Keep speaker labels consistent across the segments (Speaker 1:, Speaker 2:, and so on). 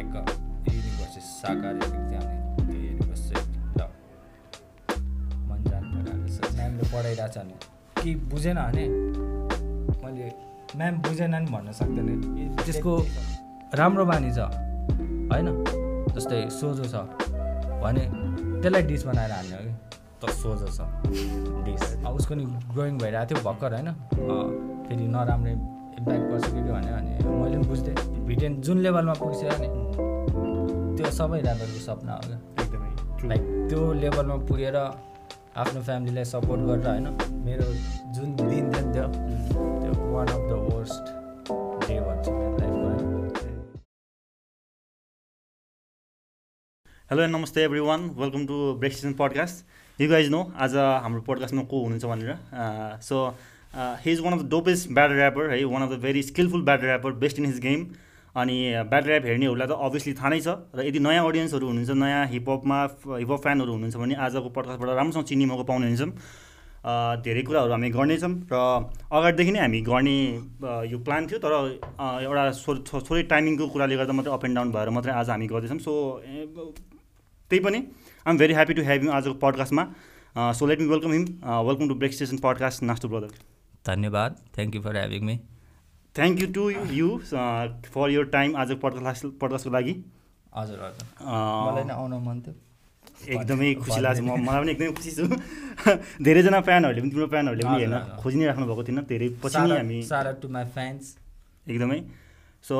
Speaker 1: ecco यिनीहरूको साकार effect थियो अनि त्यो युनिभर्स चाहिँ ल मनजान प्रकारले सोच म्यामले पढाइरहेको छ भने कि बुझेन भने मैले म्याम बुझेन नि भन्न सक्दैन त्यसको राम्रो बानी छ होइन जस्तै सोझो छ भने त्यसलाई डिस बनाएर हाल्ने हो कि त सोझो छ डिस अब उसको नि ग्रोइङ भइरहेको थियो भर्खर होइन अँ, फेरि नराम्रो इम्प्याक्ट पर्छ कि के भन्यो भने मैले पनि बुझ्थेँ भिटेन जुन लेभलमा पुगिसक्यो नि त्यो सबै ऱ्यापरको सपना हो क्या
Speaker 2: एकदमै true.
Speaker 1: लाइक त्यो लेभलमा पुगेर आफ्नो फ्यामिलीलाई सपोर्ट गरेर होइन मेरो जुन दिन थियो नि त्यो त्यो one of the worst day भन्छु मेरो लाइफमा
Speaker 2: hello and namaste everyone welcome to break season podcast you guys know आज uh, हाम्रो पडकास्टमा को हुनुहुन्छ भनेर uh, so he is one of the dopest battle rapper है one of the very skillful battle rapper best in his game अनि battle rap हेर्नेहरूलाई त अभियसली थाहा नै छ र यदि नयाँ अडियन्सहरू हुनुहुन्छ नयाँ हिपहपमा हिपहप फ्यानहरू हुनुहुन्छ भने आजको पडकास्टबाट राम्रोसँग चिन्ने मौका पाउनुहुन्छ अ, धेरै कुराहरू हामी गर्नेछौँ र अगाडिदेखि नै हामी गर्ने अ, यो प्लान थियो तर अ, एउटा थो- थो- थोरै टाइमिङको कुराले गर्दा मात्रै अप एन्ड डाउन भएर मात्रै आज हामी गर्दैछौँ सो ए, ब- त्यही पनि I am very happy to have you आजको पडकास्टमा so let me welcome him welcome to break station podcast Nasto brother
Speaker 1: धन्यवाद thank you for having me
Speaker 2: thank you to you for your time आजको podcast पडकास्टको लागि
Speaker 1: हजुर हजुर मलाई
Speaker 2: a,
Speaker 1: नै आउन मन थियो
Speaker 2: एकदमै
Speaker 1: भन्दै-
Speaker 2: खुसी लाग्छ म
Speaker 1: भन्दै-
Speaker 2: मलाई पनि एकदमै खुसी छु धेरैजना फ्यानहरूले पनि तिम्रो फ्यानहरूले पनि
Speaker 1: हजुर,
Speaker 2: हेर्न
Speaker 1: हजुर।
Speaker 2: खोजि नै राख्नु भएको थिएन धेरै पछि नै हामी
Speaker 1: सारा टु माई फ्यान्स
Speaker 2: एकदमै सो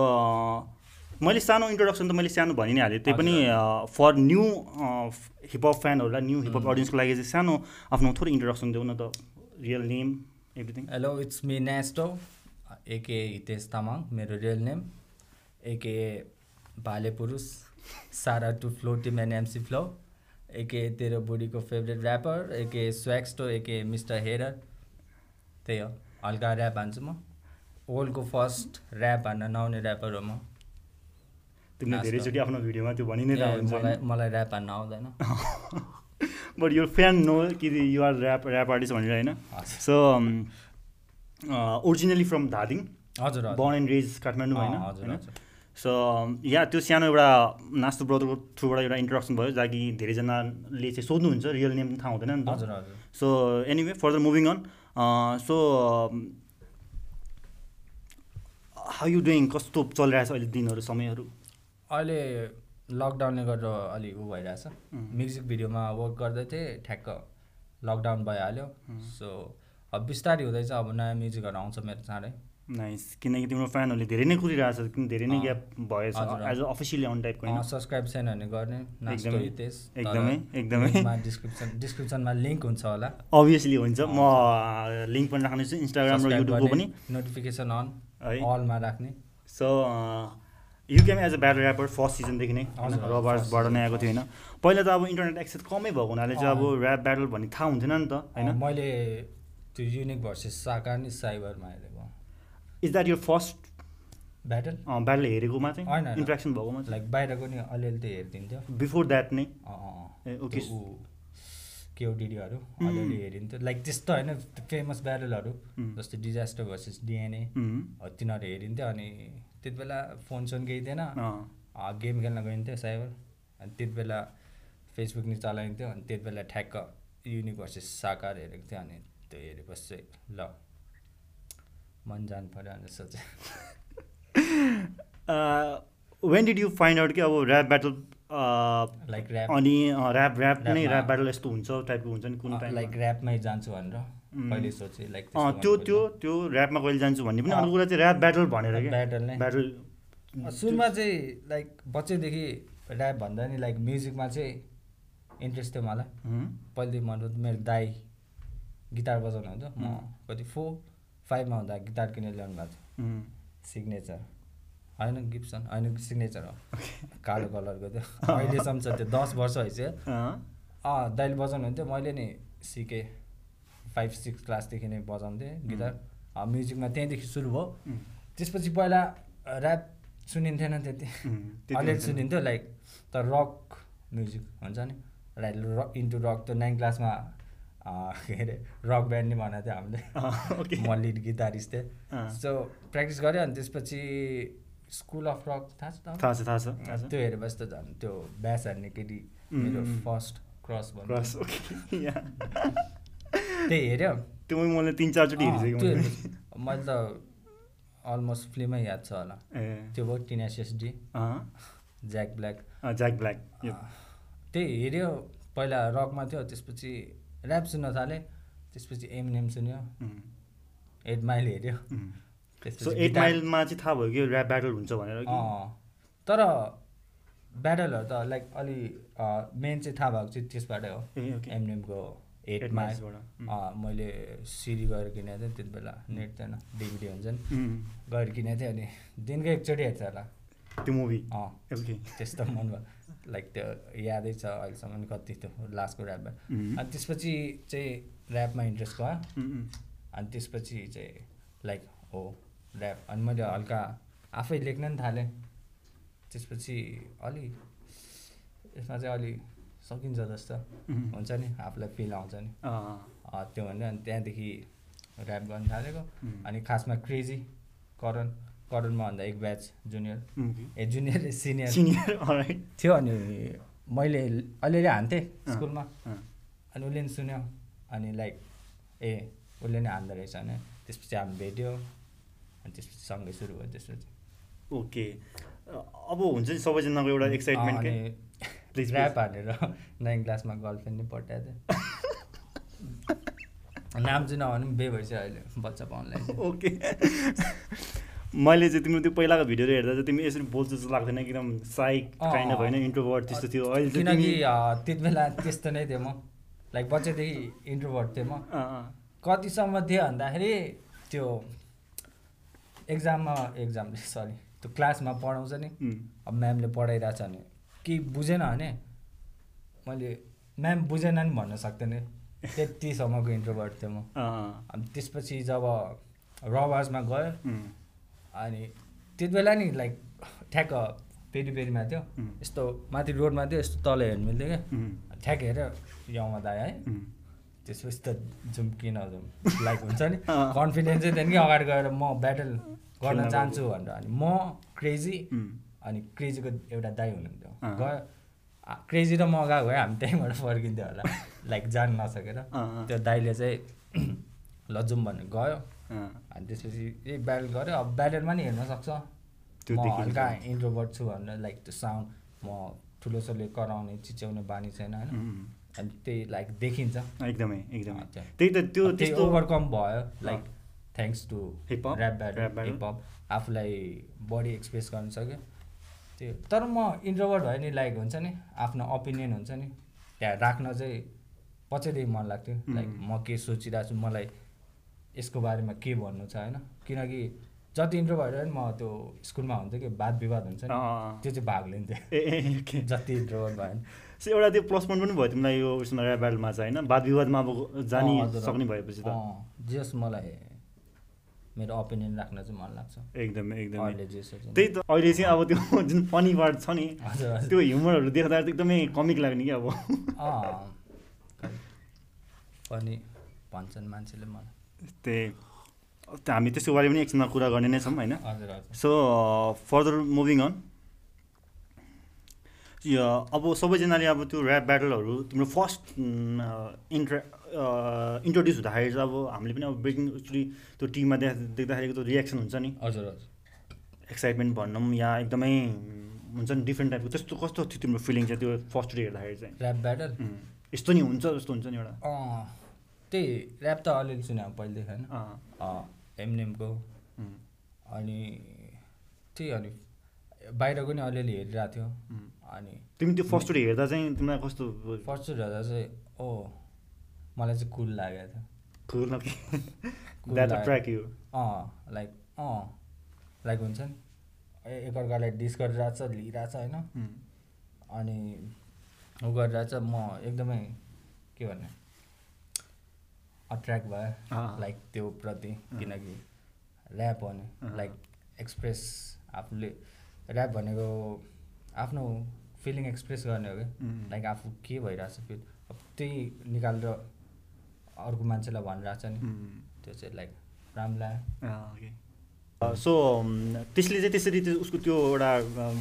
Speaker 2: मैले सानो इन्ट्रोडक्सन त मैले सानो भनि नै हालेँ त्यही पनि
Speaker 1: हजुर,
Speaker 2: फर न्यू हिपहप फ्यानहरूलाई न्यू हिपहप
Speaker 1: हुँ।
Speaker 2: अडियन्सको लागि चाहिँ सानो आफ्नो थोरै इन्ट्रोडक्सन देऊ न त real name everything
Speaker 1: hello it's me Nesto aka Hitesh Tamang मेरो real name aka Bhale Purush सारा to Flow team and MC Flow aka तेरो बुढीको फेभरेट ऱ्यापर एके स्व्याक्स्टो एके मिस्टर हेरर त्यही हो हल्का ऱ्याप हान्छु म वर्ल्डको फर्स्ट ऱ्याप हान्न नआउने ऱ्यापर हो म
Speaker 2: तिमीले
Speaker 1: नाच्न।
Speaker 2: धेरैचोटि आफ्नो भिडियोमा त्यो भनि नै
Speaker 1: ए, मलाई मलाई ऱ्याप हान्न आउँदैन
Speaker 2: बट यो फ्यान नो कि युआर ऱ्याप ऱ्याप आर्टिस्ट भनेर होइन
Speaker 1: हजुर
Speaker 2: सो ओरिजिनली फ्रम धादिङ
Speaker 1: हजुर
Speaker 2: बर्न एन्ड रेज काठमाडौँ
Speaker 1: अँ,
Speaker 2: होइन
Speaker 1: हजुर
Speaker 2: होइन?
Speaker 1: हजुर।
Speaker 2: सो या um, त्यो सानो एउटा नास्तो ब्रदरको थ्रुबाट एउटा इन्ट्रोडक्सन भयो जहाँ धेरैजनाले चाहिँ सोध्नुहुन्छ रियल नेम थाहा हुँदैन नि त
Speaker 1: हजुर हजुर
Speaker 2: so anyway further moving on so um, how you doing कस्तो चलिरहेछ अहिले दिनहरू समयहरू
Speaker 1: अहिले लकडाउनले गर्दा अलिक ऊ भइरहेछ
Speaker 2: उम्.
Speaker 1: म्युजिक भिडियोमा वर्क गर्दै थिएँ ठ्याक्क लकडाउन भइहाल्यो सो अब बिस्तारै हुँदैछ अब नयाँ म्युजिकहरू आउँछ मेरो चाँडै
Speaker 2: नाइस किनकि तिम्रो फ्यानहरूले धेरै नै कुरिरहेछ किन धेरै नै
Speaker 1: अँ।
Speaker 2: ग्याप भएछ
Speaker 1: हजुर,
Speaker 2: एज अ अफिसियली अन टाइपको होइन
Speaker 1: सब्सक्राइब छैन भने गर्ने नाच्नु
Speaker 2: एकदमै,
Speaker 1: हितेश तर
Speaker 2: एकदमै, एकदमै।
Speaker 1: लिङ्कमा डिस्क्रिप्सन डिस्क्रिप्सनमा लिङ्क हुन्छ होला
Speaker 2: अभियसली हुन्छ म लिङ्क पनि राख्नेछु इन्स्टाग्राम र युट्युबको पनि
Speaker 1: नोटिफिकेसन अन
Speaker 2: है।
Speaker 1: अलमा राख्ने
Speaker 2: so uh, you came as a battle rapper first सिजनदेखि नै
Speaker 1: हजुर, हजुर,
Speaker 2: रबर्सबाट
Speaker 1: first season,
Speaker 2: नै आएको थियो होइन पहिला त अब इन्टरनेट एक्सेस कमै भएको हुनाले चाहिँ अब
Speaker 1: अँ।
Speaker 2: ऱ्याप ब्याटल भन्ने थाहा हुन्थेन नि त
Speaker 1: अँ,
Speaker 2: होइन
Speaker 1: मैले त्यो युनिक भर्सेस साकार नि साइबरमा हेरेको
Speaker 2: इज द्याट यो फर्स्ट
Speaker 1: ब्याटल
Speaker 2: ब्याटल हेरेकोमा
Speaker 1: होइन,
Speaker 2: चाहिँ
Speaker 1: होइन।
Speaker 2: इन्ट्रेक्सन भएकोमा चाहिँ
Speaker 1: लाइक बाहिरको नि अलिअलि त हेरिदिन्थ्यो
Speaker 2: बिफोर द्याट नै
Speaker 1: अँ, अँ, अँ।
Speaker 2: ए, ओके।
Speaker 1: त्यो ऊ केओडिडीहरू अलिअलि हेरिन्थ्यो लाइक त्यस्तो होइन फेमस ब्यारलहरू
Speaker 2: उम्.
Speaker 1: जस्तै डिजास्टर भर्सेस डिएनए
Speaker 2: उम्,
Speaker 1: हो तिनीहरू हेरिन्थ्यो अनि त्यति बेला फोनसोन केही थिएन
Speaker 2: अँ,
Speaker 1: अँ, गेम खेल्न गइन्थ्यो साइबर अनि त्यति बेला फेसबुक नि चलाइन्थ्यो अनि त्यति बेला ठ्याक्क युनिक भर्सेस साकार हेरेको थियो अनि त्यो हेरेपछि चाहिँ ल मन जानु पऱ्यो भनेर सोचेँ
Speaker 2: अँ, when did you find out कि अब ऱ्याप ब्याटल अँ,
Speaker 1: लाइक ऱ्याप
Speaker 2: अनि अँ, ऱ्याप ऱ्याप नै
Speaker 1: ऱ्यापमा-
Speaker 2: ऱ्याप ब्याटल यस्तो हुन्छ टाइपको हुन्छ नि कुन
Speaker 1: अँ,
Speaker 2: टाइम
Speaker 1: लाइक ऱ्यापमै जान्छु भनेर
Speaker 2: उम्.
Speaker 1: कहिले सोचेँ लाइक
Speaker 2: अँ,
Speaker 1: त्यस्तो
Speaker 2: त्यो
Speaker 1: भन्नु
Speaker 2: त्यो त्यो ऱ्यापमा कहिले जान्छु भन्ने पनि
Speaker 1: अँ।
Speaker 2: अर्को कुरा चाहिँ ऱ्याप ब्याटल भनेर
Speaker 1: ऱ्याप
Speaker 2: क्या
Speaker 1: ब्याटल नै।
Speaker 2: ब्याटल
Speaker 1: सुरुमा चाहिँ लाइक बच्चैदेखि ऱ्याप भन्दा नि लाइक म्युजिकमा चाहिँ इन्ट्रेस्ट थियो मलाई
Speaker 2: उम्,
Speaker 1: पहिले मन मेरो दाई गिटार बजाउनु हुन्थ्यो म
Speaker 2: अँ।
Speaker 1: कति फोर फाइभमा हुँदा गिटार किनेर ल्याउनु भएको थियो
Speaker 2: उम्,
Speaker 1: सिग्नेचर होइन गिप्सन होइन सिग्नेचर हो कालो कलरको त्यो अहिलेसम्म छ त्यो दस वर्ष भइसक्यो
Speaker 2: अँ।
Speaker 1: अँ दाइले बजाउनु हुन्थ्यो मैले नि सिकेँ फाइभ सिक्स क्लासदेखि नै बजाउँथेँ गिटार अँ, म्युजिकमा त्यहीँदेखि सुरु भयो
Speaker 2: उम्,
Speaker 1: त्यसपछि पहिला ऱ्याप सुनिन्थेन त्यति
Speaker 2: उम्, त्यति
Speaker 1: अलिअलि
Speaker 2: हुन्थेन।
Speaker 1: सुनिन्थ्यो लाइक तर रक म्युजिक हुन्छ नि लाइक रक इन्टु रक त्यो नाइन क्लासमा अँ, के अरे रक ब्यान्ड नै बनाएको थियो हामीले
Speaker 2: अँ, ओके
Speaker 1: म लिड गिटारिस्ट थिएँ
Speaker 2: अँ।
Speaker 1: सो प्र्याक्टिस गऱ्यो अनि त्यसपछि स्कुल अफ रक थाहा छ
Speaker 2: थाहा छ थाहा छ थाहा
Speaker 1: त
Speaker 2: छ
Speaker 1: त्यो हेरेपछि त झन् त्यो ब्यास हार्ने केटी मेरो
Speaker 2: उम्, उम्.
Speaker 1: फर्स्ट क्रस भन्नु
Speaker 2: क्रस ओके या
Speaker 1: त्यही हेऱ्यो
Speaker 2: त्यो पनि मैले तिन चारचोटि
Speaker 1: अँ,
Speaker 2: हेरिसकेँ
Speaker 1: त्यो हेरेपछि।
Speaker 2: मैले
Speaker 1: मैले त अलमोस्ट फिल्मै याद छ होला
Speaker 2: ए
Speaker 1: त्यो भयो टिनासिएसडी
Speaker 2: अँ,
Speaker 1: ज्याक ब्ल्याक
Speaker 2: अँ, ज्याक ब्ल्याक यो।
Speaker 1: त्यही हेऱ्यो पहिला रकमा थियो त्यसपछि ऱ्याप सुन्न थालेँ त्यसपछि एमएनएम सुन्यो
Speaker 2: उम्,
Speaker 1: एट माइल हेऱ्यो
Speaker 2: उम्। सो
Speaker 1: त्यसपछि
Speaker 2: एट
Speaker 1: गिटार-
Speaker 2: माइलमा चाहिँ थाहा भयो कि ऱ्याप ब्याटल हुन्छ भनेर कि
Speaker 1: अँ, तर ब्याटलहरू त लाइक अलि मेन चाहिँ थाहा भएको चाहिँ त्यसबाटै हो
Speaker 2: ए ओके
Speaker 1: एमएमको एट
Speaker 2: एट
Speaker 1: माइल
Speaker 2: माइल्सबाट
Speaker 1: अँ, मैले सिडी गएर किनेको थिएँ त्यति बेला नेट थिएन डिभिडी हुन्छ नि
Speaker 2: उम्,
Speaker 1: गएर किनेको थिएँ अनि दिनको एकचोटि हेर्छ होला
Speaker 2: त्यो मुभी
Speaker 1: अँ
Speaker 2: ओके
Speaker 1: त्यस्तो मन भयो लाइक त्यो यादै छ अहिलेसम्म कति त्यो लास्टको ऱ्यापमा
Speaker 2: उम्,
Speaker 1: अनि त्यसपछि चाहिँ ऱ्यापमा इन्ट्रेस्ट भयो
Speaker 2: उम्, उम्,
Speaker 1: अनि त्यसपछि चाहिँ लाइक हो ऱ्याप अनि मैले हल्का आफै लेख्न पनि थालेँ त्यसपछि अलि यसमा चाहिँ अलि सकिन्छ जस्तो
Speaker 2: उम्,
Speaker 1: हुन्छ नि आफूलाई फिल आउँछ नि
Speaker 2: अँ,
Speaker 1: अँ, त्यो भनेर अनि त्यहाँदेखि ऱ्याप गर्न थालेको
Speaker 2: उम्,
Speaker 1: अनि खासमा क्रेजी करण करणमा भन्दा एक ब्याच जुनियर
Speaker 2: उम्, ओके।
Speaker 1: ए जुनियर ए सिनियर
Speaker 2: सिनियर alright,
Speaker 1: थियो अनि मैले अलिअलि हान्थेँ स्कुलमा
Speaker 2: अँ,
Speaker 1: अनि उसले नि सुन्यो अनि लाइक ए उसले नि हान्दो रहेछ भने त्यसपछि हामी भेट्यो अनि त्यसपछि सँगै सुरु भयो त्यसपछि
Speaker 2: ओके अ, अब हुन्छ नि सबैजनाको एउटा एक्साइटमेन्ट के Please,
Speaker 1: ऱ्याप हालेर नाइन क्लासमा गर्लफ्रेन्ड नै पठाएको थिएँ नाम चाहिँ नभने पनि बे भइसक्यो अहिले बच्चा पाउनलाई चाहिँ।
Speaker 2: ओके मैले चाहिँ तिम्रो त्यो पहिलाको भिडियोहरू हेर्दा चाहिँ तिमी यसरी बोल्छ जस्तो लाग्दैन कि एकदम साइक
Speaker 1: अँ,
Speaker 2: काइन्ड अफ
Speaker 1: अँ।
Speaker 2: होइन इन्ट्रोभर्ट त्यस्तो थियो अहिले चाहिँ
Speaker 1: किनकि
Speaker 2: तिमी
Speaker 1: अँ, त्यति बेला त्यस्तो नै थिएँ म लाइक बच्चादेखि इन्ट्रोभर्ट थिएँ म
Speaker 2: अँ, अँ,
Speaker 1: कतिसम्म थियो भन्दाखेरि त्यो एक्जाममा एक्जाम सरी त्यो क्लासमा पढाउँछ नि
Speaker 2: उम्,
Speaker 1: अब म्यामले पढाइरहेछ भने केही बुझेन भने मैले म्याम बुझेन नि भन्न सक्दैन त्यतिसम्मको इन्ट्रोभर्ट थिएँ म
Speaker 2: अँ, अँ,
Speaker 1: अनि त्यसपछि जब रवाजमा गयो
Speaker 2: उम्,
Speaker 1: अनि त्यति बेला नि लाइक ठ्याक्क पेरी पेरीमा थियो
Speaker 2: उम्,
Speaker 1: यस्तो माथि रोडमा थियो यस्तो तल हेर्नु मिल्थ्यो क्या
Speaker 2: उम्,
Speaker 1: ठ्याक्क हेऱ्यो याउमा दायो है
Speaker 2: उम्,
Speaker 1: त्यसपछि त जाउँ कि नजाउँ लाइक हुन्छ नि
Speaker 2: अँ।
Speaker 1: कन्फिडेन्सै थिएन कि अगाडि गएर म ब्याटल गर्न
Speaker 2: खेल्न
Speaker 1: चाहन्छु भनेर अनि म क्रेजी
Speaker 2: उम्,
Speaker 1: अनि क्रेजीको एउटा दाई हुनुहुन्थ्यो
Speaker 2: अँ।
Speaker 1: गयो आ- क्रेजी र म गएको भए हामी त्यहीँबाट फर्किन्थ्यो होला लाइक जान नसकेर
Speaker 2: अँ, अँ,
Speaker 1: त्यो दाईले चाहिँ ल जाउँ भनेर गयो
Speaker 2: अँ,
Speaker 1: अनि त्यसपछि ए ब्याटल गऱ्यो अब ब्याटलमा नि हेर्न सक्छ
Speaker 2: त्यो
Speaker 1: म
Speaker 2: देखिन्छ।
Speaker 1: हल्का इन्ट्रोभर्ट छु भनेर लाइक त्यो साउन्ड म ठुलोसले कराउने चिच्याउने बानी छैन होइन
Speaker 2: उम्,
Speaker 1: अनि त्यही लाइक देखिन्छ
Speaker 2: एकदमै एकदमै
Speaker 1: अँ, त्यहाँ।
Speaker 2: त्यही त त्यो
Speaker 1: त्यो त्यही
Speaker 2: त्यस्तो
Speaker 1: ओभरकम भयो लाइक
Speaker 2: अँ।
Speaker 1: Thanks to
Speaker 2: Hip hop,
Speaker 1: rap
Speaker 2: rap
Speaker 1: battle
Speaker 2: battle.
Speaker 1: Hip hop आफूलाई बडी एक्सप्रेस गर्न सक्यो त्यो तर म इन्ट्रोभर्ट भयो नि लाइक हुन्छ नि आफ्नो ओपिनियन हुन्छ नि त्यहाँ राख्न चाहिँ पछिदेखि मन लाग्थ्यो लाइक
Speaker 2: Mm.
Speaker 1: म के सोचिरहेको छु मलाई यसको बारेमा के भन्नु छ होइन किनकि जति इन्ट्रोभर्ट भयो नि म त्यो स्कुलमा हुन्थ्यो कि वाद विवाद हुन्छ
Speaker 2: अँ,
Speaker 1: नि
Speaker 2: अँ, अँ।
Speaker 1: त्यो चाहिँ भाग लिन्थेँ
Speaker 2: ए ए ओके
Speaker 1: जति इन्ट्रोभर्ट भयो नि
Speaker 2: सो एउटा त्यो प्लस पोइन्ट पनि भयो तिमीलाई यो उसमा ऱ्याप ब्याटलमा चाहिँ होइन वाद विवादमा अब जानी
Speaker 1: अँ, हजुर,
Speaker 2: सक्ने भएपछि त
Speaker 1: अँ, जस मलाई मेरो ओपिनियन राख्न चाहिँ मन लाग्छ
Speaker 2: एकदमै एकदमै
Speaker 1: अहिले जे सोच्यो नि।
Speaker 2: त्यही त अहिले चाहिँ अब त्यो जुन फनी पार्ट छ नि
Speaker 1: हजुर, हजुर।
Speaker 2: त्यो ह्युमरहरू देख्दा त एकदमै कमिक लाग्ने कि अब
Speaker 1: अँ, खै। पनि भन्छन् मान्छेले मलाई
Speaker 2: त्यही त हामी त्यसको बारे पनि एकछिनमा कुरा गर्ने नै छौँ होइन uh,
Speaker 1: हजुर हजुर
Speaker 2: सो फर्दर मुभिङ अन यो अब सबैजनाले अब त्यो ऱ्याप ब्याटलहरू तिम्रो mm, uh, first intra introduce uh, हुँदाखेरि चाहिँ अब हामीले पनि अब ब्रेकिङ एक्चुली त्यो टिममा देख्दा देख्दाखेरिको त्यो रियाक्सन हुन्छ नि
Speaker 1: हजुर हजुर
Speaker 2: एक्साइटमेन्ट भनौँ या एकदमै उम्, हुन्छ नि डिफ्रेन्ट टाइपको त्यस्तो कस्तो थियो तिम्रो फिलिङ चाहिँ त्यो फर्स्टचोटि हेर्दाखेरि चाहिँ
Speaker 1: ऱ्याप ब्याटल
Speaker 2: उम्, यस्तो नि हुन्छ जस्तो हुन्छ नि एउटा
Speaker 1: अँ, त्यही ऱ्याप त अलिअलि सुन्यो पहिलेदेखि होइन
Speaker 2: अँ,
Speaker 1: अँ, एमनेमको
Speaker 2: उम्,
Speaker 1: अनि त्यही अनि बाहिरको नि अलिअलि हेरिरहेको थियो
Speaker 2: उम्।
Speaker 1: अनि
Speaker 2: तिमी त्यो
Speaker 1: Hmm.
Speaker 2: फर्स्टचोटि हेर्दा चाहिँ तिमीलाई कस्तो
Speaker 1: फर्स्ट हेर्दा चाहिँ ओ मलाई चाहिँ कुल लागेको थियो
Speaker 2: खुल कि
Speaker 1: Cool
Speaker 2: द्याट
Speaker 1: लाग्यो।
Speaker 2: ट्र्याक यु
Speaker 1: अँ लाइक अँ लाइक हुन्छ नि ए- एकअर्कालाई डिस गरिरहेको छ लिइरहेछ होइन
Speaker 2: उम्,
Speaker 1: अनि ऊ गरिरहेछ म एकदमै के भन्ने अट्र्याक्ट भयो
Speaker 2: अँ।
Speaker 1: लाइक त्यो प्रति
Speaker 2: अँ।
Speaker 1: किनकि ऱ्याप हो नि
Speaker 2: अँ।
Speaker 1: लाइक एक्सप्रेस आफूले ऱ्याप भनेको आफ्नो फिलिङ एक्सप्रेस गर्ने हो कि
Speaker 2: उम्,
Speaker 1: लाइक आफू के भइरहेछ फिल अब त्यही निकालेर अर्को मान्छेलाई भनिरहेछ नि
Speaker 2: उम्, Ah,
Speaker 1: त्यो चाहिँ लाइक राम्रो लाग्यो
Speaker 2: अँ, ओके। सो Uh, um, त्यसले चाहिँ त्यसरी त्यो उसको त्यो एउटा um,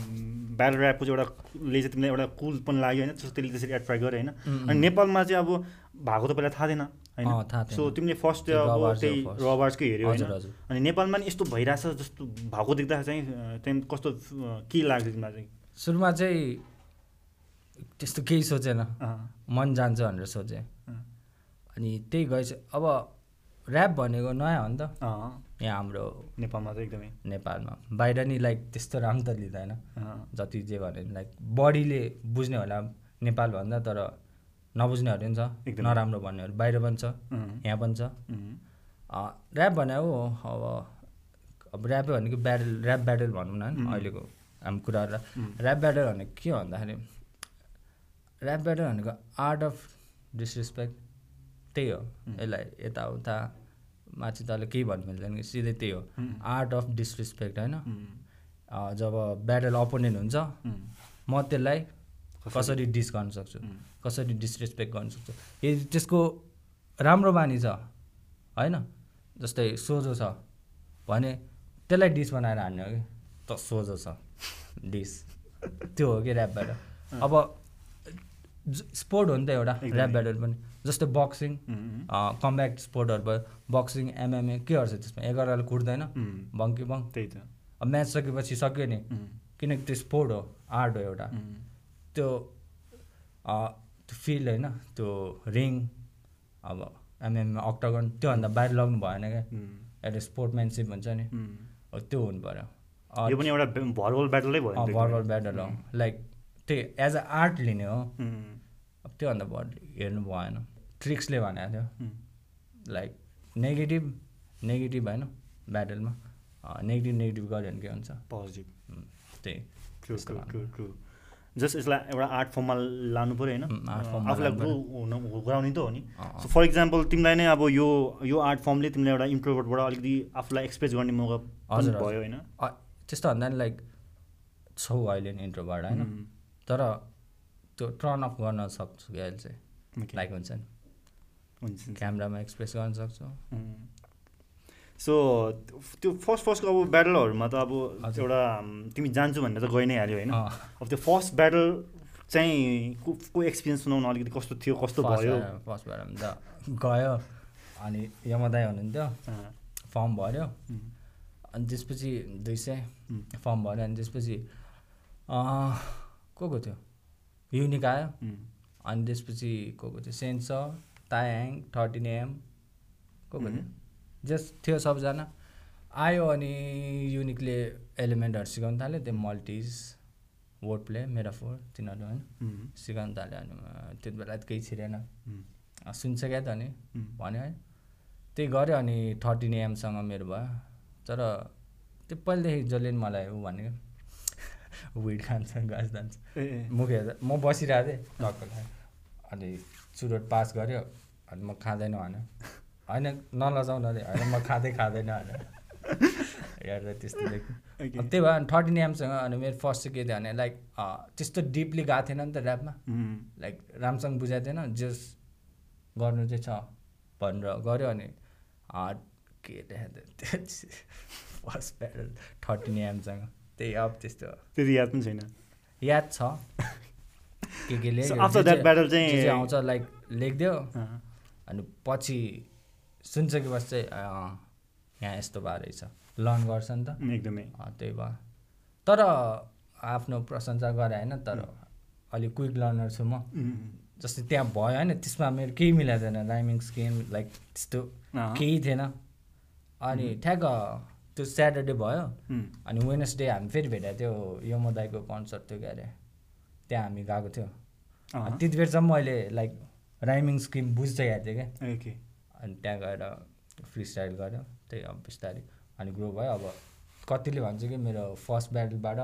Speaker 2: ब्याटल ऱ्यापको चाहिँ एउटा ले चाहिँ तिमीलाई एउटा कुल पनि लाग्यो होइन त्यसो त्यसले त्यसरी एट्र्याक्ट गर्यो होइन
Speaker 1: उम्,
Speaker 2: अनि नेपालमा चाहिँ अब भएको त पहिला थाहा थिएन होइन
Speaker 1: Hmm, अँ, थाहा
Speaker 2: सो
Speaker 1: थिएन।
Speaker 2: तिमीले फर्स्ट
Speaker 1: त्यो
Speaker 2: अब
Speaker 1: रबार्स
Speaker 2: त्यही
Speaker 1: हो first।
Speaker 2: रबार्सकै हेऱ्यो होइन
Speaker 1: हजुर, हजुर।
Speaker 2: अनि नेपालमा नि यस्तो भइरहेछ जस्तो भएको देख्दा चाहिँ अँ, त्यहाँ कस्तो अँ, के लाग्छ तिमीलाई चाहिँ
Speaker 1: सुरुमा चाहिँ त्यस्तो केही सोचेन
Speaker 2: अँ,
Speaker 1: मन जान्छ भनेर सोचेँ
Speaker 2: अँ,
Speaker 1: अनि त्यही गएछ अब ऱ्याप भनेको नयाँ हो नि त
Speaker 2: अँ,
Speaker 1: यहाँ हाम्रो
Speaker 2: नेपालमा त एकदमै
Speaker 1: नेपालमा बाहिर नि लाइक त्यस्तो राम्रो त लिँदैन
Speaker 2: अँ,
Speaker 1: जति जे भने पनि लाइक बडीले बुझ्ने होला नेपालभन्दा तर नबुझ्नेहरू पनि छ
Speaker 2: एकदम।
Speaker 1: नराम्रो भन्नेहरू बाहिर पनि छ
Speaker 2: अँ,
Speaker 1: यहाँ पनि छ
Speaker 2: अँ,
Speaker 1: अँ, ऱ्याप भनेको अब अब ऱ्यापै भनेको ब्याटल ऱ्याप ब्याटल भनौँ न होइन, अहिलेको हाम्रो कुराहरू ऱ्याप ब्याटल भनेको के हो भन्दाखेरि ऱ्याप ब्याटल भनेको आर्ट अफ डिसरेस्पेक्ट त्यही हो यसलाई यताउता माथि तल केही भन्नु मिल्दैन कि सिधै त्यही हो
Speaker 2: उम्.
Speaker 1: आर्ट अफ डिसरेस्पेक्ट होइन
Speaker 2: अँ,
Speaker 1: अँ, जब ब्याटल अपोनेन्ट हुन्छ
Speaker 2: अँ,
Speaker 1: म त्यसलाई कसरी डिस गर्न सक्छु
Speaker 2: उम्.
Speaker 1: कसरी डिसरेस्पेक्ट गर्न सक्छु यदि त्यसको राम्रो बानी छ होइन जस्तै सोझो छ भने त्यसलाई डिस बनाएर हान्ने हो कि त सोझो छ डिस त्यो हो कि ऱ्याप ब्याटल अब ज- स्पोर्ट हो नि त एउटा
Speaker 2: एकदमै।
Speaker 1: ऱ्याप ब्याटल पनि जस्तै बक्सिङ
Speaker 2: अँ,
Speaker 1: कम्ब्याक्ट स्पोर्टहरू भयो बक्सिङ एमएमए केहरू छ त्यसमा एघारलाई कुट्दैन
Speaker 2: अँ,
Speaker 1: बङ्की बङ
Speaker 2: त्यही त
Speaker 1: अब म्याच सकेपछि सक्यो नि
Speaker 2: अँ,
Speaker 1: किनकि त्यो स्पोर्ट हो आर्ट हो एउटा
Speaker 2: अँ,
Speaker 1: त्यो अ, त्यो फिल्ड होइन त्यो रिङ अब एमएमए अक्टागन त्योभन्दा बाहिर लग्नु भएन क्या
Speaker 2: अँ,
Speaker 1: एउटा स्पोर्टम्यानसिप हुन्छ नि
Speaker 2: अँ।
Speaker 1: हो, त्यो हुनु पऱ्यो
Speaker 2: यो पनि एउटा बे- भरवल ब्याटलै भयो नि त एकदमै।
Speaker 1: भर्बल ब्याटल हो लाइक त्यही एज अ आर्ट लिने हो
Speaker 2: अँ,
Speaker 1: अब त्योभन्दा बढी हेर्नु भएन ट्रिक्सले भनेको थियो
Speaker 2: अँ,
Speaker 1: लाइक नेगेटिभ नेगेटिभ होइन ब्याटलमा नेगेटिभ नेगेटिभ गऱ्यो भने के हुन्छ
Speaker 2: पोजिटिभ
Speaker 1: उम्, त्यही
Speaker 2: ट्रु
Speaker 1: त्यस्तो
Speaker 2: ट्रु
Speaker 1: लाग्यो।
Speaker 2: ट्रु ट्रु जस्ट यसलाई एउटा आर्ट फर्ममा लानु पऱ्यो होइन
Speaker 1: उम्, आर्ट
Speaker 2: अँ,
Speaker 1: फर्ममा
Speaker 2: आफूलाई
Speaker 1: लानु
Speaker 2: ग्रो हुन गराउने त हो नि
Speaker 1: अँ, अँ।
Speaker 2: सो फर इक्जाम्पल तिमीलाई नै अब यो यो आर्ट फर्मले तिमीलाई एउटा इम्प्रोभर्टबाट अलिकति आफूलाई एक्सप्रेस गर्ने मौका पनि
Speaker 1: हजुर, हजुर।
Speaker 2: भयो होइन
Speaker 1: अ, त्यस्तो भन्दा नि लाइक छौ अहिले नि इन्ट्रोबाट होइन
Speaker 2: उम्,
Speaker 1: तर त्यो टर्न अफ गर्न सक्छु कि अहिले चाहिँ
Speaker 2: okay,
Speaker 1: लाइक हुन्छ नि
Speaker 2: हुन्छ
Speaker 1: क्यामरामा एक्सप्रेस गर्न सक्छु
Speaker 2: उम्। So Mm. त्यो फर्स्ट फर्स्टको अब ब्याटलहरूमा त अब
Speaker 1: हजुर।
Speaker 2: एउटा उम्, तिमी जान्छु भनेर त गइ नै हाल्यो होइन
Speaker 1: अँ,
Speaker 2: अब त्यो फर्स्ट ब्याटल चाहिँ को को एक्सपिरियन्स सुनाउनु अलिकति कस्तो थियो कस्तो
Speaker 1: फर्स्ट
Speaker 2: भयो
Speaker 1: भएर- फर्स्ट भएर अन्त गयो अनि यमदाय हुनुहुन्थ्यो
Speaker 2: अँ,
Speaker 1: फर्म भर्यो
Speaker 2: उम्,
Speaker 1: अनि त्यसपछि दुई सय
Speaker 2: उम्,
Speaker 1: फर्म भर्यो अनि त्यसपछि अँ, को को थियो युनिक आयो
Speaker 2: उम्,
Speaker 1: अनि त्यसपछि को को थियो सेन्स तायाङ थर्टिन एम को को
Speaker 2: Mhm.
Speaker 1: थियो जस थियो सबजना आयो अनि युनिकले एलिमेन्टहरू सिकाउनु थाल्यो त्यो मल्टिज वर्ड प्ले मेराफोर तिनीहरू होइन
Speaker 2: उम्,
Speaker 1: सिकाउनु थाल्यो अनि म त्यति बेला त केही छिरेन
Speaker 2: उम्,
Speaker 1: अँ, सुन्छ क्या त अनि
Speaker 2: उम्।
Speaker 1: भन्यो है त्यही गऱ्यो अनि थर्टिन एमसँग मेरो भयो तर त्यो पहिलेदेखि जसले नि मलाई ऊ भनेको विड खान्छ घाँस जान्छ
Speaker 2: ए, ए,
Speaker 1: मुख हेर्दा म बसिरहेको थिएँ टक्क खाएँ। अनि चुरोट पास गऱ्यो अनि म खाँदैन भने होइन नलजाउन रे होइन म खाँदै खाँदैन भने हेर्दा त्यस्तो देख्यो
Speaker 2: Okay.
Speaker 1: अब त्यही भएर अनि थर्टिन एमसँग अनि मेरो फर्स्ट चाहिँ के थियो भने लाइक अँ, त्यस्तो डिपली गएको थिएन नि त ऱ्यापमा
Speaker 2: उम्,
Speaker 1: लाइक राम्रोसँग बुझाएको थिएन जस गर्नु चाहिँ छ भनेर गऱ्यो अनि अँ, के देखाएको फर्स्ट प्यारल थर्टिन एमसँग त्यही अब त्यस्तो हो
Speaker 2: त्यति याद पनि छैन
Speaker 1: याद छ के के लेख्यो,
Speaker 2: So after
Speaker 1: जे
Speaker 2: that battle
Speaker 1: जे- जे
Speaker 2: चाहिँ-
Speaker 1: आउँछ लाइक लेखिदियो
Speaker 2: अँ,
Speaker 1: अनि पछि सुनिसकेपछि चाहिँ अँ, यहाँ यस्तो भएर रहेछ लर्न गर्छ नि त
Speaker 2: उम्, Mm, एकदमै
Speaker 1: अँ, त्यही भयो तर आफ्नो प्रशंसा गरे होइन तर अलिक क्विक लर्नर छु म
Speaker 2: उम्,
Speaker 1: जस्तै त्यहाँ भयो होइन त्यसमा मेरो केही मिलाएको थिएन राइमिङ स्किम लाइक त्यस्तो
Speaker 2: अँ,
Speaker 1: केही थिएन अनि ठ्याक्क त्यो स्याटरडे भयो
Speaker 2: उम्,
Speaker 1: अनि वेनसडे हामी फेरि भेटेको थियो यमो दाईको कन्सर्ट थियो क्या अरे त्यहाँ हामी गएको थियो
Speaker 2: अँ,
Speaker 1: अनि त्यति बेरसम्म मैले लाइक राइमिङ स्किम बुझ्दै गएको थिएँ क्या
Speaker 2: ओके
Speaker 1: अनि त्यहाँ गएर फ्री स्टाइल गऱ्यो त्यही अब बिस्तारै अनि ग्रो भयो अब कतिले भन्छ कि मेरो फर्स्ट ब्याटलबाट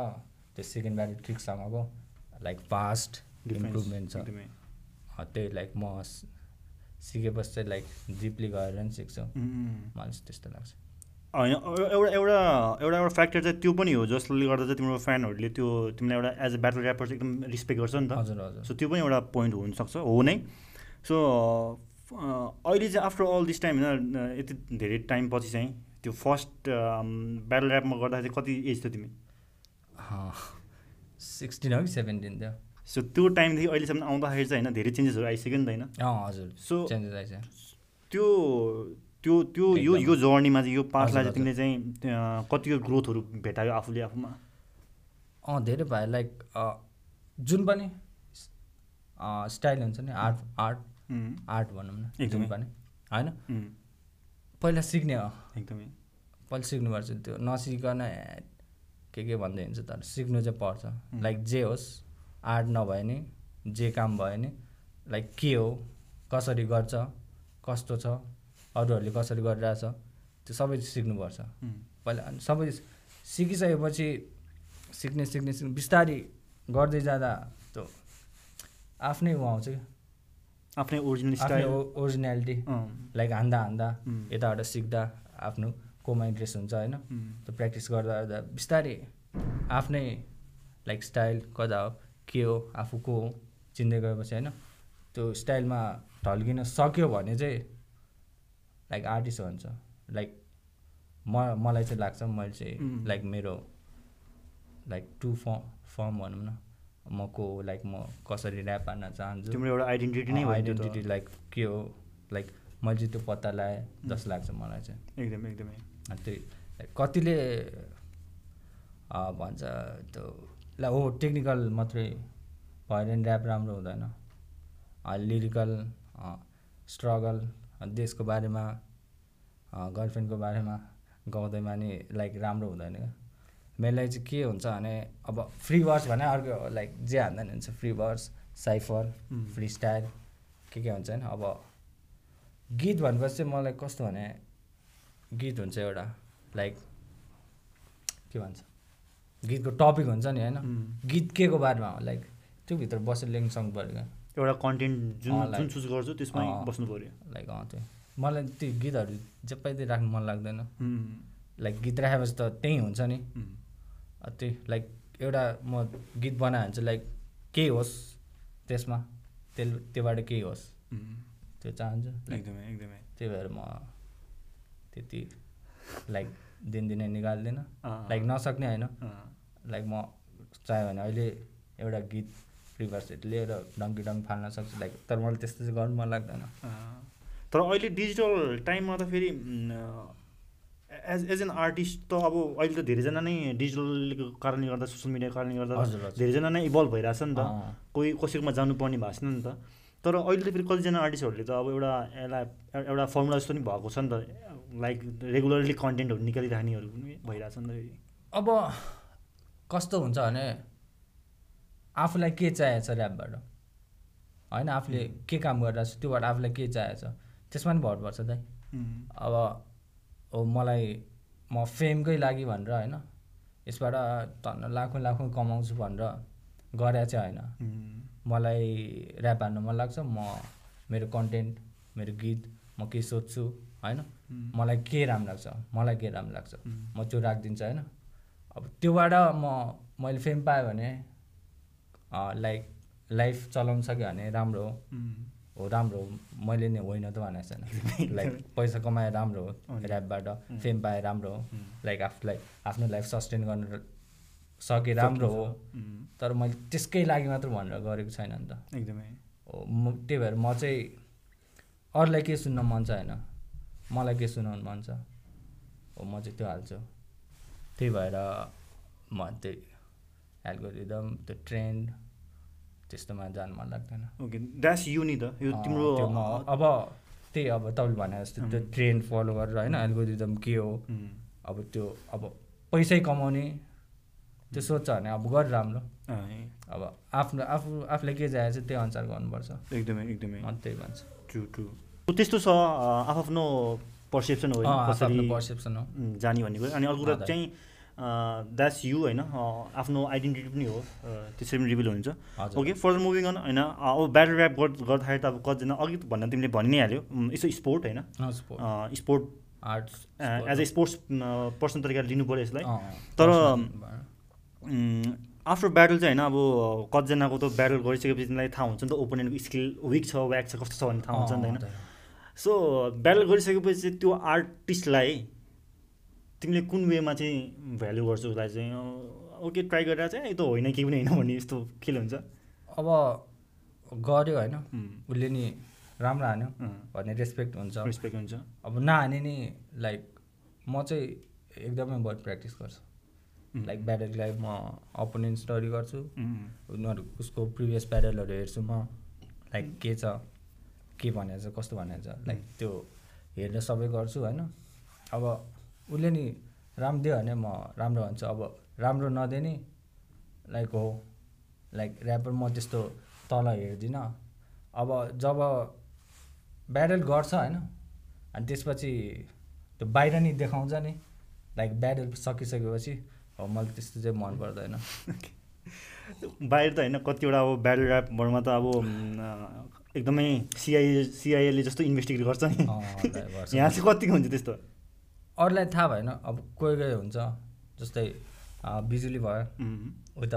Speaker 1: त्यो सेकेन्ड ब्याटल ट्रिकसम्मको लाइक फास्ट
Speaker 2: डिफरेन्स,
Speaker 1: इम्प्रुभमेन्ट छ
Speaker 2: एकदमै Mm,
Speaker 1: अँ, त्यही लाइक म स- सिकेपछि चाहिँ लाइक डिपली गएर नि सिक्छु
Speaker 2: उम्, उम्।
Speaker 1: मलाई चाहिँ त्यस्तो लाग्छ
Speaker 2: होइन एउ- एउटा एउटा एउटा एउटा फ्याक्टर चाहिँ त्यो पनि हो जसले गर्दा चाहिँ तिम्रो फ्यानहरूले त्यो तिमीलाई एउटा एज अ ब्याटल ऱ्यापर चाहिँ एकदम रिस्पेक्ट गर्छ नि त
Speaker 1: हजुर हजुर
Speaker 2: सो त्यो पनि एउटा पोइन्ट हुनसक्छ हो नै सो अ, अहिले चाहिँ आफ्टर अल दिस टाइम होइन अ, यति धेरै टाइम पछि चाहिँ त्यो फर्स्ट ब्याटल ऱ्यापमा गर्दाखेरि कति एज थियो तिमी
Speaker 1: सिक्सटिन हो कि सेभेन्टिन थियो
Speaker 2: सो त्यो टाइमदेखि अहिलेसम्म आउँदाखेरि चाहिँ होइन धेरै चेन्जेसहरू आइसक्यो नि त होइन
Speaker 1: अँ हजुर
Speaker 2: So-
Speaker 1: चेन्जेस आइसक्यो
Speaker 2: त्यो त्यो त्यो यो यो जर्नीमा चाहिँ यो पासलाई चाहिँ
Speaker 1: हजुर,
Speaker 2: तिमीले चाहिँ अँ, कतिको ग्रोथहरू भेटायो आफूले आफूमा
Speaker 1: अँ धेरै भयो लाइक अ, जुन पनि अ, स्टाइल हुन्छ नि आर्ट आर्ट
Speaker 2: उम्,
Speaker 1: आर्ट भनौँ न जुन
Speaker 2: एकदमै।
Speaker 1: पनि होइन
Speaker 2: उम्,
Speaker 1: पहिला सिक्ने हो
Speaker 2: एकदमै
Speaker 1: पहिला सिक्नुपर्छ त्यो नसिकन ए, के के भन्दै हिँड्छ तर सिक्नु चाहिँ पर्छ लाइक जे होस् आर्ट नभए नि जे काम भयो नि लाइक के हो कसरी गर्छ कस्तो छ अरूहरूले कसरी गरिरहेछ त्यो सबै सिक्नुपर्छ
Speaker 2: उम्,
Speaker 1: पहिला अनि सबै सिकिसकेपछि सिक्ने सिक्ने सिक्ने बिस्तारी गर्दै जाँदा त्यो आफ्नै उ आउँछ क्या
Speaker 2: आफ्नै ओरिजिनल स्टाइल
Speaker 1: आफ्नो ओरिजिनालिटी
Speaker 2: अँ,
Speaker 1: लाइक हान्दा हान्दा
Speaker 2: उम्.
Speaker 1: यताबाट सिक्दा आफ्नो कोमा इन्ट्रेस्ट हुन्छ होइन
Speaker 2: उम्,
Speaker 1: त्यो प्र्याक्टिस गर्दा गर्दा बिस्तारै आफ्नै लाइक स्टाइल कता हो के हो आफू को हो चिन्दै गएपछि होइन त्यो स्टाइलमा ढल्किन सक्यो भने चाहिँ लाइक आर्टिस्ट भन्छ लाइक म मलाई चाहिँ लाग्छ मैले चाहिँ
Speaker 2: उम्.
Speaker 1: लाइक मेरो लाइक टु फर्म फर्म भनौँ न म को हो लाइक म कसरी ऱ्याप हान्न चाहन्छु
Speaker 2: तिम्रो एउटा आइडेन्टिटी नै भयो त्यो त।
Speaker 1: आइडेन्टिटी लाइक के हो लाइक मैले चाहिँ त्यो पत्ता लगाएँ जस्तो लाग्छ मलाई चाहिँ
Speaker 2: एकदमै एकदमै
Speaker 1: अनि त्यही लाइक कतिले अ, भन्छ त्यो ला हो टेक्निकल मात्रै भएर नि ऱ्याप राम्रो हुँदैन लिरिकल स्ट्रगल देशको बारेमा गर्लफ्रेन्डको बारेमा गाउँदैमा नि लाइक राम्रो हुँदैन क्या मेनलाई चाहिँ के हुन्छ भने अब फ्री वर्स भने अर्को हो, लाइक जे हान्दा नि हुन्छ फ्री वर्स साइफर
Speaker 2: उम्.
Speaker 1: फ्री स्टाइल के के हुन्छ नि अब गीत भनेपछि चाहिँ मलाई कस्तो भने गीत हुन्छ एउटा लाइक के भन्छ गीतको टपिक हुन्छ नि होइन
Speaker 2: उम्,
Speaker 1: गीत के को बारेमा हो लाइक त्योभित्र बसेर लेङ सङ्ग पऱ्यो क्या
Speaker 2: एउटा कन्टेन्ट जुन
Speaker 1: अँ,
Speaker 2: जुन
Speaker 1: like-
Speaker 2: चुज गर्छु त्यसमै
Speaker 1: अँ।
Speaker 2: बस्नु पऱ्यो
Speaker 1: लाइक अँ त्यो मलाई त्यो गीतहरू जपैदै राख्नु मन लाग्दैन
Speaker 2: उम्,
Speaker 1: लाइक गीत राखेपछि त त्यही हुन्छ नि
Speaker 2: उम्,
Speaker 1: अ, त्यही लाइक एउटा म गीत बनायो भने चाहिँ लाइक केही होस् त्यसमा त्यस त्योबाट केही होस्
Speaker 2: उम्,
Speaker 1: त्यो चाहन्छु लाइक
Speaker 2: एकदमै एकदमै
Speaker 1: त्यही भएर म त्यति लाइक दिनदिनै निकाल्दिनँ
Speaker 2: अँ,
Speaker 1: लाइक नसक्ने होइन
Speaker 2: अँ,
Speaker 1: लाइक म चाह्यो भने अहिले एउटा गीत प्रिभर्सहरू लिएर डङ्की डङ्क फाल्न सक्छु लाइक तर मलाई त्यस्तो चाहिँ गर्नु मन लाग्दैन
Speaker 2: अँ, तर अहिले डिजिटल टाइममा त फेरि एज एज एन आर्टिस्ट त अब अहिले त धेरैजना नै डिजिटलको कारणले गर्दा सोसियल मिडियाको कारणले गर्दा त
Speaker 1: हजुर, हजुर।
Speaker 2: धेरैजना नै इभल्भ भइरहेछ नि त
Speaker 1: अँ।
Speaker 2: कोही कसैकोमा जानुपर्ने भएको छैन नि त तर अहिले त फेरि कतिजना आर्टिस्टहरूले त अब एउटा यसलाई एउटा फर्मुला जस्तो नि भएको छ नि त लाइक रेगुलरली कन्टेन्टहरू निकालिराख्नेहरू पनि भइरहेछ नि त फेरि
Speaker 1: अब कस्तो हुन्छ भने आफूलाई के चाहिएको छ ऱ्यापबाट होइन आफूले के काम गरिरहेको छ त्योबाट आफूलाई के चाहिएको छ त्यसमा पनि भर पर्छ दाइ
Speaker 2: उम्,
Speaker 1: अब हो मलाई म फेमकै लागि भनेर होइन यसबाट धन्न लाखौँ लाखौँ कमाउँछु भनेर गरे चाहिँ होइन
Speaker 2: उम्,
Speaker 1: मलाई ऱ्याप हान्न मन लाग्छ म मेरो कन्टेन्ट मेरो गीत म के सोध्छु होइन
Speaker 2: उम्,
Speaker 1: मलाई के राम्रो लाग्छ मलाई के राम्रो लाग्छ
Speaker 2: उम्,
Speaker 1: म त्यो राखिदिन्छु होइन अब त्योबाट म मैले फेम पाएँ भने अँ, लाइक लाइफ चलाउन सकेँ भने राम्रो हो
Speaker 2: उम्,
Speaker 1: हो राम्रो हो मैले नै होइन त भनेको छैन लाइक पैसा कमाएर राम्रो हो
Speaker 2: हो नि।
Speaker 1: ऱ्यापबाट
Speaker 2: उम्.
Speaker 1: फेम पाए राम्रो हो
Speaker 2: उम्,
Speaker 1: लाइक आफूलाई आफ्नो लाइफ सस्टेन गर्न सके राम्रो हो
Speaker 2: उम्,
Speaker 1: तर मैले त्यसकै लागि मात्र भनेर गरेको छैन नि त
Speaker 2: एकदमै
Speaker 1: हो म त्यही भएर म चाहिँ अरूलाई के सुन्न मन छ होइन मलाई के सुनाउनु मन छ हो म चाहिँ त्यो हाल्छु त्यही भएर म त्यही एल्गोरिदम त्यो ट्रेन्ड त्यस्तोमा जानु मन लाग्दैन
Speaker 2: ओके द्याट्स यु नि त यो
Speaker 1: अँ,
Speaker 2: तिम्रो
Speaker 1: त्यो म अब त्यही अब तपाईँले भने जस्तो त्यो ट्रेन्ड फलो गरेर होइन एल्गोरिदम के हो
Speaker 2: उम्,
Speaker 1: अब त्यो अब पैसै कमाउने त्यो सोध्छ भने अब गर राम्रो
Speaker 2: अँ, ए,
Speaker 1: अब आफ्नो आफू आफूलाई के चाहिएको छ त्यही अनुसार गर्नुपर्छ
Speaker 2: एकदमै एकदमै
Speaker 1: म त्यही भन्छु
Speaker 2: ट्रु ट्रु त्यस्तो छ अ, आफ्नो पर्सेप्सन हो
Speaker 1: अँ,
Speaker 2: होइन,
Speaker 1: आफ्नो
Speaker 2: कसरी
Speaker 1: पर्सेप्सन हो
Speaker 2: उम्, जाने भन्ने कुरा अनि अर्को कुरा
Speaker 1: हजुर।
Speaker 2: चाहिँ द्याट्स यु होइन अ, आफ्नो आइडेन्टिटी पनि हो अ, त्यसरी पनि रिभिल हुन्छ
Speaker 1: हजुर
Speaker 2: ओके फर्दर मुभिङ अन होइन अ, अब ब्याटल ऱ्याप गर्दाखेरि त अब कतिजना अघि त भन्न तिमीले भनि नै हाल्यो उम्, यसो स्पोर्ट होइन
Speaker 1: अँ, स्पोर्ट
Speaker 2: अ, sport
Speaker 1: arts
Speaker 2: as a sports person तरिकाले लिनु पऱ्यो यसलाई तर,
Speaker 1: तर
Speaker 2: आफ्टर ब्याटल चाहिँ होइन अब कतिजनाको त ब्याटल गरिसकेपछि तिमीलाई थाहा हुन्छ नि त ओपोनेन्टको स्किल विक छ व्याक छ कस्तो छ भन्ने थाहा हुन्छ नि त होइन सो ब्याटल गरिसकेपछि त्यो आर्टिस्टलाई तिमीले कुन वेमा चाहिँ भ्याल्यु गर्छौ उसलाई चाहिँ अँ, ओके ट्राई गरेर चाहिँ ए, त होइन केही पनि होइन भन्ने यस्तो फिल हुन्छ
Speaker 1: अब गऱ्यो होइन
Speaker 2: उम्,
Speaker 1: उसले नि राम्रो हान्यो
Speaker 2: अँ,
Speaker 1: भन्ने रेस्पेक्ट हुन्छ
Speaker 2: रेस्पेक्ट हुन्छ
Speaker 1: अब नहाने नि लाइक म चाहिँ एकदमै बढी प्र्याक्टिस गर्छु
Speaker 2: उम्,
Speaker 1: लाइक ब्याटललाई म अपोनेन्ट स्टडी गर्छु
Speaker 2: उम्,
Speaker 1: उनीहरू उसको प्रिभियस ब्याटलहरू हेर्छु म लाइक के छ के भनेर छ कस्तो भनेर छ लाइक त्यो हेरेर सबै गर्छु होइन अब उसले नि राम्रो दियो भने म राम्रो भन्छु अब राम्रो नदिए नि लाइक हो लाइक ऱ्यापर म त्यस्तो तल हेर्दिनँ अब जब ब्याटल गर्छ होइन अनि त्यसपछि त्यो बाहिर नि देखाउँछ नि लाइक ब्याटल सकिसकेपछि हो मलाई त्यस्तो चाहिँ मन पर्दैन
Speaker 2: बाहिर त होइन कतिवटा अब ब्याटल ऱ्यापहरूमा त अब उम्, अँ, एकदमै सिआइए सिआइएले जस्तो इन्भेस्टिगेट गर्छ नि
Speaker 1: अँ, अरूलाई गर्छ।
Speaker 2: यहाँ चाहिँ कतिको हुन्छ त्यस्तो
Speaker 1: अरूलाई थाहा भएन अब कोही कोही हुन्छ जस्तै अँ, बिजुली भयो
Speaker 2: उम्,
Speaker 1: ऊ त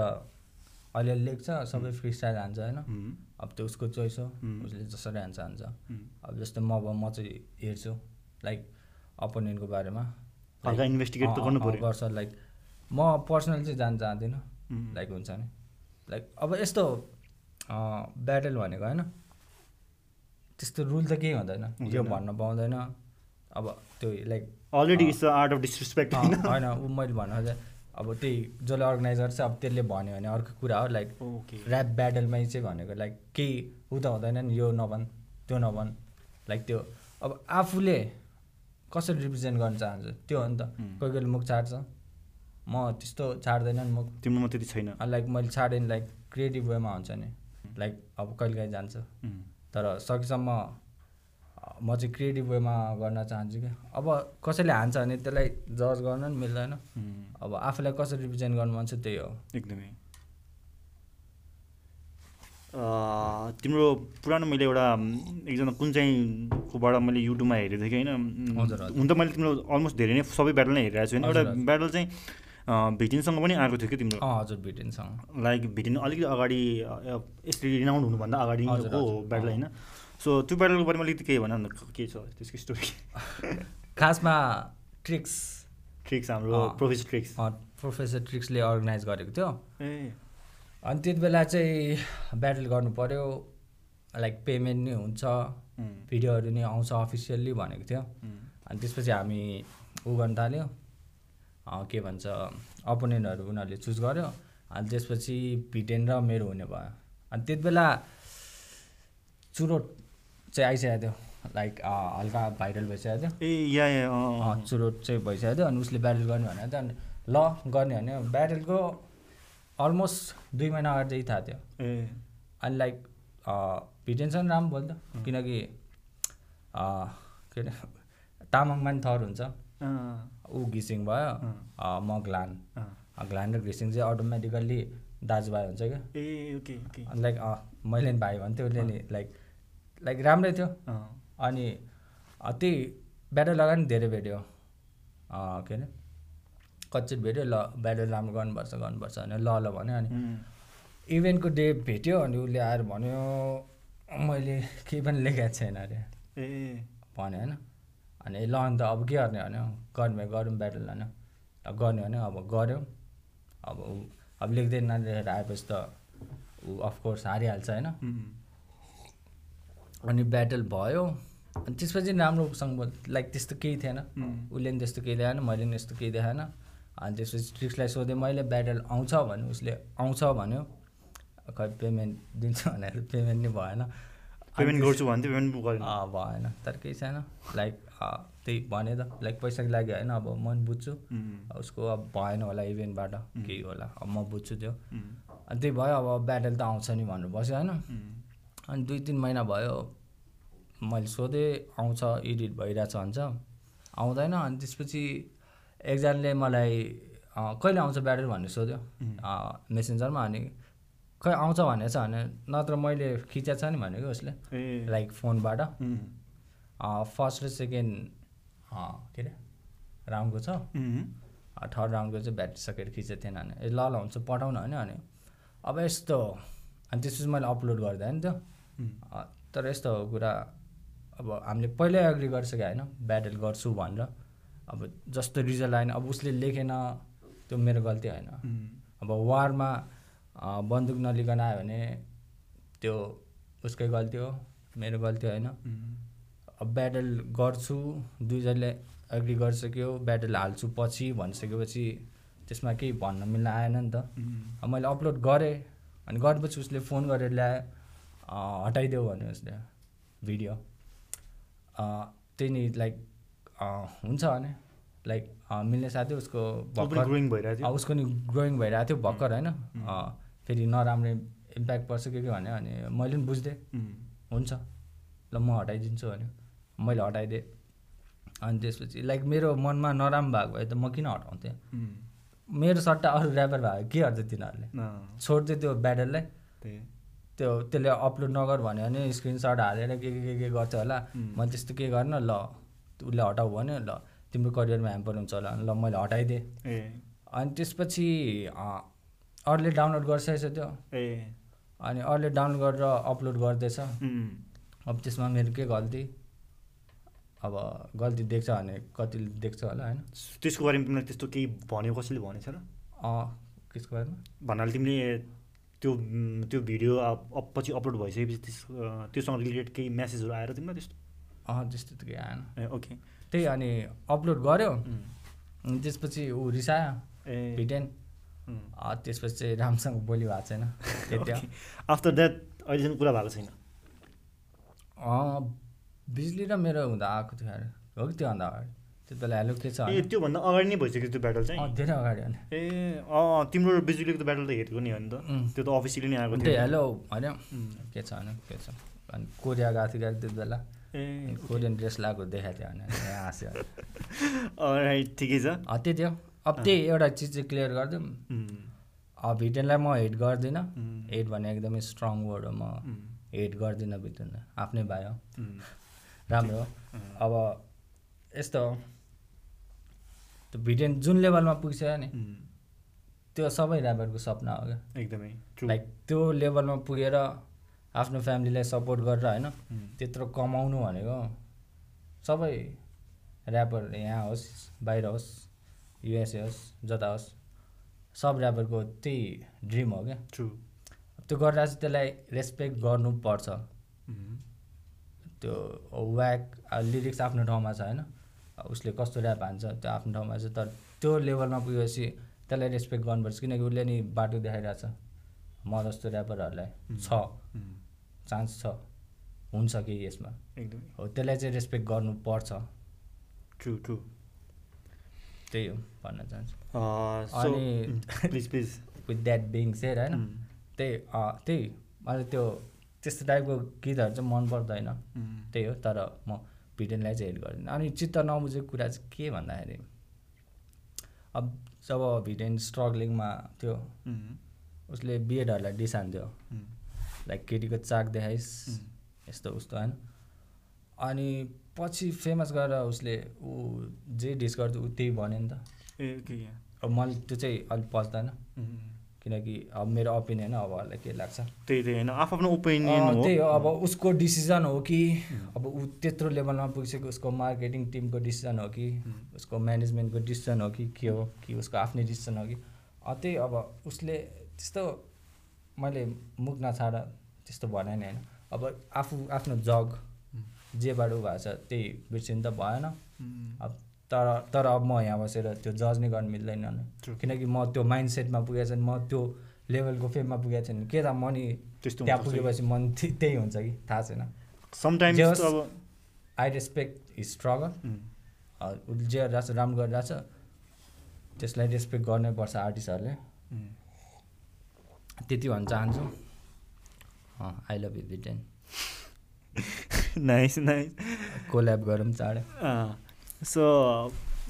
Speaker 1: अलिअलि लेख्छ सबै फ्री स्टाइल हान्छ होइन
Speaker 2: उम्,
Speaker 1: अब त्यो उसको चोइस हो
Speaker 2: हुँ।
Speaker 1: उसले जसरी हान्छ हान्छ
Speaker 2: उम्।
Speaker 1: अब जस्तै म भयो म चाहिँ हेर्छु लाइक अपोनेन्टको बारेमा
Speaker 2: हल्का
Speaker 1: Like,
Speaker 2: इन्भेस्टिगेट त
Speaker 1: अँ,
Speaker 2: गर्नु
Speaker 1: अँ,
Speaker 2: पऱ्यो
Speaker 1: गर्छ लाइक म पर्सनल चाहिँ जान चाहदिनँ
Speaker 2: उम्,
Speaker 1: लाइक हुन्छ नि लाइक अब यस्तो ब्याटल भनेको होइन त्यस्तो रुल त केही हुँदैन यो
Speaker 2: हुँदैन।
Speaker 1: भन्न पाउँदैन अब त्यो like
Speaker 2: already
Speaker 1: uh.
Speaker 2: It's the art of disrespect
Speaker 1: uh,
Speaker 2: होइन
Speaker 1: होइन ऊ मैले भन्नु खोजेँ अब त्यही जसले अर्गनाइजर छ अब त्यसले भन्यो भने अर्को कुरा हो लाइक
Speaker 2: ओके
Speaker 1: ऱ्याप ब्याटलमै चाहिँ भनेको लाइक केही उ त हुँदैन नि यो नभन् त्यो नभन् लाइक त्यो अब आफूले कसरी रिप्रेजेन्ट गर्न चाहन्छ त्यो हो नि त
Speaker 2: हुँ।
Speaker 1: कोही कोहीले मुख छाड्छ म त्यस्तो छाड्दैन नि मुख
Speaker 2: तिम्रोमा त्यति छैन
Speaker 1: लाइक मैले छाडेँ नि लाइक क्रिएटिभ वेमा हुन्छ नि लाइक अब कहिले काहीँ जान्छ
Speaker 2: उम्,
Speaker 1: तर सकेसम्म अ, म चाहिँ क्रिएटिभ वेमा गर्न चाहन्छु कि अब कसैले हान्छ भने त्यसलाई जज गर्न नि मिल्दैन
Speaker 2: उम्,
Speaker 1: अब आफूलाई कसरी रिप्रेजेन्ट गर्नु मन छ त्यही हो
Speaker 2: एकदमै अ, तिम्रो पुरानो मैले एउटा म, एकजना कुन चाहिँकोबाट मैले युट्युबमा हेरेको थिएँ कि होइन म,
Speaker 1: हजुर, हजुर।
Speaker 2: हुन त मैले तिम्रो अलमोस्ट धेरै नै सबै ब्याटल नै हेरिरहेको छु होइन एउटा
Speaker 1: हजुर, हजुर।
Speaker 2: ब्याटल चाहिँ अ, भिटिनसँग पनि आएको थियो कि तिम्रो
Speaker 1: अँ हजुर भिटेनसँग
Speaker 2: लाइक भिटिन अलिकति अगाडि अ, यसरी रिनाउन्ड हुनुभन्दा अगाडि नै
Speaker 1: हजुर,
Speaker 2: हो
Speaker 1: हजुर,
Speaker 2: ब्याटल
Speaker 1: अँ।
Speaker 2: होइन सो त्यो ब्याटलको बारेमा अलिकति केही भन न, के छ त्यसको स्टोरी
Speaker 1: खासमा ट्रिक्स
Speaker 2: ट्रिक्स हाम्रो
Speaker 1: अँ।
Speaker 2: प्रोफेस ट्रिक्स
Speaker 1: अँ, प्रोफेसर ट्रिक्सले अर्गनाइज गरेको थियो
Speaker 2: ए
Speaker 1: अनि त्यति बेला चाहिँ ब्याटल गर्नु पऱ्यो लाइक पेमेन्ट नै हुन्छ
Speaker 2: उम्,
Speaker 1: भिडियोहरू नै आउँछ अफिसियल्ली भनेको थियो
Speaker 2: उम्,
Speaker 1: अनि त्यसपछि हामी ऊ गर्न थाल्यो अँ, के भन्छ अपोनेन्टहरू उनीहरूले चुज गर्यो अनि त्यसपछि भिटेन र मेरो हुने भयो अनि त्यति बेला चुरोट चाहिँ आइसकेको थियो लाइक अँ, हल्का भाइरल भइसकेको थियो
Speaker 2: ए या या अँ, अँ,
Speaker 1: अँ, चुरोट चाहिँ भइसकेको थियो अनि उसले ब्याटल गर्ने भनेर त अनि ल गर्ने भने ब्याटलको अलमोस्ट दुई महिना अगाडि चाहिँ थाहा थियो
Speaker 2: ए
Speaker 1: अनि लाइक भिटेन्सन राम्रो बोल्थ्यो किनकि अँ, के अरे तामाङमा नि थर हुन्छ
Speaker 2: अँ,
Speaker 1: ऊ घिसिङ भयो
Speaker 2: अँ,
Speaker 1: अँ, म ग्लान
Speaker 2: अँ।
Speaker 1: अँ, ग्लान र घिसिङ चाहिँ अटोमेटिकल्ली दाजुभाइ हुन्छ क्या
Speaker 2: ए ओके ओके
Speaker 1: अनि लाइक अँ, मैले नि भाइ भन्थेँ उसले नि लाइक लाइक राम्रै थियो
Speaker 2: अँ,
Speaker 1: अनि अ, त्यही ब्याटल लगाएर नि धेरै भेट्यो अ, के अरे कच्चित भेट्यो ल ब्याटल राम्रो गर्नुपर्छ गर्नुपर्छ भने ल ल भन्यो अनि
Speaker 2: उम्,
Speaker 1: इभेन्टको डे भेट्यो अनि उसले आएर भन्यो मैले केही पनि लेखेको छैन अरे
Speaker 2: ए
Speaker 1: भन्यो होइन अनि ल अन्त अब के गर्ने भन्यो गर्ने भए गरौँ ब्याटल भन्यो अब गर्ने भन्यो अब गऱ्यौँ अब ऊ- अब लेख्दै नलेखेर आएपछि त ऊ अफकोर्स हारिहाल्छ होइन
Speaker 2: उम्,
Speaker 1: अनि ब्याटल भयो अनि त्यसपछि नि राम्रोसँग बोल लाइक त्यस्तो केही थिएन
Speaker 2: उम्,
Speaker 1: उसले पनि त्यस्तो केही देखाएन मैले पनि त्यस्तो केही देखाएन अनि त्यसपछि ट्रिक्सलाई सोधेँ मैले ब्याटल आउँछ भन्यो उसले आउँछ भन्यो खै पेमेन्ट दिन्छ भनेर पेमेन्ट नै भएन अनि
Speaker 2: पेमेन्ट
Speaker 1: त्यस-
Speaker 2: गर्छु भन्थ्यो पेमेन्ट पो गरेन
Speaker 1: अँ, भएन तर केही छैन लाइक अँ, त्यही भने त लाइक पैसाको लागि होइन अब म नि बुझ्छु
Speaker 2: उम्,
Speaker 1: उसको अब भएन होला इभेन्टबाट केही होला अब म बुझ्छु त्यो
Speaker 2: उम्,
Speaker 1: अनि त्यही भयो अब ब्याटल त आउँछ नि भनेर बस्यो होइन
Speaker 2: उम्,
Speaker 1: अनि दुई तिन महिना भयो मैले सोधेँ आउँछ एडिट भइरहेछ भन्छ आउँदैन अनि त्यसपछि एकजनाले मलाई अँ, कहिले आउँछ ब्याटल भनेर सोध्यो अँ, मेसेन्जरमा अनि खै आउँछ भनेछ भने नत्र मैले खिचेको छ नि भनेको उसले
Speaker 2: ए
Speaker 1: लाइक फोनबाट
Speaker 2: उम्,
Speaker 1: अँ, फर्स्ट र सेकेन्ड अँ, के अरे राउन्डको छ
Speaker 2: उम्,
Speaker 1: अँ, थर्ड राउन्डको चाहिँ ब्याट्री सकेर खिचेको थिएन भने ए ल ल हुन्छ पठाउन भने भने अब यस्तो अनि त्यसपछि मैले अपलोड गर्दा नि त्यो
Speaker 2: उम्,
Speaker 1: अ, तर यस्तो हो कुरा अब हामीले पहिल्यै अग्री गरिसक्यो होइन ब्याटल गर्छु भनेर अब जस्तो रिजल्ट आएन अब उसले लेखेन त्यो मेरो गल्ती होइन अब वारमा अ, बन्दुक नलिकन आयो भने त्यो उसकै गल्ती हो मेरो गल्ती होइन अब ब्याटल गर्छु दुईजनाले एग्री गरिसक्यो ब्याटल हाल्छु पछि भनिसकेपछि त्यसमा केही भन्न मिल्न आएन नि त अब मैले अपलोड गरेँ अनि गरेपछि उसले फोन गरेर ल्यायो अ, हटाइदेऊ भन्यो उसले भिडियो अ, त्यही नि लाइक अ, हुन्छ भने लाइक अ, मिल्ने साथै उसको भर्खर
Speaker 2: ग्रोइङ भइरहेको
Speaker 1: अँ,
Speaker 2: थियो
Speaker 1: उसको नि ग्रोइङ भइरहेको थियो भर्खर होइन अँ, फेरि नराम्रो इम्प्याक्ट पर्छ के के भन्यो अनि मैले पनि बुझ्दै
Speaker 2: उम्,
Speaker 1: हुन्छ ल म हटाइदिन्छु भन्यो मैले हटाइदिएँ अनि त्यसपछि लाइक मेरो मनमा नराम्रो भएको भए त म किन हटाउँथेँ
Speaker 2: उम्,
Speaker 1: मेरो सट्टा अरू ऱ्यापर भएको के गर्छ तिनीहरूले
Speaker 2: अँ,
Speaker 1: छोड्थ्यो त्यो ब्याटरलाई
Speaker 2: त्यही।
Speaker 1: त्यो त्यसले अपलोड नगर भन्यो भने स्क्रिनसट हालेर के के के के गर्छ होला
Speaker 2: उम्.
Speaker 1: मैले त्यस्तो के गर्न ल उसले हटाऊ भन्यो ल तिम्रो करियरमा ह्याम्पर हुन्छ होला ल मैले हटाइदिएँ
Speaker 2: ए
Speaker 1: अनि त्यसपछि अँ, अरूले डाउनलोड गरिसकेछ त्यो
Speaker 2: ए
Speaker 1: अनि अरूले डाउनलोड गरेर अपलोड गर्दैछ
Speaker 2: उम्,
Speaker 1: अब त्यसमा मेरो के गल्ती अब गल्ती देख्छ भने कतिले देख्छ होला होइन
Speaker 2: त्यसको बारेमा तिमीलाई त्यस्तो केही भन्यो कसैले भनेछ र
Speaker 1: अँ, त्यसको बारेमा
Speaker 2: भन्नाले तिमीले त्यो उम्, त्यो भिडियो अप- अप- पछि अपलोड भइसकेपछि त्यस अँ, त्योसँग रिलेटेड केही मेसेजहरू आएर तिमीलाई त्यस्तो
Speaker 1: अँ त्यस्तो त केही आएन
Speaker 2: ए ओके
Speaker 1: त्यही अनि अपलोड गर्यो
Speaker 2: उम्,
Speaker 1: अनि त्यसपछि ऊ रिसायो
Speaker 2: ए
Speaker 1: भिटेन
Speaker 2: उम्,
Speaker 1: अँ, त्यसपछि चाहिँ राम्रोसँग बोली भएको छैन त्यति हो।
Speaker 2: ओके। आफ्टर द्याट अहिलेसम्म कुरा भएको छैन
Speaker 1: अँ, बिजुली र मेरो हुँदा आएको थियो अरे हो कि त्योभन्दा अगाडि त्यति बेला हेलो के छ
Speaker 2: ए
Speaker 1: भने,
Speaker 2: त्योभन्दा अगाडि नै भइसक्यो त्यो ब्याटल चाहिँ
Speaker 1: अँ, धेरै अगाडि भने
Speaker 2: ए अँ तिम्रो बिजुलीको त ब्याटल त हेरेको नि हो नि त
Speaker 1: उम्.
Speaker 2: त्यो त अफिसियली नै आएको
Speaker 1: त्यही
Speaker 2: थियो
Speaker 1: हेलो भन्यो
Speaker 2: उम्.
Speaker 1: के छ भने के छ अनि कोरिया गएको थियो अरे त्यति बेला
Speaker 2: ए
Speaker 1: कोरियन ड्रेस लगाएको देखाएको थियो भने ए, हाँस्यो
Speaker 2: राइट ठिकै छ
Speaker 1: अँ, त्यति हो अब त्यही एउटा चिज चाहिँ क्लियर गरिदिउँ
Speaker 2: उम्,
Speaker 1: अब भिटेनलाई म हेट गर्दिनँ
Speaker 2: उम्,
Speaker 1: हेट भने एकदमै स्ट्रङ वर्ड हो म
Speaker 2: उम्,
Speaker 1: हेट गर्दिनँ भिटेनलाई आफ्नै भाइ हो
Speaker 2: उम्,
Speaker 1: राम्रो हो अब यस्तो हो त्यो भिटेन जुन लेभलमा पुगिसक्यो नि
Speaker 2: उम्,
Speaker 1: त्यो सबै ऱ्यापरको सपना हो क्या
Speaker 2: एकदमै ट्रु
Speaker 1: लाइक त्यो लेभलमा पुगेर आफ्नो फ्यामिलीलाई सपोर्ट गरेर होइन
Speaker 2: उम्,
Speaker 1: त्यत्रो कमाउनु भनेको सबै ऱ्यापर यहाँ होस् बाहिर होस् युएसए होस् जता होस् सब ऱ्यापरको त्यही ड्रिम हो क्या
Speaker 2: ट्रु
Speaker 1: त्यो गरेर चाहिँ त्यसलाई रेस्पेक्ट गर्नुपर्छ
Speaker 2: उम्,
Speaker 1: त्यो व्याक लिरिक्स आफ्नो ठाउँमा छ होइन उसले कस्तो ऱ्याप हान्छ त्यो आफ्नो ठाउँमा छ तर त्यो लेभलमा पुगेपछि त्यसलाई रेस्पेक्ट गर्नुपर्छ किनकि उसले नि बाटो देखाइरहेछ म जस्तो ऱ्यापरहरूलाई छ
Speaker 2: उम्,
Speaker 1: चान्स छ हुन्छ कि यसमा
Speaker 2: एकदमै
Speaker 1: हो त्यसलाई चाहिँ रेस्पेक्ट गर्नुपर्छ
Speaker 2: ट्रु ट्रु
Speaker 1: त्यही हो भन्न चाहन्छु
Speaker 2: सो
Speaker 1: अनि-
Speaker 2: please please
Speaker 1: with that being said होइन
Speaker 2: उम्,
Speaker 1: त्यही अँ, त्यही मलाई त्यो त्यस्तो टाइपको गीतहरू चाहिँ मन पर्दैन
Speaker 2: उम्,
Speaker 1: त्यही हो तर म भिडेनलाई चाहिँ हेल्प गर्दिनँ अनि चित्त नबुझेको कुरा चाहिँ के भन्दाखेरि अब जब भिडेन स्ट्रगलिङमा थियो
Speaker 2: उम्,
Speaker 1: उसले बिएडहरूलाई डिसान्थ्यो
Speaker 2: उम्,
Speaker 1: लाइक केटीको चाक देखाइस् यस्तो उस्तो होइन अनि पछि फेमस गरेर उसले ऊ जे डिस गर्थ्यो ऊ त्यही भन्यो नि त
Speaker 2: ए ओके या,
Speaker 1: अब मलाई त्यो चाहिँ अलिक पच्दैन
Speaker 2: उम्, उम्,
Speaker 1: किनकि अब मेरो ओपिनियन हो अब अरूलाई के लाग्छ
Speaker 2: त्यही त्यही होइन आफ्नो ओपिनियन
Speaker 1: अँ,
Speaker 2: हो
Speaker 1: त्यही हो अब उसको डिसिजन हो कि अब ऊ त्यत्रो लेभलमा पुगिसक्यो उसको मार्केटिङ टिमको डिसिजन हो कि उसको म्यानेजमेन्टको डिसिजन हो कि के हो कि उसको आफ्नै डिसिजन हो कि अँ, त्यही अब उसले त्यस्तो मैले मुख नछाड त्यस्तो भने नि होइन अब आफू आफ्नो जग जेबाट ऊ भएको छ त्यही बिर्सिनु त भएन
Speaker 2: उम्,
Speaker 1: अब तर तर अब म यहाँ बसेर त्यो जज नै गर्नु मिल्दैन नि।
Speaker 2: True.
Speaker 1: किनकि म त्यो माइन्ड सेटमा पुगेको छैन म त्यो लेभलको फेममा पुगेको छैन के त म नि
Speaker 2: त्यस्तो
Speaker 1: त्यहाँ
Speaker 2: हुनसक्छ
Speaker 1: पुगेपछि मन थे- त्यही हुन्छ कि थाहा छैन
Speaker 2: समटाइम्स
Speaker 1: जे होस्,
Speaker 2: अब
Speaker 1: आई रेस्पेक्ट हिज स्ट्रगल
Speaker 2: उम्,
Speaker 1: उसले जे गरिरहेछ राम्रो गरिरहेछ त्यसलाई रेस्पेक्ट गर्नै पर्छ आर्टिस्टहरूले
Speaker 2: उम्,
Speaker 1: त्यति भन्न चाहन्छु I love you Vten
Speaker 2: nice nice
Speaker 1: collab गरौँ चाँडै
Speaker 2: Ah. सो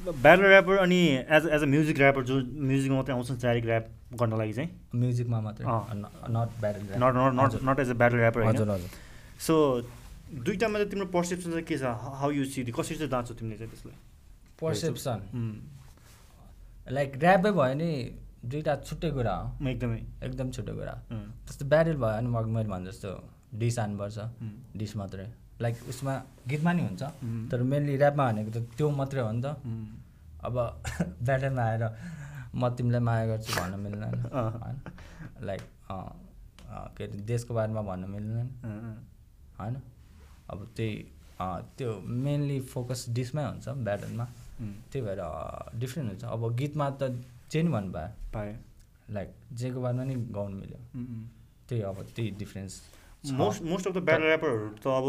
Speaker 2: ब्याटल ऱ्यापर अनि as as a music rapper जो म्युजिकमा मात्रै आउँछ डाइरेक्ट ऱ्याप गर्न लागि चाहिँ
Speaker 1: म्युजिकमा मात्रै
Speaker 2: अँ।
Speaker 1: Not battle
Speaker 2: not not not not as a battle rapper
Speaker 1: हजुर
Speaker 2: होइन
Speaker 1: हजुर
Speaker 2: सो दुइटामा चाहिँ तिम्रो पर्सेप्सन चाहिँ के छ हाउ यु सी कसरी चाहिँ दाँच्छौ तिमीले चाहिँ त्यसलाई
Speaker 1: पर्सेप्सन
Speaker 2: उम्,
Speaker 1: लाइक ऱ्यापै भयो भने दुइटा छुट्टै कुरा हो
Speaker 2: म एकदमै
Speaker 1: एकदम छुट्टै कुरा हो।
Speaker 2: उम्,
Speaker 1: जस्तो ब्यारेल भयो भने म मैले भने जस्तो डिस हान्नुपर्छ
Speaker 2: उम्,
Speaker 1: डिस मात्रै लाइक उसमा गीतमा नि हुन्छ
Speaker 2: उम्,
Speaker 1: तर मेनली ऱ्यापमा भनेको त त्यो मात्रै हो नि त
Speaker 2: उम्,
Speaker 1: अब ब्याटरमा आएर म तिमीलाई माया गर्छु भन्न मिल्दैन
Speaker 2: अँ।
Speaker 1: होइन लाइक अँ, अँ, के अरे देशको बारेमा भन्न मिल्दैन
Speaker 2: Uh-huh.
Speaker 1: होइन अब त्यही अँ, त्यो मेनली फोकस डिसमै हुन्छ ब्याटरमा
Speaker 2: Hmm.
Speaker 1: त्यही भएर डिफ्रेन्ट हुन्छ अब गीतमा त जे नि भन्नु भयो
Speaker 2: पाएँ
Speaker 1: लाइक जेको बारेमा नि गाउनु मिल्यो त्यही अब त्यही डिफ्रेन्स छ।
Speaker 2: Most most of the battle ऱ्यापरहरू त अब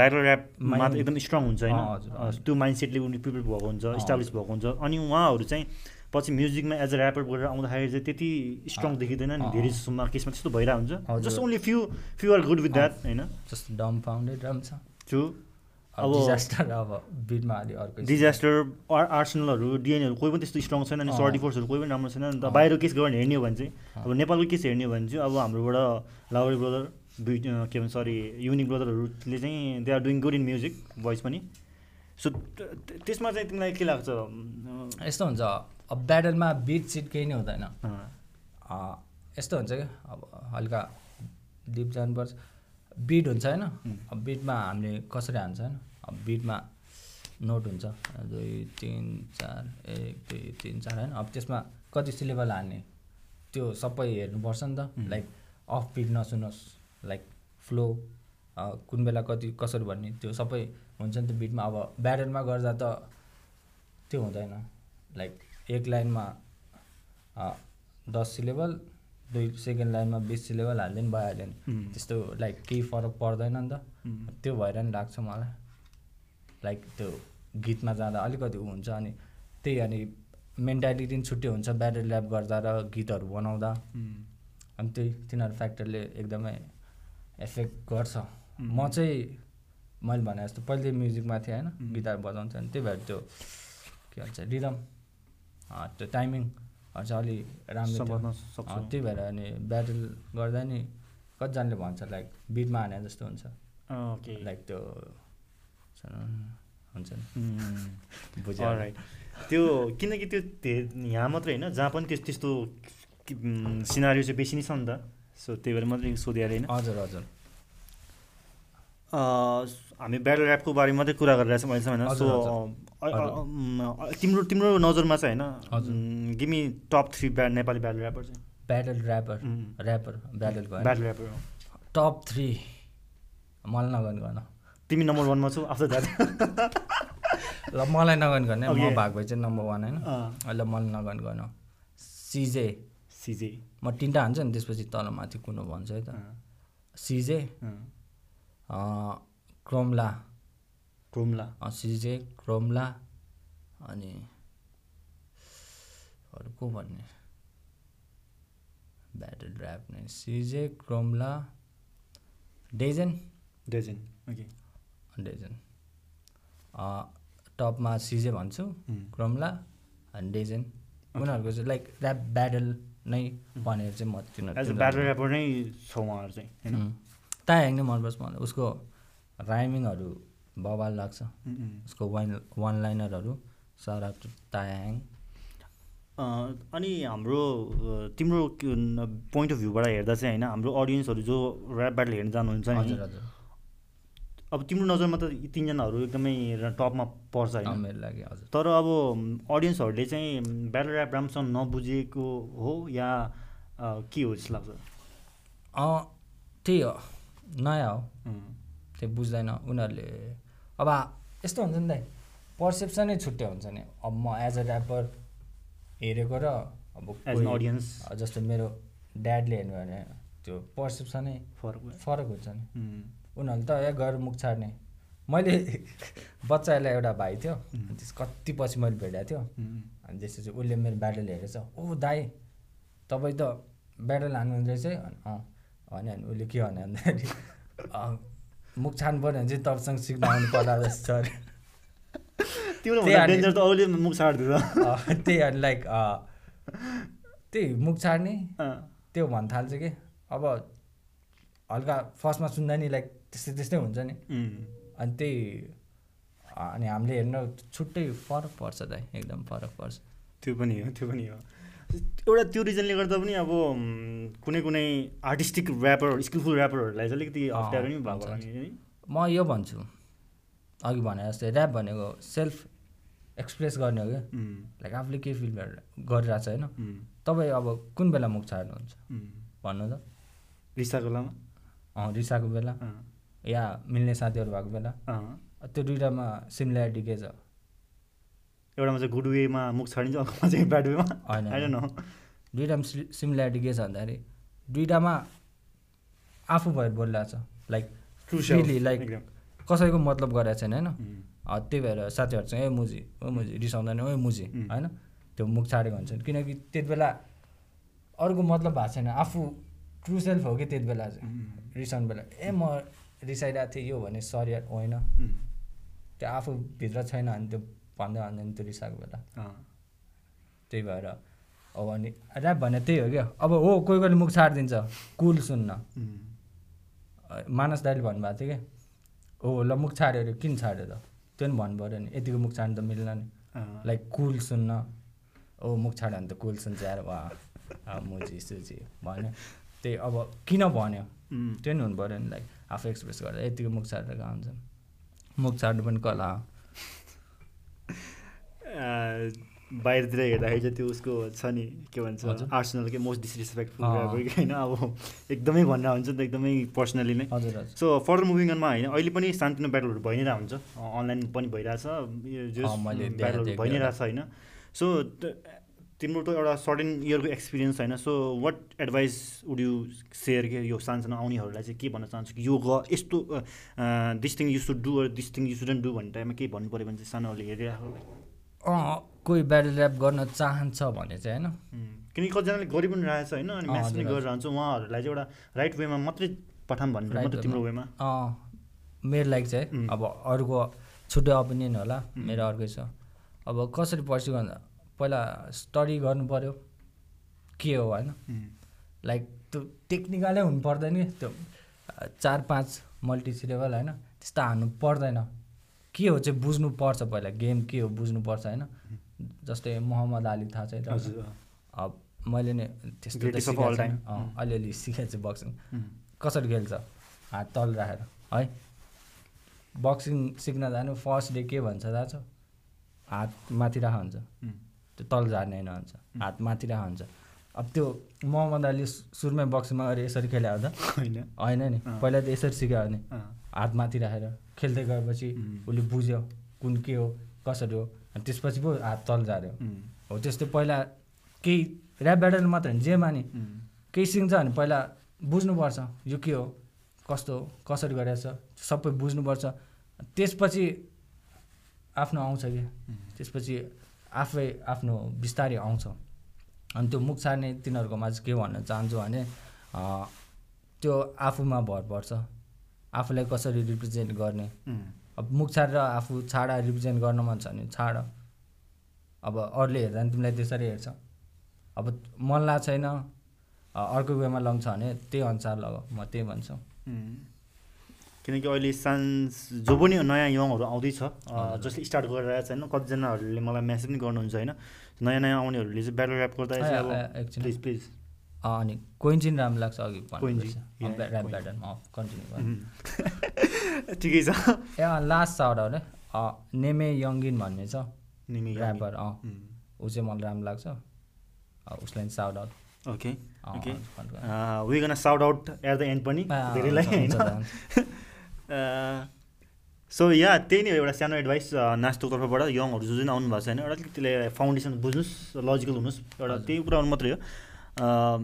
Speaker 2: ब्याटल ऱ्यापमा त
Speaker 1: Mind-
Speaker 2: एकदम स्ट्रङ हुन्छ
Speaker 1: अँ, हजुर,
Speaker 2: होइन
Speaker 1: हजुर।
Speaker 2: त्यो माइन्ड सेटले उनी प्रिपेयर भएको हुन्छ
Speaker 1: अँ,
Speaker 2: इस्टाब्लिस
Speaker 1: हजुर।
Speaker 2: भएको हुन्छ अनि उहाँहरू चाहिँ पछि म्युजिकमा एज अ ऱ्यापर गरेर आउँदाखेरि चाहिँ त्यति स्ट्रङ
Speaker 1: अँ,
Speaker 2: देखिँदैन नि
Speaker 1: अँ,
Speaker 2: धेरै
Speaker 1: अँ।
Speaker 2: जसोमा केसमा त्यस्तो भइरहेको हुन्छ
Speaker 1: हजुर।
Speaker 2: Just only few few are good with
Speaker 1: uh.
Speaker 2: That होइन
Speaker 1: जस्तो डम फाउन्डेड राम्रो छ
Speaker 2: त्यो
Speaker 1: अब
Speaker 2: अब-
Speaker 1: डिजास्टर अब बिटमा अलिक अर्को
Speaker 2: डिजास्टर आर आर्सनलहरू डिएनहरू कोही पनि त्यस्तो स्ट्रङ छैन अनि
Speaker 1: अँ।
Speaker 2: सर्टी फोर्सहरू कोही पनि राम्रो छैन नि त
Speaker 1: अँ।
Speaker 2: बाहिर केस गरेर हेर्ने हो भने चाहिँ
Speaker 1: अँ।
Speaker 2: अब नेपालको केस हेर्ने हो भने चाहिँ अब हाम्रोबाट लावरी ब्रदर दुई अँ, के भन्छ सरी युनिक ब्रदरहरूले चाहिँ they are doing good in music voice पनि सो त्यसमा चाहिँ तिमीलाई के लाग्छ अँ,
Speaker 1: यस्तो हुन्छ अब ब्याटलमा बिट सिट केही नै हुँदैन
Speaker 2: अँ,
Speaker 1: अँ, यस्तो हुन्छ क्या अब हल्का डिप जानुपर्छ बिट हुन्छ होइन
Speaker 2: उम्.
Speaker 1: अब बिटमा हामीले कसरी हान्छ होइन अब बिटमा नोट हुन्छ दुई तिन चार एक दुई तिन चार होइन अब त्यसमा कति सिलेबल हाल्ने त्यो सबै हेर्नुपर्छ नि त
Speaker 2: उम्.
Speaker 1: लाइक अफ बिट नसुनोस् लाइक फ्लो कुन बेला कति कसरी भन्ने त्यो सबै हुन्छ नि त बिटमा अब ब्याटलमा गर्दा त त्यो हुँदैन लाइक एक लाइनमा अ, दस सिलेबल दुई सेकेन्ड लाइनमा बिस सिलेबल हालिदियो नि भइहाल्यो नि
Speaker 2: उम्.
Speaker 1: त्यस्तो लाइक केही फरक पर्दैन नि त
Speaker 2: उम्,
Speaker 1: त्यो भएर नि लाग्छ मलाई लाइक त्यो गीतमा जाँदा अलिकति ऊ हुन्छ अनि त्यही अनि मेन्टालिटी नि छुट्टै हुन्छ ब्याटल ल्याप गर्दा र गीतहरू बनाउँदा
Speaker 2: उम्,
Speaker 1: अनि त्यही तिनीहरू फ्याक्टरले एकदमै एफेक्ट गर्छ
Speaker 2: उम्.
Speaker 1: म चाहिँ मैले भने जस्तो पहिले म्युजिकमा थिएँ होइन
Speaker 2: उम्.
Speaker 1: गिटार बजाउँछ अनि त्यही भएर त्यो के भन्छ रिदम अँ, त्यो टाइमिङहरू चाहिँ अलि राम्रो
Speaker 2: सम्हाल्न
Speaker 1: थियो।
Speaker 2: सक्छौँ।
Speaker 1: अँ, त्यही भएर अनि ब्याटल गर्दा नि कतिजनाले भन्छ लाइक बिटमा हाने जस्तो हुन्छ
Speaker 2: ओके
Speaker 1: लाइक त्यो हुन्छ नि, हुन्छ नि
Speaker 2: उम्,
Speaker 1: बुझ्यो होला।
Speaker 2: Alright. त्यो किनकि त्यो धे- यहाँ मात्रै होइन जहाँ पनि त्यस त्यस्तो सिनारी चाहिँ बेसी नै छ नि त सो त्यही भएर मात्रै सोधिहालेँ होइन
Speaker 1: हजुर हजुर
Speaker 2: अ, हामी ब्याटल ऱ्यापको बारेमा मात्रै कुरा गरिरहेको छौँ अहिलेसम्म होइन
Speaker 1: हजुर,
Speaker 2: सो
Speaker 1: हजुर।
Speaker 2: अ, अ, अ, तिम्रो तिम्रो नजरमा चाहिँ
Speaker 1: हजुर।
Speaker 2: होइन गिमी टप थ्री ब्या नेपाली ब्याटल ऱ्यापर चाहिँ
Speaker 1: ब्याटल ऱ्यापर
Speaker 2: उम्.
Speaker 1: ऱ्यापर ब्याटलको होइन?
Speaker 2: ब्याटल ऱ्यापर हो।
Speaker 1: टप थ्री मलाई नगनिकन
Speaker 2: तिमी नम्बर वानमा छौ आफ्टर द्याट
Speaker 1: ल मलाई नगनिकन है,
Speaker 2: Okay.
Speaker 1: म भएको भए चाहिँ नम्बर वान होइन
Speaker 2: अँ।
Speaker 1: ल मलाई नगनिकन सिजे
Speaker 2: सिजे
Speaker 1: म तिनवटा हान्छु नि त्यसपछि तल माथि कुनो भन्छु है त सिजे अँ, क्रोम्ला
Speaker 2: क्रोमला
Speaker 1: अँ, सिजे क्रोम्ला अनि अरू को भन्ने ब्याटल ड्राइभ नै सिजे क्रोम्ला डेजेन
Speaker 2: डेजेन ओके
Speaker 1: डेजन अँ, टपमा सिजे भन्छु
Speaker 2: उम्.
Speaker 1: क्रमला अनि डेजन उनीहरूको चाहिँ लाइक ऱ्याप ब्याटल नै भनेर चाहिँ म
Speaker 2: एज अ
Speaker 1: तिनीहरू
Speaker 2: ब्याटल ऱ्यापर नै छ उहाँहरू चाहिँ होइन
Speaker 1: ताया ह्याङ नै मनपर्छ मलाई उसको राइमिङहरू बबाल लाग्छ
Speaker 2: उम्, उम्।
Speaker 1: उसको वान वान लाइनरहरू सारा ताया ह्याङ
Speaker 2: अ, अनि हाम्रो अ, तिम्रो पोइन्ट अफ भ्यूबाट हेर्दा चाहिँ होइन हाम्रो अडियन्सहरू जो ऱ्याप ब्याटल हेर्न जानुहुन्छ नि
Speaker 1: हजुर हजुर
Speaker 2: अब तिम्रो नजरमा त यी तिनजनाहरू एकदमै र- टपमा पर्छ
Speaker 1: अँ,
Speaker 2: होइन
Speaker 1: मेरो लागि हजुर
Speaker 2: तर अब म, अडियन्सहरूले चाहिँ म, ब्याटल ऱ्याप राम्रोसँग नबुझेको हो या अ, के हो जस्तो लाग्छ
Speaker 1: अँ, त्यही हो नयाँ हो
Speaker 2: अँ,
Speaker 1: त्यो बुझ्दैन उनीहरूले अब यस्तो हुन्छ नि दाइ पर्सेप्सनै छुट्टै हुन्छ नि अब म एज अ ऱ्यापर हेरेको र अब
Speaker 2: एज एन
Speaker 1: कोही-
Speaker 2: अडियन्स
Speaker 1: जस्तो मेरो ड्याडले हेर्नु भने त्यो पर्सेप्सनै
Speaker 2: फरक भयो।
Speaker 1: फरक हुन्छ नि
Speaker 2: उम्,
Speaker 1: उनीहरूले त ए गएर मुख छाड्ने मैले बच्चाहरूलाई एउटा भाइ थियो त्यस कति पछि मैले भेटाएको थियो
Speaker 2: उम्,
Speaker 1: अनि त्यसपछि उसले मेरो ब्याटल हेरेछ ओ दाई तपाईँ त ब्याटल हान्नुहुन्छ रहेछ है अनि अँ भन्यो अनि उसले के भन्यो भन्दाखेरि "अँ, मुख छानु पऱ्यो भने चाहिँ तपाईँसँग सिक्न आउनु पर्ला रहेछ अरे त्यही
Speaker 2: तिम्रो भन्दा
Speaker 1: अनि-
Speaker 2: डेन्जर त अरूले मुख सार्दैछ
Speaker 1: अँ, त्यही अनि लाइक अँ, त्यही मुख छाड्ने
Speaker 2: अँ,
Speaker 1: त्यो भन्न थाल्छ कि अब हल्का फर्स्टमा सुन्दा नि लाइक त्यस्तै त्यस्तै हुन्छ नि
Speaker 2: उम्,
Speaker 1: अनि त्यही अँ, अनि हामीले हेर्न छुट्टै फरक पर्छ दाइ एकदम फरक पर्छ
Speaker 2: त्यो पनि हो त्यो पनि हो एउटा त्यो रिजनले गर्दा पनि अब म, कुनै कुनै आर्टिस्टिक ऱ्यापर स्किलफुल ऱ्यापरहरूलाई चाहिँ अलिकति
Speaker 1: अँ,
Speaker 2: अप्ठ्यारो नै भएको
Speaker 1: हुन्छ,
Speaker 2: होला नि है
Speaker 1: म यो भन्छु अघि भने जस्तै ऱ्याप भनेको सेल्फ एक्सप्रेस गर्ने हो क्या
Speaker 2: उम्,
Speaker 1: लाइक आफूले के फिल गरिरहेको छ होइन
Speaker 2: उम्,
Speaker 1: तपाईँ अब कुन बेला मुख छाड्नुहुन्छ
Speaker 2: उम्।
Speaker 1: भन्नु त
Speaker 2: रिसाको लामा
Speaker 1: अँ रिसाएको बेला
Speaker 2: अँ,
Speaker 1: या मिल्ने साथीहरू भएको बेला
Speaker 2: अँ।
Speaker 1: त्यो दुइटामा सिमिल्यारिटी के छ
Speaker 2: एउटामा चाहिँ गुड वेमा मुख छाडिन्छ अर्कोमा चाहिँ ब्याड वेमा
Speaker 1: होइन।
Speaker 2: होइन न
Speaker 1: दुइटामा सि- सिमिल्यारिटी के छ भन्दाखेरि दुइटामा आफू भएर बोलिरहेको छ like
Speaker 2: True self,
Speaker 1: freely like
Speaker 2: एकदम।
Speaker 1: कसैको मतलब गरेको छैन होइन
Speaker 2: उम्,
Speaker 1: अँ, त्यही भएर साथीहरूसँग ए मुजी ओ मुजी रिसाउँदैन ओ मुजी
Speaker 2: उम्.
Speaker 1: होइन त्यो मुख छाडेको हुन्छन् किनकि त्यति बेला अर्को मतलब भएको छैन आफू ट्रु सेल्फ हो कि त्यति बेला चाहिँ
Speaker 2: उम्,
Speaker 1: रिसाउनु बेला ए म रिसाइरहेको थिएँ यो भने सरी यार होइन
Speaker 2: उम्,
Speaker 1: त्यो आफूभित्र छैन अनि त्यो भन्दै भन्दै नि त्यो रिसाएको बेला
Speaker 2: अँ,
Speaker 1: त्यही भएर अब अनि ऱ्याप भने त्यही हो क्या अब हो कोही कोहीले मुख छाडिदिन्छ कुल सुन्न
Speaker 2: उम्,
Speaker 1: अ, मानस दाइले भन्नुभएको थियो क्या हो ल मुख छाड्यो अरे किन छाड्यो त त्यो पनि भन्नु पऱ्यो नि यतिको मुख छाड्नु त मिल्न नि
Speaker 2: अँ।
Speaker 1: लाइक कुल सुन्न ओ मुख छाड्यो भने त कुल सुन्छ यार वा आ, मुजी सुजी भन्यो त्यही अब किन भन्यो
Speaker 2: उम्,
Speaker 1: त्यो नि हुनु पऱ्यो नि लाइक आफू एक्सप्रेस गर्दा यतिको मुख छाडेर कहाँ हुन्छ मुख छाड्नु पनि कला हो
Speaker 2: अ, बाहिरतिर हेर्दाखेरि चाहिँ त्यो उसको छ नि के भन्छ
Speaker 1: हजुर।
Speaker 2: आर्सनलकै मोस्ट डिसरेस्पेक्टफुल
Speaker 1: अँ।
Speaker 2: ड्राइभर होइन अब एकदमै भनेर हुन्छ नि त एकदमै पर्सनली नै
Speaker 1: हजुर हजुर
Speaker 2: सो फर्दर मुभिङ अनमा होइन अहिले पनि सान्तुनो ब्याटलहरू भइ नै रहेको हुन्छ अनलाइन पनि भइरहेछ यो जो
Speaker 1: अँ, मैले देखेको
Speaker 2: ब्याटलहरू
Speaker 1: थिएँ
Speaker 2: भइ नै
Speaker 1: एकजना।
Speaker 2: रहेछ होइन सो तिम्रो त एउटा सर्टेन इयरको एक्सपिरियन्स होइन so what advice would you share के यो सानसानो आउनेहरूलाई चाहिँ के भन्न चाहन्छु कि यो ग यस्तो this thing you should do this thing you shouldn't do भन्ने टाइममा केही भन्नु पऱ्यो भने चाहिँ सानोहरूले हेरिरहेको
Speaker 1: अँ कोही ब्याटल ऱ्याप गर्न चाहन्छ भने चाहिँ होइन
Speaker 2: उम्, किनकि कतिजनाले गरि पनि रहेछ होइन अनि
Speaker 1: अँ,
Speaker 2: म्याच पनि
Speaker 1: हजुर,
Speaker 2: गरेर हुन्छ उहाँहरूलाई चाहिँ एउटा राइट वेमा मात्रै पठाउँ भन्नु
Speaker 1: Right
Speaker 2: मात्रै तिम्रो वेमा
Speaker 1: अँ, मेरो लागि चाहिँ
Speaker 2: उम्.
Speaker 1: अब अर्को छुट्टै ओपिनियन होला मेरो अर्कै छ अब कसरी पर्स्यु भन्दा पहिला स्टडी गर्नु पऱ्यो के हो होइन
Speaker 2: उम्,
Speaker 1: लाइक त्यो टेक्निकलै हुनु पर्दैन कि त्यो अ, चार पाँच मल्टिसिलेबल होइन त्यस्तो हान्नु पर्दैन के हो चाहिँ बुझ्नुपर्छ पहिला गेम के हो बुझ्नुपर्छ होइन जस्तै मोहम्मद अली थाहा छ
Speaker 2: हजुर
Speaker 1: त अब मैले नै त्यस्तो त
Speaker 2: Greatest of
Speaker 1: सिकेको
Speaker 2: all
Speaker 1: छैन।
Speaker 2: time.
Speaker 1: अँ, अलिअलि सिकेको छु बक्सिङ
Speaker 2: उम्,
Speaker 1: कसरी खेल्छ हात तल राखेर है बक्सिङ सिक्न जानु फर्स्ट डे के भन्छ थाहा छ हात माथि राख हुन्छ
Speaker 2: उम्,
Speaker 1: त्यो तल झार्ने होइन भन्छ हात माथि राख हुन्छ अब त्यो मोहम्मद अली सु- सुरुमै बक्सिङमा गएर यसरी खेल्यो हो त
Speaker 2: होइन
Speaker 1: होइन नि
Speaker 2: अँ।
Speaker 1: पहिला त यसरी सिक्यो भने
Speaker 2: अँ,
Speaker 1: हात माथि राखेर खेल्दै गएपछि
Speaker 2: उम्.
Speaker 1: उसले बुझ्यो कुन के हो कसरी हो अनि त्यसपछि पो हात तल झार्यो
Speaker 2: उम्,
Speaker 1: हो त्यस्तै पहिला केही ऱ्याप ब्याटल मात्र होइन जेमा नि
Speaker 2: उम्,
Speaker 1: केही सिक्छ भने पहिला बुझ्नुपर्छ यो के हो कस्तो हो कसरी गरेको छ सबै बुझ्नुपर्छ त्यसपछि आफ्नो आउँछ कि त्यसपछि आफै आफ्नो बिस्तारै आउँछ अनि त्यो मुख सार्ने तिनीहरूकोमा चाहिँ के भन्न चाहन्छु भने अँ, त्यो आफूमा भर पर्छ आफूलाई कसरी रिप्रेजेन्ट गर्ने
Speaker 2: उम्,
Speaker 1: अब मुख छाडेर आफू छाडा रिप्रेजेन्ट गर्न मन छ भने छाड अब अरूले हेर्दा नि तिमीलाई त्यसरी हेर्छ अब मन ला छैन अ, अर्को वेमा लग्छ भने त्यही अनुसार लग म त्यही भन्छु
Speaker 2: उम्। किनकि अहिले सान्स जो पनि नयाँ युवाहरू आउँदैछ अँ, जसले स्टार्ट गरिरहेको छ होइन कतिजनाहरूले मलाई म्यासेज पनि गर्नुहुन्छ होइन नयाँ नयाँ आउनेहरूले चाहिँ ब्याटल ऱ्याप गर्दा चाहिँ
Speaker 1: ए, ए,
Speaker 2: अब
Speaker 1: एकछिन।
Speaker 2: प्लिज प्लिज
Speaker 1: अ, अनि कोइन्चिन राम्रो लाग्छ अघि
Speaker 2: कोइन्जी,
Speaker 1: भन्नुपर्छ।
Speaker 2: या,
Speaker 1: अ, ब्या- ऱ्याप
Speaker 2: कोइन्जी।
Speaker 1: प्याटर्नमा कन्टिन्यू गर्नु
Speaker 2: उम्। ठिकै छ
Speaker 1: ए अँ, लास्ट छ अरू अरे अ, नेमे यङ्गिन भन्ने छ
Speaker 2: निमी यामी।
Speaker 1: ऱ्यापर अँ
Speaker 2: उम्,
Speaker 1: ऊ चाहिँ मलाई राम्रो लाग्छ अ, उसलाई नि साउट आउट
Speaker 2: ओके
Speaker 1: अँ,
Speaker 2: ओके
Speaker 1: अँ, भन्नु पर्यो।
Speaker 2: We gonna shout out at the end पनि
Speaker 1: अँ,
Speaker 2: धेरैलाई
Speaker 1: हुन्छ, हुन्छ,
Speaker 2: होइन सो या त्यही नै हो एउटा सानो एडभाइस नास्टोको तर्फबाट यङहरू जो जुन आउनुभएको छ होइन एउटा अलिकति त्यसले फाउन्डेसन बुझ्नुहोस् लजिकल हुनुहोस् एउटा
Speaker 1: हजुर।
Speaker 2: त्यही कुरा मात्रै हो अँ,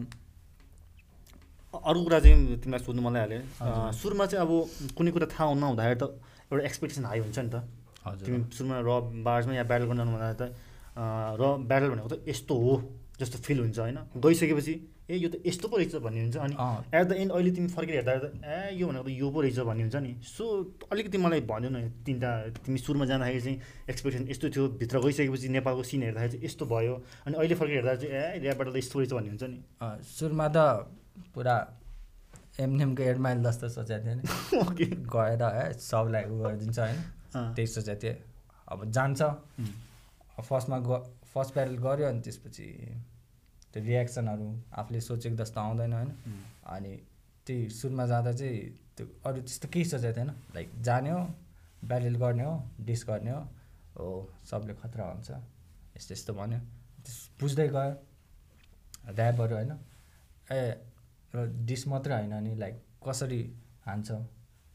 Speaker 2: अरू कुरा चाहिँ तिमीलाई सोध्नु मलाई हाल्यो अँ,
Speaker 1: हजुर।
Speaker 2: सुरुमा चाहिँ अब कुनै कुरा थाहा हुन हुँदाखेरि त एउटा एक्सपेक्टेसन हाई हुन्छ नि त
Speaker 1: हजुर
Speaker 2: तिमी सुरुमा र बार्समा या ब्याटल गर्न जानु भन्दा त अँ, र ब्याटल भनेको त यस्तो हो जस्तो फिल हुन्छ होइन गइसकेपछि ए यो त यस्तो पो रहेछ भन्ने हुन्छ अनि
Speaker 1: अँ,
Speaker 2: एट द एन्ड अहिले तिमी फर्केर हेर्दा त ए यो भनेको त यो पो रहेछ भन्ने हुन्छ नि सो अलिकति मलाई भन्यो न तिनवटा तिमी सुरुमा जाँदाखेरि चाहिँ एक्सपेक्टेसन यस्तो थियो भित्र गइसकेपछि नेपालको सिन हेर्दाखेरि चाहिँ यस्तो भयो अनि अहिले फर्केर हेर्दा चाहिँ ए ऱ्यापबाट त यस्तो रहेछ भन्ने हुन्छ नि
Speaker 1: अँ, सुरुमा त पुरा एमएमको एड माइल जस्तो सोचेको थिएँ नि
Speaker 2: ओके
Speaker 1: गएर है सबलाई उ गरिदिन्छ होइन
Speaker 2: अँ।
Speaker 1: त्यही सोचेको थिएँ अब जान्छ
Speaker 2: उम्,
Speaker 1: फर्स्टमा ग फर्स्ट प्यारल गऱ्यो अनि त्यसपछि त्यो रियाक्सनहरू आफूले सोचेको जस्तो आउँदैन होइन
Speaker 2: उम्,
Speaker 1: अनि त्यही सुरुमा जाँदा चाहिँ त्यो अरू त्यस्तो केही सोचेको थिएन लाइक जाने हो ब्याटल गर्ने हो डिस गर्ने हो हो सबले खतरा हुन्छ यस्तो यस्तो भन्यो त्यस- बुझ्दै गयो ऱ्यापहरू होइन ए र डिस मात्रै होइन नि लाइक कसरी हान्छ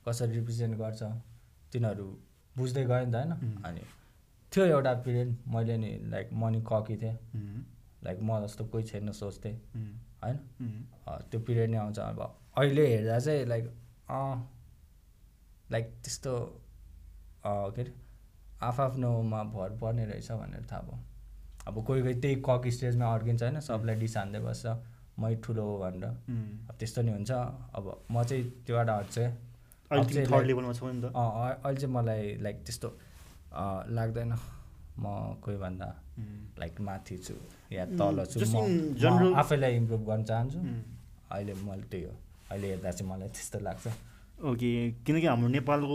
Speaker 1: कसरी रिप्रेजेन्ट गर्छ तिनीहरू बुझ्दै गयो नि त होइन अनि थियो एउटा पिरियड मैले नि लाइक मनी ककी थिएँ लाइक म जस्तो कोही छैन सोच्थेँ होइन अँ, त्यो पिरियड नै आउँछ अब अहिले हेर्दा चाहिँ लाइक अँ लाइक त्यस्तो अँ, के अरे आफआफ्नोमा भर पर्ने रहेछ भनेर थाहा भयो अब कोही कोही त्यही कक स्टेजमा अड्किन्छ होइन सबलाई डिस हान्दै बस्छ मै ठुलो हो भनेर अब त्यस्तो नि हुन्छ अब म चाहिँ त्यो एउटा हट्छु है। अब
Speaker 2: अहिले
Speaker 1: चाहिँ
Speaker 2: थर्ड
Speaker 1: लाइक-
Speaker 2: लेभलमा छौ नि त
Speaker 1: अँ, अँ, अहिले चाहिँ मलाई लाइक त्यस्तो अँ, लाग्दैन म कोही भन्दा लाइक माथि छु या तल छु
Speaker 2: Just
Speaker 1: म
Speaker 2: in
Speaker 1: म
Speaker 2: general-
Speaker 1: आफैलाई इम्प्रुभ गर्न चाहन्छु
Speaker 2: उम्.
Speaker 1: अहिले मैले त्यही हो अहिले हेर्दा चाहिँ मलाई त्यस्तो लाग्छ
Speaker 2: ओके किनकि हाम्रो नेपालको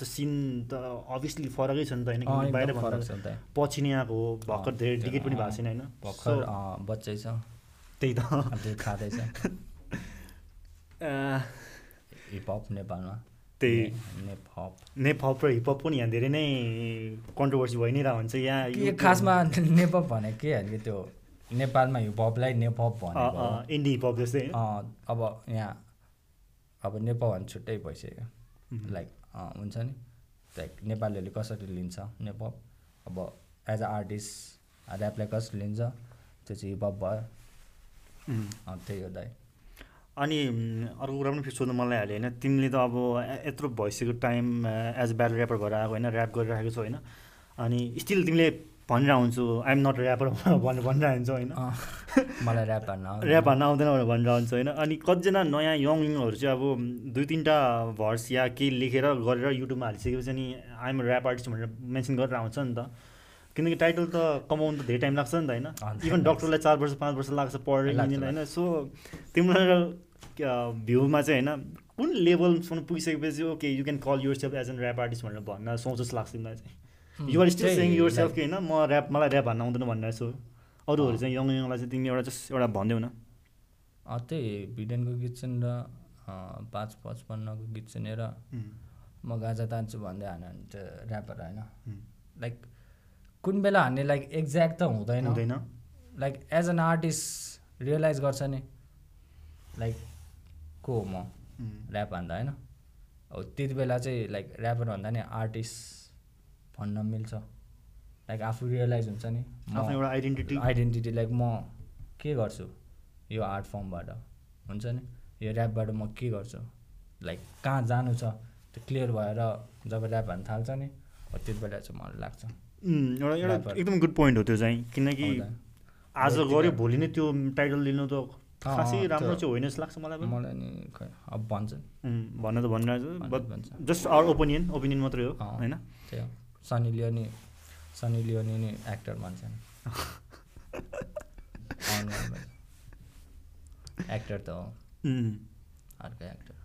Speaker 2: त सिन त अभियसली फरकै छ नि त होइन
Speaker 1: अँ,
Speaker 2: किनकि
Speaker 1: एकदम
Speaker 2: बाहिर
Speaker 1: फरक छ
Speaker 2: भन्दा
Speaker 1: नि त
Speaker 2: पछि नै आएको हो भर्खर
Speaker 1: अँ,
Speaker 2: धेरै
Speaker 1: त्यो-
Speaker 2: टिकट पनि
Speaker 1: अँ,
Speaker 2: भएको छैन होइन
Speaker 1: भर्खर
Speaker 2: So,
Speaker 1: अँ, बच्चै छ
Speaker 2: त्यही त
Speaker 1: अब त्यो खाँदैछ
Speaker 2: अँ,
Speaker 1: हिपहप नेपालमा
Speaker 2: त्यही
Speaker 1: नेपहप
Speaker 2: नेपहप र हिपहप पनि यहाँ धेरै नै कन्ट्रोभर्सी भइ नै रहन्छ यहाँ
Speaker 1: के खासमा नेपप भने के अरे त्यो नेपालमा हिपहपलाई नेपप भनेको हो।
Speaker 2: इन्डी हिपहप जस्तै होइन
Speaker 1: अँ, अब यहाँ अब नेपाल भने छुट्टै भइसक्यो लाइक अँ, हुन्छ नि लाइक नेपालीहरूले कसरी लिन्छ नेपाल अब एज अ आर्टिस्ट ऱ्यापलाई कसरी लिन्छ त्यो चाहिँ हिपहप भयो
Speaker 2: उम्.
Speaker 1: अँ, त्यही हो दाइ
Speaker 2: अनि उम्, अर्को कुरा पनि फेरि सोध्नु मलाई हाल्यो होइन तिमीले त अब ए- यत्रो भइसक्यो time as a battle rapper भएर आएको होइन ऱ्याप गरिरहेको छौ होइन अनि स्टिल तिमीले भनिरहेको हुन्छु आइएम नट ऱ्यापर भनेर भनिरहेको हुन्छौ होइन
Speaker 1: अँ, मलाई ऱ्याप भन्न आउँदैन।
Speaker 2: ऱ्याप हान्न आउँदैन भनेर भनिरहन्छ होइन अनि कतिजना नयाँ यङ यङहरू चाहिँ अब दुई तिनवटा भर्स या केही लेखेर गरेर युट्युबमा हालिसकेपछि नि आइएम ऱ्याप आर्टिस्ट भनेर मेन्सन गरेर आउँछ नि त किनकि टाइटल त कमाउनु त धेरै टाइम लाग्छ नि त
Speaker 1: अँ,
Speaker 2: होइन
Speaker 1: धेरै
Speaker 2: इभन
Speaker 1: लाग्छ।
Speaker 2: डक्टरलाई चार वर्ष पाँच वर्ष लाग्छ पढेर
Speaker 1: लाग्छ,
Speaker 2: यिनीहरूलाई होइन सो तिम्रो भ्यूमा चाहिँ होइन कुन लेभलसम्म पुगिसकेपछि okay you can call yourself as an rap artist भनेर भन्न सोच जस्तो लाग्छ तिमीलाई चाहिँ युआर स्टिल
Speaker 1: त्यही,
Speaker 2: सेङ युर सेल्फ
Speaker 1: like-
Speaker 2: कि होइन म ऱ्याप मलाई ऱ्याप भन्न आउँदैन भनिरहेको छु अरूहरू चाहिँ यङ यङलाई चाहिँ तिमी एउटा जस्ट एउटा भनिदेऊ न
Speaker 1: अँ, त्यही भिडेनको गीत सुनेर अँ, पाँच पचपन्नको गीत सुनेर म गाजा तान्छु भन्दै हान्यो भने त्यो ऱ्यापर होइन लाइक कुन बेला हान्ने लाइक एक्ज्याक्ट त हुँदैन
Speaker 2: हुँदैन
Speaker 1: like as an artist realize गर्छ नि लाइक को हो म
Speaker 2: Mm.
Speaker 1: ऱ्याप भन्दा होइन अब त्यति बेला चाहिँ लाइक ऱ्यापर भन्दा नि आर्टिस्ट भन्न मिल्छ लाइक आफू रियलाइज हुन्छ नि
Speaker 2: आफ्नो एउटा आइडेन्टिटी
Speaker 1: आइडेन्टिटी लाइक म के गर्छु यो आर्ट फर्मबाट हुन्छ नि यो ऱ्यापबाट म के गर्छु लाइक कहाँ जानु छ त्यो क्लियर भएर जब ऱ्याप भन्न थाल्छ नि अब त्यति बेला चाहिँ मलाई लाग्छ
Speaker 2: एउटा एउटा
Speaker 1: rapper।
Speaker 2: एकदम गुड पोइन्ट हो त्यो चाहिँ किनकि
Speaker 1: आउँदैन।
Speaker 2: आज
Speaker 1: हो,
Speaker 2: गऱ्यो
Speaker 1: त्यही
Speaker 2: भोलि नै त्यो टाइटल लिनु त
Speaker 1: अँ,
Speaker 2: खासै
Speaker 1: अँ,
Speaker 2: राम्रो
Speaker 1: त्यो-
Speaker 2: चाहिँ होइन जस्तो लाग्छ मलाई पनि
Speaker 1: मलाई नि खै अब भन्छन्
Speaker 2: उम्, भन्न त भनिरहेको छु
Speaker 1: भन्छ,
Speaker 2: बट
Speaker 1: भन्छ।
Speaker 2: जस्ट आवर ओपिनियन ओपिनियन मात्रै हो
Speaker 1: अँ।
Speaker 2: होइन
Speaker 1: त्यही हो सनी लियोनी सनी लियोनी नि एक्टर भन्छन् एक्टर त हो
Speaker 2: उम्,
Speaker 1: अर्को एक्टर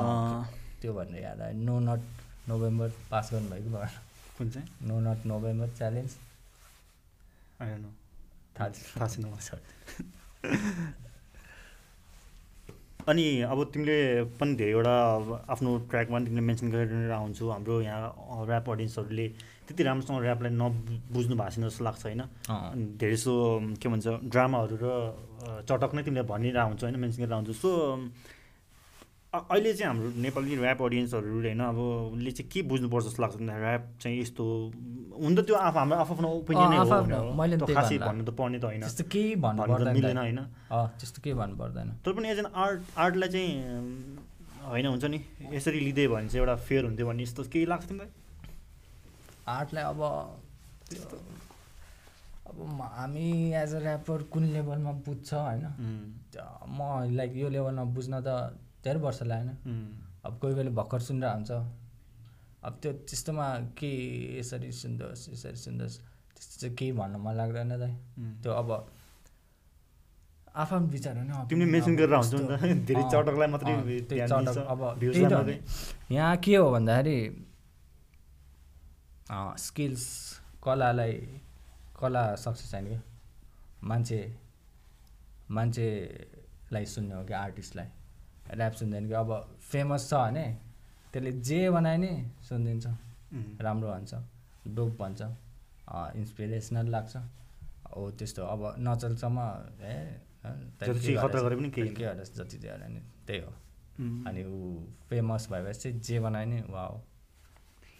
Speaker 2: अँ,
Speaker 1: त्यो भनेर याद आयो नो नट नोभेम्बर पास गर्नुभएको भएन
Speaker 2: कुन चाहिँ
Speaker 1: no nut November challenge
Speaker 2: I don't know.
Speaker 1: थाहा
Speaker 2: थाहा छैन मलाई। अनि अब तिमीले पनि धेरैवटा अब आफ्नो ट्र्याकमा पनि तिमीले मेन्सन गरेर आउँछु हाम्रो यहाँ ऱ्याप अडियन्सहरूले त्यति राम्रोसँग ऱ्यापलाई नबुझ्नु भएको छैन जस्तो लाग्छ होइन
Speaker 1: अँ
Speaker 2: अनि धेरै सो अम, के भन्छ ड्रामाहरू र अ, चटक नै तिमीले भनिरहेको हुन्छ होइन मेन्सन गरेर आउँछु सो अम, अ- अहिले चाहिँ हाम्रो नेपाली ऱ्याप अडियन्सहरूले होइन अब उसले चाहिँ के बुझ्नुपर्छ जस्तो लाग्छ भन्दा ऱ्याप चाहिँ यस्तो हुन त त्यो आफ हाम्रो आफ्नो ओपिनियन नै हो
Speaker 1: आफआफ्नो,
Speaker 2: होइन।
Speaker 1: मैले
Speaker 2: त्यो
Speaker 1: त्यही
Speaker 2: खासै
Speaker 1: भन्ला।
Speaker 2: भन्नु त पर्ने त होइन
Speaker 1: त्यस्तो केही भन्नु
Speaker 2: भन्नु त
Speaker 1: पर्दैन
Speaker 2: मिल्दैन
Speaker 1: दाइ।
Speaker 2: होइन
Speaker 1: अँ त्यस्तो केही भन्नु पर्दैन
Speaker 2: तर पनि एज एन आर्ट आर्टलाई चाहिँ अम, होइन हुन्छ नि यसरी लिँदै भने चाहिँ एउटा फेयर हुन्थ्यो भन्ने यस्तो केही लाग्छ तिमीलाई
Speaker 1: आर्टलाई अब अब म- हामी एज अ ऱ्यापर कुन लेभलमा बुझ्छ होइन
Speaker 2: उम्,
Speaker 1: त म लाइक यो लेभलमा बुझ्न त धेरै वर्ष लागेन
Speaker 2: उम्,
Speaker 1: अब कोही कोहीले भर्खर सुनेर हुन्छ अब त्यो त्यस्तोमा के यसरी सुन्दोस् यसरी सुन्दोस् त्यस्तो चाहिँ केही भन्न मन लाग्दैन दाइ
Speaker 2: उम्।
Speaker 1: त्यो अब आफ्नो विचार होइन अब
Speaker 2: तिमीले mention
Speaker 1: अब
Speaker 2: गरेर हुन्छ नि त।
Speaker 1: यस्तो-
Speaker 2: धेरै
Speaker 1: अँ,
Speaker 2: चटकलाई मात्रै
Speaker 1: अँ,
Speaker 2: ध्यान
Speaker 1: त्यही
Speaker 2: दिन्छ,
Speaker 1: चटक अब
Speaker 2: views
Speaker 1: त्यही त
Speaker 2: लाई
Speaker 1: हो नि। यहाँ के हो भन्दाखेरि स्किल्स कलालाई कला सक्सेस छैन क्या मान्छे मान्छेलाई सुन्ने हो कि आर्टिस्टलाई ऱ्याप सुन्दैन कि अब फेमस छ भने त्यसले जे बनायो नि सुनिदिन्छ राम्रो भन्छ डोप भन्छ इन्सपिरेसनल लाग्छ हो त्यस्तो अब नचलसम्म ए
Speaker 3: जति चाहिँ खतरा गरे पनि केही
Speaker 1: के हरेस जति चाहिँ हरे नि त्यही हो अनि ऊ फेमस भएपछि जे बनायो नि वा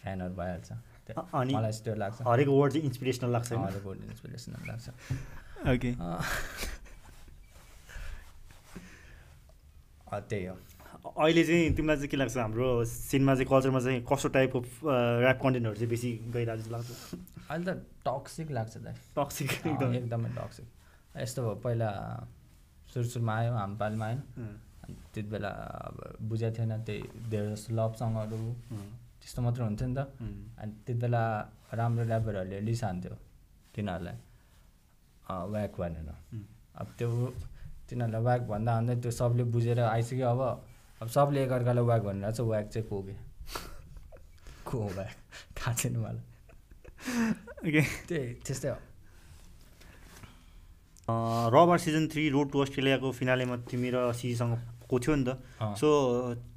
Speaker 1: फ्यानहरू भइहाल्छ त्यो-
Speaker 3: अ- अनि
Speaker 1: मलाई यस्तो लाग्छ
Speaker 3: हरेक वर्ड चाहिँ इन्सपिरेसनल लाग्छ होइन?
Speaker 1: अरूको इन्सपिरेसनल लाग्छ
Speaker 3: ओके
Speaker 1: अँ। अँ, त्यही हो
Speaker 3: अहिले चाहिँ तिमीलाई चाहिँ के लाग्छ हाम्रो सिनमा चाहिँ कल्चरमा चाहिँ कस्तो टाइप अफ ऱ्याप कन्टेन्टहरू चाहिँ बेसी गइरहेको जस्तो लाग्छ
Speaker 1: अहिले त टक्सिक लाग्छ दाइ
Speaker 3: टक्सिक
Speaker 1: अँ,
Speaker 3: एकदम
Speaker 1: एकदमै टक्सिक यस्तो भयो पहिला सुरु सुरुमा आयो हामपालमा आएन
Speaker 3: अँ,
Speaker 1: अनि त्यति बेला अब बुझेको थिएन त्यही धेरै जस्तो लभ सङहरू
Speaker 3: अँ,
Speaker 1: त्यस्तो मात्र हुन्थ्यो नि त
Speaker 3: अँ,
Speaker 1: अनि त्यति बेला राम्रो ऱ्यापरहरूले लिसान्थ्यो तिनीहरूलाई अँ, व्याक भनेर
Speaker 3: अँ।
Speaker 1: अब त्यो तिनीहरूलाई व्याक भन्दा भन्दै त्यो सबले बुझेर आइसक्यो अब अब सबले एकअर्कालाई व्याक भनेर चाहिँ व्याक चाहिँ को के को हो व्याक थाहा छैन मलाई
Speaker 3: ओके
Speaker 1: त्यही त्यस्तै हो
Speaker 3: Raw Barz season three road to अस्ट्रेलियाको फिनालेमा तिमी र सिजीसँग को थियो नि त
Speaker 1: अँ।
Speaker 3: सो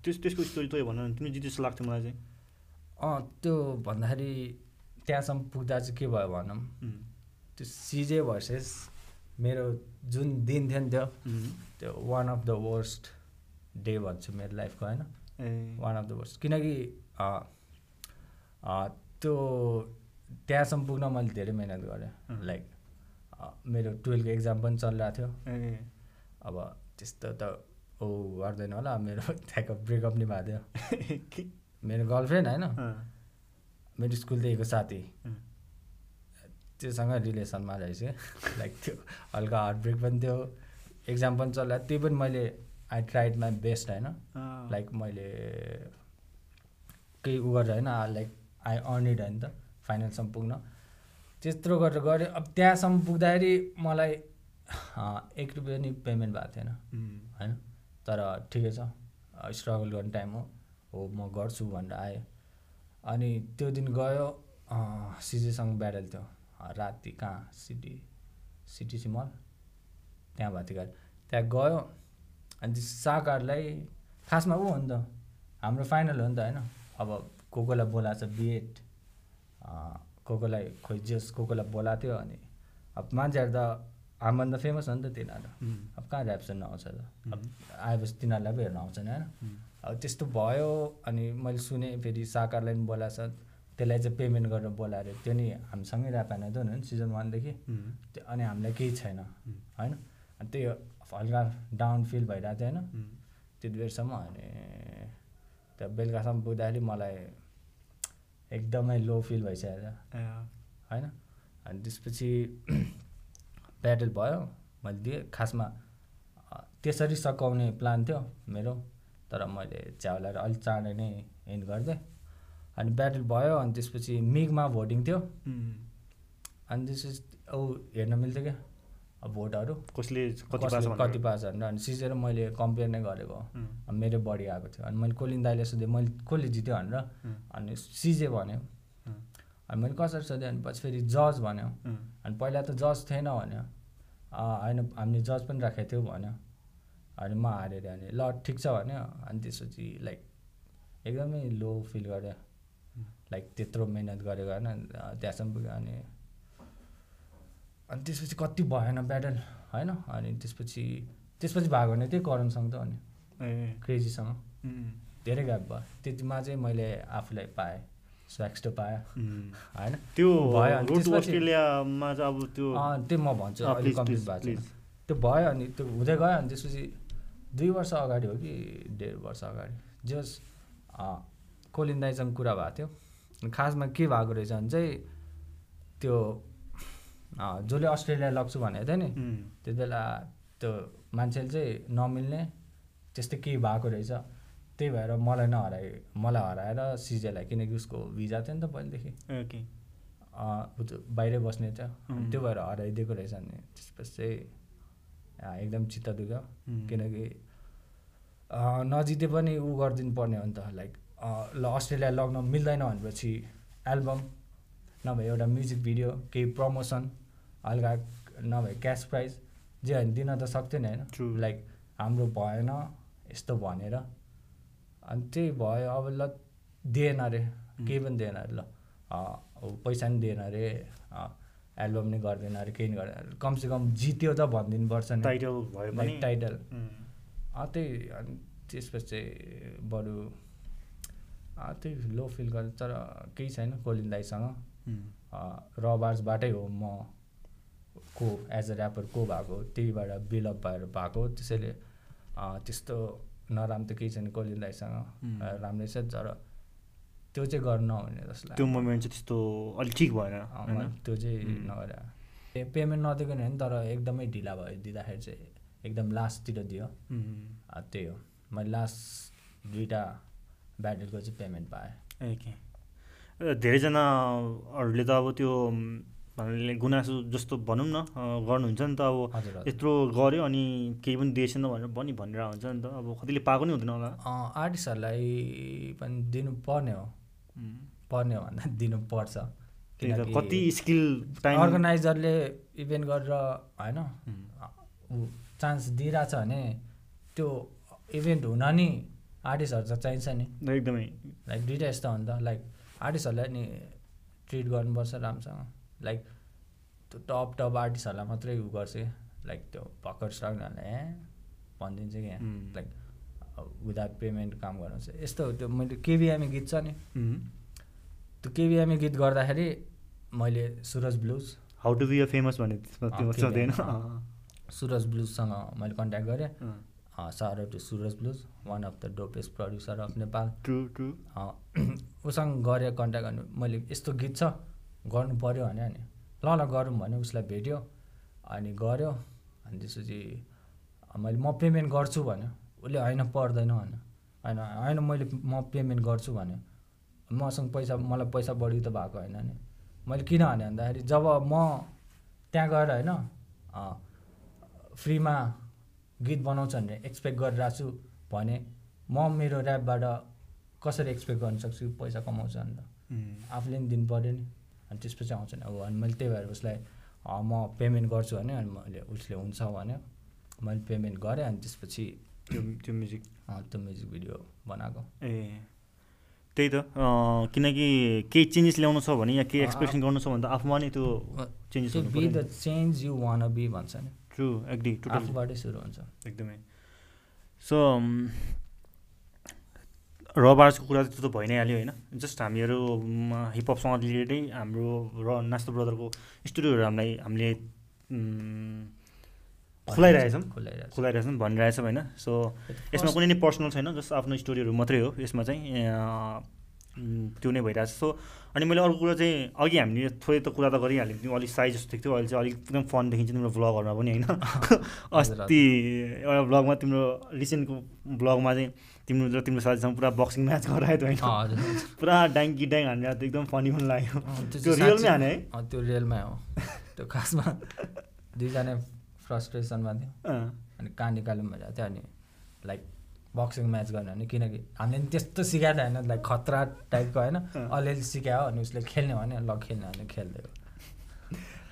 Speaker 3: त्यस त्यसको स्टोरी तँ भन न, तिमी जित्यो जस्तो लाग्थ्यो मलाई चाहिँ
Speaker 1: अँ त्यो भन्दाखेरि त्यहाँसम्म पुग्दा चाहिँ के भयो भनौँ
Speaker 3: उम्,
Speaker 1: त्यो सिजे भर्सेस मेरो जुन दिन थियो नि त्यो
Speaker 3: उम्,
Speaker 1: त्यो one of the worst day भन्छु मेरो लाइफको होइन
Speaker 3: a
Speaker 1: one of the worst किनकि अँ, अँ, त्यो त्यहाँसम्म पुग्न मैले धेरै मिहिनेत गरेँ
Speaker 3: अँ।
Speaker 1: लाइक अँ, मेरो टुवेल्भको एक्जाम पनि चलिरहेको थियो
Speaker 3: ए
Speaker 1: अब त्यस्तो त ऊ गर्दैन होला मेरो त्यहाँको ब्रेकअप नै भएको थियो
Speaker 3: के?
Speaker 1: मेरो गर्लफ्रेन्ड होइन
Speaker 3: अँ,
Speaker 1: मेरो स्कुलदेखिको साथी
Speaker 3: अँ,
Speaker 1: त्योसँग रिलेसनमा रहेछ लाइक त्यो हल्का हार्टब्रेक पनि थियो एक्जाम पनि चल्ला त्यो पनि मैले आई ट्राइड माई बेस्ट होइन
Speaker 3: अँ,
Speaker 1: लाइक मैले केही उ गरेर होइन लाइक आई अर्निड होइन त फाइनलसम्म पुग्न त्यत्रो गरेर गरेँ अब त्यहाँसम्म पुग्दाखेरि मलाई अँ, एक रुपियाँ नि पेमेन्ट भएको थिएन
Speaker 3: उम्,
Speaker 1: होइन तर ठिकै छ स्ट्रगल गर्ने टाइम हो हो म गर्छु भनेर आएँ अनि त्यो दिन गयो अँ, सिजेसँग ब्याडल थियो अँ, राति कहाँ सिटी सिटिसी मल त्यहाँ भातीघाट त्यहाँ गयो अनि त्यो साकारलाई खासमा ऊ हो नि त हाम्रो फाइनल हो नि त होइन अब को कोलाई बोलाएको छ बिएड को कोलाई खोइ जेस को कोलाई बोलाएको थियो अनि अब मान्छेहरू त हामीभन्दा फेमस हो नि त तिनीहरू
Speaker 3: उम्,
Speaker 1: अब कहाँ ऱ्याप सुन्न आउँछ त अब
Speaker 3: उम्,
Speaker 1: आएपछि तिनीहरूलाई पो हेर्न आउँछन् होइन
Speaker 3: उम्,
Speaker 1: अब त्यस्तो भयो अनि मैले सुने फेरि साकारलाई पनि बोलाएको छ त्यसलाई चाहिँ पेमेन्ट गरेर बोलाएर त्यो नि हामीसँगै ऱ्याप हाने त हुनु नि सिजन वानदेखि
Speaker 3: उम्,
Speaker 1: त्यो अनि हामीलाई केही छैन होइन अनि त्यही हल्का डाउन फिल भइरहेको थियो होइन
Speaker 3: उम्,
Speaker 1: त्यति बेरसम्म अनि त्यो बेलुकासम्म पुग्दाखेरि मलाई एकदमै लो फिल भइसकेको थियो
Speaker 3: ए,
Speaker 1: होइन अनि त्यसपछि ब्याटल भयो मैले दिएँ खासमा अ, त्यसरी सकाउने प्लान थियो मेरो तर मैले च्याउलाएर अलिक चाँडै नै एन्ड गरिदिएँ अनि ब्याटल भयो अनि त्यसपछि मिगमा भोटिङ थियो
Speaker 3: उम्,
Speaker 1: अनि त्यसपछि औ हेर्न मिल्थ्यो क्या अब भोटहरू
Speaker 3: कसले कति
Speaker 1: कसले
Speaker 3: पास
Speaker 1: कति पास भनेर अनि सिजेर मैले कम्पेयर नै गरेको हो। अब मेरो बढी आएको थियो अनि मैले कोलिन दाइले सोधेँ मैले कसले जित्यो भनेर अनि सिजे भन्यो अनि मैले कसरी सोधेँ अनि पछि फेरि जज भन्यो अनि पहिला त जज थिएन भन्यो अँ, होइन हामीले जज पनि राखेको थियौँ भन्यो अनि म हारेँ अरे अनि ल ठिक छ भन्यो अनि त्यसपछि लाइक एकदमै लो फिल गरेँ लाइक त्यत्रो मिहिनेत गरेको होइन अँ, त्यहाँसम्म पुग्यो अनि अनि त्यसपछि कति भएन ब्याटल होइन अनि त्यसपछि त्यसपछि भएको भने त्यही करणसँग त अनि
Speaker 3: ए
Speaker 1: क्रेजीसँग
Speaker 3: उम्,
Speaker 1: धेरै ग्याप भयो त्यतिमा चाहिँ मैले आफूलाई पाएँ स्वाक्स्टो पाएँ
Speaker 3: उम्।
Speaker 1: होइन
Speaker 3: त्यो
Speaker 1: भयो अनि
Speaker 3: रोड टु
Speaker 1: त्यसपछि-
Speaker 3: अस्ट्रेलियामा चाहिँ अब त्यो
Speaker 1: अँ, त्यो म भन्छु
Speaker 3: अँ,
Speaker 1: अलिक
Speaker 3: please,
Speaker 1: कम्प्लिट
Speaker 3: please,
Speaker 1: भएको छैन
Speaker 3: please.
Speaker 1: त्यो भयो अनि त्यो हुँदै गयो अनि त्यसपछि दुई वर्ष अगाडि हो कि डेढ वर्ष अगाडि जे होस् अँ, कोलिन दाइसँग कुरा भएको थियो अनि खासमा के भएको रहेछ भने चाहिँ त्यो अँ, जसले अस्ट्रेलिया लग्छु भनेको थियो नि
Speaker 3: उम्,
Speaker 1: त्यति बेला त्यो मान्छेले चाहिँ नमिल्ने त्यस्तै केही भएको रहेछ त्यही भएर मलाई नहराइ मलाई हराएर सिजेलाई किनकि उसको भिजा थियो नि त पहिलेदेखि
Speaker 3: ओके
Speaker 1: अँ, ऊ त बाहिरै बस्ने थियो अनि
Speaker 3: अँ।
Speaker 1: त्यो भएर हराइदिएको रहेछ नि त्यसपछि चाहिँ अँ, एकदम चित्त दुख्यो
Speaker 3: उम्,
Speaker 1: किनकि अँ, नजिते पनि ऊ गरिदिनु पर्ने हो नि त लाइक अँ, ल अस्ट्रेलिया लग्न मिल्दैन भनेपछि एल्बम नभए एउटा म्युजिक भिडियो केही प्रमोसन हल्का नभए क्यास प्राइज जे होइन दिन त सक्थ्यो नि
Speaker 3: True.
Speaker 1: होइन लाइक हाम्रो भएन यस्तो भनेर अनि त्यही भयो अब ल दिएन अरे केही पनि दिएन अरे ल अँ, अब पैसा पनि दिएन अरे अँ, एल्बम नै गर्दैन अरे केही नि गर्दैन अरे कमसेकम जित्यो त भनिदिनुपर्छ नि
Speaker 2: टाइटल भए पनि
Speaker 1: लाइक टाइटल
Speaker 2: उम्,
Speaker 1: अँ, त्यही अनि त्यसपछि बरु अँ, त्यही लो फिल गर्छ तर केही छैन कोलिन दाईसँग
Speaker 2: उम्,
Speaker 1: रबार्सबाटै हो म को एज अ ऱ्यापर को भएको हो, त्यहीबाट बिल्डअप भएर भएको हो। त्यसैले अ, त्यस्तो नराम्रो त केही छैन कोलिन
Speaker 2: हुँ।
Speaker 1: दाईसँग अ, राम्रै छ तर त्यो चाहिँ गर्नु नहुने जसलाई
Speaker 2: त्यो मोमेन्ट चाहिँ त्यस्तो अलिक ठिक भएन होइन
Speaker 1: त्यो चाहिँ
Speaker 2: हुँ।
Speaker 1: नगरे ए पेमेन्ट नदिएको नि होइन तर एकदमै ढिला भयो दिँदाखेरि चाहिँ एकदम लास्टतिर दियो
Speaker 2: उम्,
Speaker 1: अ, त्यही हो मैले लास्ट दुइटा ब्याटलको चाहिँ पेमेन्ट पाएँ
Speaker 2: ओके अ, धेरैजनाहरूले त अब त्यो उम्, भन्नाले गुनासो जस्तो भनौँ न अ, गर्नुहुन्छ नि त अब
Speaker 1: हजुर हजुर
Speaker 2: यत्रो गऱ्यो अनि केही पनि दिएछ नि भनेर पनि भनेर हुन्छ नि त अब कतिले पाएको नि हुँदैन होला
Speaker 1: अ, आर्टिस्टहरूलाई पनि दिनुपर्ने हो
Speaker 2: उम्,
Speaker 1: पर्ने हो भन्दा दिनुपर्छ
Speaker 2: त्यही त
Speaker 1: किनकि
Speaker 2: कति स्किल टाइम
Speaker 1: अर्गनाइजरले इभेन्ट गरेर होइन
Speaker 2: उम्,
Speaker 1: ऊ चान्स दिइरहेछ भने त्यो इभेन्ट हुन नि आर्टिस्टहरू त चाहिन्छ नि
Speaker 2: ल एकदमै
Speaker 1: लाइक दुइटा यस्तो हो नि त लाइक आर्टिस्टहरूलाई नि ट्रिट गर्नुपर्छ राम्रोसँग लाइक त्यो टप टप आर्टिस्टहरूलाई मात्रै उ गर्छ कि। लाइक त्यो भर्खर स्टार्ट गर्नेहरूलाई ए भनिदिन्छ कि यहाँ।
Speaker 2: उम्।
Speaker 1: लाइक विदाउट पेमेन्ट काम गर्नुहुन्छ यस्तो हो त्यो मैले केबिएमए गीत छ नि त्यो केबिएमए गीत गर्दाखेरि मैले Suraj blues
Speaker 2: how to be a famous भन्ने त्यसमा
Speaker 1: अँ,
Speaker 2: त्यो
Speaker 1: के
Speaker 2: सोध्दैन
Speaker 1: अरे, अँ। सुरज ब्लुजसँग मैले कन्ट्याक्ट गरेँ sir to Suraj blues one of the dopest producer of Nepal
Speaker 2: true true
Speaker 1: अँ, उसँग गरेँ कन्ट्याक्ट गर्नु मैले यस्तो गीत छ गर्नु पऱ्यो भने अनि ल ल गरौँ भने उसलाई भेट्यो अनि गऱ्यो अनि त्यसपछि मैले म पेमेन्ट गर्छु भन्यो उसले होइन पर्दैन भन्यो होइन होइन मैले म पेमेन्ट गर्छु भन्यो मसँग पैसा मलाई पैसा बढी त भएको होइन नि मैले किन भने भन्दाखेरि जब म त्यहाँ गएर होइन अँ, फ्रीमा गीत बनाउँछ भने एक्सपेक्ट गरिरहेको छु भने म मेरो ऱ्यापबाट कसरी एक्सपेक्ट गर्न सक्छु पैसा कमाउँछ अन्त आफूले पनि दिनु पऱ्यो नि अनि त्यसपछि आउँछ नि अब अनि मैले त्यही भएर उसलाई अँ, म पेमेन्ट गर्छु भने अनि मैले उसले हुन्छ भन्यो मैले पेमेन्ट गरेँ अनि त्यसपछि
Speaker 2: त्यो त्यो म्युजिक
Speaker 1: अँ, त्यो म्युजिक भिडियो बनाएको
Speaker 2: ए त्यही त अँ, किनकि केही चेन्जेस ल्याउनु छ भने या केही
Speaker 1: अँ,
Speaker 2: एक्सप्रेसन गर्नु छ भने त आफूमा नि त्यो चेन्जेस हुनु
Speaker 1: be the change you want be भन्छ नि
Speaker 2: ट्रु एग्री टोटल
Speaker 1: आफूबाटै सुरु हुन्छ
Speaker 2: एकदमै सो रबार्सको कुरा त त्यो त भइ नै हाल्यो होइन जस्ट हामीहरू म, हिपहपसँग रिलेटेडै हाम्रो र नास्तो ब्रदरको स्टुडियोहरू हामीलाई हामीले उम्, खुलाइरहेछौँ
Speaker 1: खुलाइरहेछ
Speaker 2: खुलाइरहेछौँ भनिरहेछौँ होइन सो यसमा कुनै नै पर्सनल छैन जस्ट आफ्नो स्टोरीहरू मात्रै हो यसमा चाहिँ अँ, उम्, त्यो नै भइरहेछ सो अनि मैले अर्को कुरा चाहिँ अघि हामीले थोरै त कुरा त गरिहाल्यौँ त्यो अलिक साइज जस्तो थियो अहिले चाहिँ अलिक एकदम फन देखिन्छ तिम्रो भ्लगहरूमा पनि होइन अस्ति एउटा भ्लगमा तिम्रो रिसेन्टको भ्लगमा चाहिँ तिम्रो र तिम्रो साथीसँग पुरा बक्सिङ म्याच गरायो त होइन
Speaker 1: अँ, हजुर
Speaker 2: पुरा डाङ कि डाङ हानेर त एकदम फनी पनि लाग्यो
Speaker 1: अँ, त्यो
Speaker 2: त्यो
Speaker 1: चाहिँ साँच्चै-
Speaker 2: रियलमै हाने है
Speaker 1: अँ, त्यो रियलमै हो त्यो खासमा दुईजना फ्रस्ट्रेसनमा थियो
Speaker 2: अँ,
Speaker 1: अनि कहाँ निकाल्यौँ भनेर थियो अनि लाइक बक्सिङ म्याच गर्ने भने किनकि हामीले नि त्यस्तो सिकाएको त होइन लाइक खतरा टाइपको होइन
Speaker 2: अँ।
Speaker 1: अलिअलि सिकायो अनि उसले खेल्ने भने ल खेल्ने भने खेल्दै हो।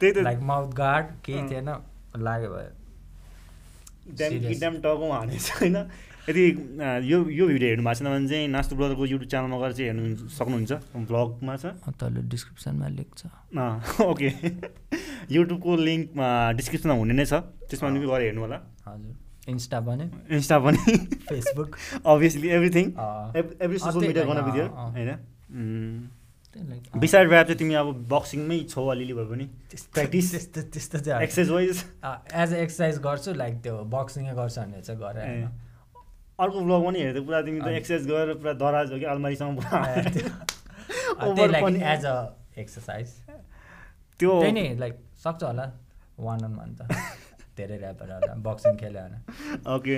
Speaker 2: त्यही त
Speaker 1: लाइक माउथ गार्ड केही
Speaker 2: अँ।
Speaker 1: थिएन लाग्यो भयो
Speaker 2: ड्याम कि
Speaker 1: Serious.
Speaker 2: ड्याम टाउको हानेछ होइन यदि अ, uh, यो यो भिडियो हेर्नु भएको छैन भने चाहिँ नास्तो ब्रदरको युट्युब च्यानलमा गएर चाहिँ हेर्नु सक्नुहुन्छ भ्लगमा छ
Speaker 1: तल डिस्क्रिप्सनमा लेख्छ
Speaker 2: अँ, ओके युट्युबको लिङ्क डिस्क्रिप्सनमा हुने नै छ त्यसमा पनि गएर हेर्नु होला
Speaker 1: हजुर इन्स्टा पनि
Speaker 2: इन्स्टा पनि
Speaker 1: फेसबुक
Speaker 2: अभियसली एभ्रिथिङ
Speaker 1: अँ।
Speaker 2: एभ्री सोसियल
Speaker 1: त्यही
Speaker 2: मिडिया
Speaker 1: होइन,
Speaker 2: गर्न विदियो
Speaker 1: अँ, अँ।
Speaker 2: होइन
Speaker 1: त्यही लाइक, अँ,
Speaker 2: बिसाइड ऱ्याप चाहिँ तिमी अब बक्सिङमै छौ अलिअलि भए पनि
Speaker 1: त्यस्तो-
Speaker 2: practice,
Speaker 1: त्यस्तो त्यस्तो चाहिँ होइन।
Speaker 2: Exercise wise
Speaker 1: as uh exercise गर्छु लाइक त्यो बक्सिङै गर्छु भनेर चाहिँ गरेँ
Speaker 2: ए,
Speaker 1: होइन।
Speaker 2: अर्को भ्लगमा नि हेर्दा पुरा तिमी त
Speaker 1: अँ।
Speaker 2: एक्सर्साइज गरेर पुरा दराज हो कि आलमारीसँग पुरा
Speaker 1: अँ, त्यो- अँ,
Speaker 2: over
Speaker 1: त्यही लाइक
Speaker 2: पनि-
Speaker 1: एज अ एक्सर्साइज
Speaker 2: त्यो
Speaker 1: त्यही नै लाइक सक्छ होला वान अन वान त धेरै ऱ्यापर होला बक्सिङ खेल्यो भने
Speaker 2: ओके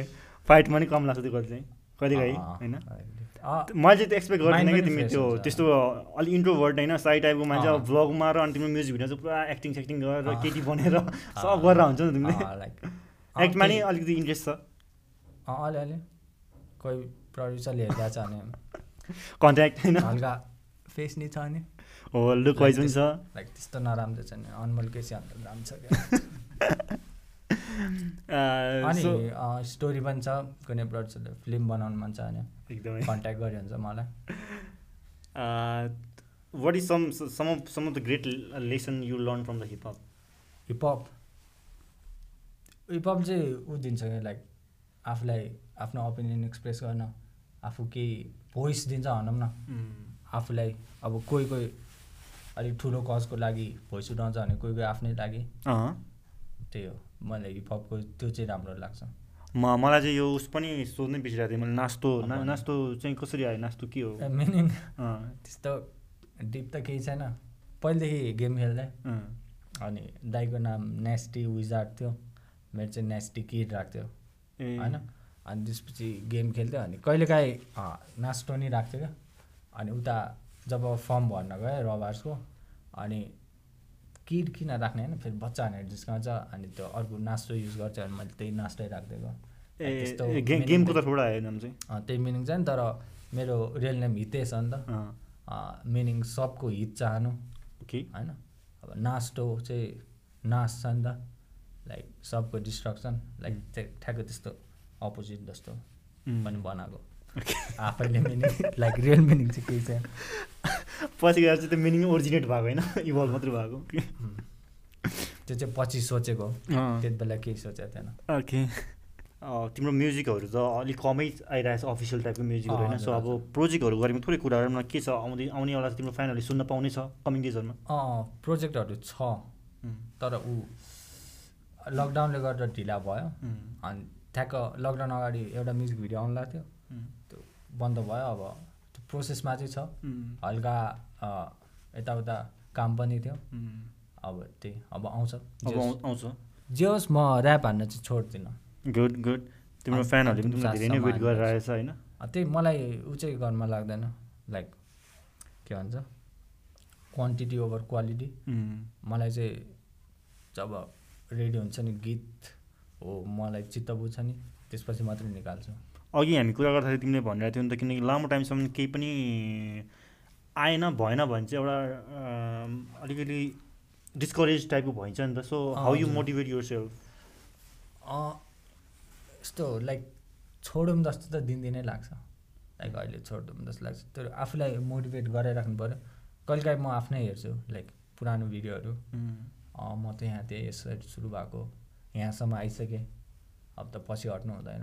Speaker 2: फाइटमा नि कम लाग्छ त्यो कहिले कहिलेकाहीँ
Speaker 1: अँ,
Speaker 2: होइन
Speaker 1: अँ,
Speaker 2: मैले चाहिँ त्यो एक्सपेक्ट गर्दिनँ
Speaker 1: Mind
Speaker 2: कि
Speaker 1: पनि
Speaker 2: तिमी
Speaker 1: fresh
Speaker 2: त्यो
Speaker 1: हुन्छ।
Speaker 2: त्यस्तो अलिक इन्ट्रोभर्ट होइन साई टाइपको मान्छे
Speaker 1: अँ।
Speaker 2: अब भ्लगमा र अनि तिम्रो म्युजिक भिडियो चाहिँ पुरा एक्टिङ सेक्टिङ गरेर
Speaker 1: अँ।
Speaker 2: केटी बनेर
Speaker 1: अँ,
Speaker 2: सब गरेर हुन्छ नि तिमीले
Speaker 1: अँ, लाइक अँ,
Speaker 2: एक्टमा नि
Speaker 1: त्यही-
Speaker 2: अलिकति इन्ट्रेस्ट छ
Speaker 1: अँ, अलिअलि कोही प्रड्युसरले हेर्दा छ भने
Speaker 2: कन्ट्याक्ट होइन
Speaker 1: हल्का फेस नि छ नि
Speaker 2: हो लुक वाइज पनि छ
Speaker 1: लाइक त्यस्तो नराम्रो छ नि अनमोल केसी अन्त राम्रो छ क्या।
Speaker 2: अँ,
Speaker 1: अनि
Speaker 2: so-
Speaker 1: अँ, स्टोरी पनि छ कुनै प्रड्युसरले फिल्म बनाउनु मन छ भने
Speaker 2: एकदमै
Speaker 1: कन्ट्याक्ट गर्यो हुन्छ मलाई
Speaker 4: what is some some of some of the great lesson you learn from the hip hop
Speaker 1: hip hop hip hop चाहिँ ऊ दिन्छ क्या लाइक आफूलाई आफ्नो ओपिनियन एक्सप्रेस गर्न आफू केही भोइस दिन्छ भनौँ न आफूलाई अब कोही कोही अलिक ठुलो कजको लागि भोइस उठाउँछ भने कोही कोही आफ्नै लागि त्यही हो मलाई हिपहपको त्यो चाहिँ राम्रो लाग्छ
Speaker 2: म मलाई चाहिँ यो उस पनि सोध्नै बिर्सिरहेको थिएँ मैले नास्तो ना नास्तो चाहिँ कसरी आयो नास्तो के हो
Speaker 1: मिनिङ
Speaker 2: अँ,
Speaker 1: त्यस्तो डिप त केही छैन पहिलेदेखि गेम खेल्दै
Speaker 2: अँ,
Speaker 1: अनि दाईको नाम नेस्टी विजार्ड थियो मेरो चाहिँ नेस्टी किड राख्थ्यो
Speaker 2: ए,
Speaker 1: होइन अनि त्यसपछि गेम खेल्थ्यो अनि कहिलेकाहीँ अँ, नास्टो नि राख्थ्यो क्या अनि उता जब फर्म भर्न गएँ रबार्सको अनि किड किन राख्ने होइन फेरि बच्चा भनेर जिस्काउँछ अनि त्यो अर्को नास्टो युज गर्छ अनि मैले त्यही नास्टै राखिदिएको
Speaker 2: ए,
Speaker 1: त्यस्तो
Speaker 2: ए, गे-
Speaker 1: meaning
Speaker 2: गेमको
Speaker 1: चाहिँ-
Speaker 2: तर्फबाट आयो नाम चाहिँ
Speaker 1: अँ, त्यही मिनिङ चाहिँ तर मेरो रियल नेम हितेश हो नि त
Speaker 2: अँ,
Speaker 1: मिनिङ सबको हित चाहनु
Speaker 2: ओके
Speaker 1: होइन अब नास्टो चाहिँ नास छ नि त लाइक सबको डिस्ट्रक्सन लाइक ठ्या- ठ्याक्कै त्यस्तो अपोजिट जस्तो
Speaker 2: उम्.
Speaker 1: पनि बनाएको आफैले मिनिङ लाइक रियल मिनिङ चाहिँ केही छैन
Speaker 2: पछि गएर चाहिँ त्यो मिनिङ ओरिजिनेट भएको होइन इभल्भ मात्रै भएको
Speaker 1: त्यो चाहिँ पछि सोचेको हो।
Speaker 2: अँ,
Speaker 1: त्यति बेला केही सोचेको थिएन
Speaker 2: ओके अँ, तिम्रो म्युजिकहरू त अलिक कमै आइरहेको छ अफिसियल टाइपको म्युजिकहरू
Speaker 1: अँ,
Speaker 2: होइन सो
Speaker 1: हजुर,
Speaker 2: अब प्रोजेक्टहरू गरेको थोरै कुराहरूमा के छ आउँदै आउनेवाला तिम्रो फ्यानहरूले सुन्न पाउने छ कमिङ डेजहरूमा
Speaker 1: अँ प्रोजेक्टहरू छ तर ऊ लकडाउनले गर्दा ढिला भयो अनि ठ्याक्क लकडाउन अगाडि एउटा म्युजिक भिडियो आउनु लाग्थ्यो त्यो बन्द भयो अब त्यो प्रोसेसमा चाहिँ छ हल्का अ, यताउता काम पनि थियो अब त्यही अब आउँछ जे
Speaker 2: अब
Speaker 1: होस्-
Speaker 2: आउँ- आउँछ
Speaker 1: जे होस् म ऱ्याप हान्न चाहिँ छोड्दिनँ
Speaker 2: गुड गुड तिम्रो
Speaker 1: अन्त-
Speaker 2: फ्यानहरूले पनि
Speaker 1: अन्तिम
Speaker 2: तिमीलाई धेरै नै वेट
Speaker 1: साससम्म
Speaker 2: गरिरहेछ होइन
Speaker 1: अ, त्यही मलाई ऊ चाहिँ गर्न मन लाग्दैन लाइक के भन्छ क्वान्टिटी ओभर क्वालिटी मलाई चाहिँ जब रेडी हुन्छ नि गीत हो मलाई चित्त बुझ्छ नि त्यसपछि मात्रै निकाल्छु
Speaker 2: अघि हामी कुरा गर्दाखेरि तिमीले भनिरहेको थियौ नि त किनकि लामो टाइमसम्म केही पनि आएन भएन भने चाहिँ एउटा अम, अलिकति डिस्करेज टाइपको भइन्छ नि त सो
Speaker 1: अँ,
Speaker 2: हाउ यु
Speaker 1: हजुर।
Speaker 2: मोटिभेट युर सेल्फ
Speaker 1: अँ, यस्तो लाइक छोडौँ जस्तो त दिनदिनै लाग्छ लाइक अहिले छोडौँ जस्तो लाग्छ तर आफूलाई मोटिभेट गराइराख्नु पऱ्यो कहिलेकाहीँ म आफ्नै हेर्छु लाइक पुरानो भिडियोहरू अँ, म त यहाँ थिएँ यसरी सुरु भएको यहाँसम्म आइसकेँ अब त पछि हट्नु हुँदैन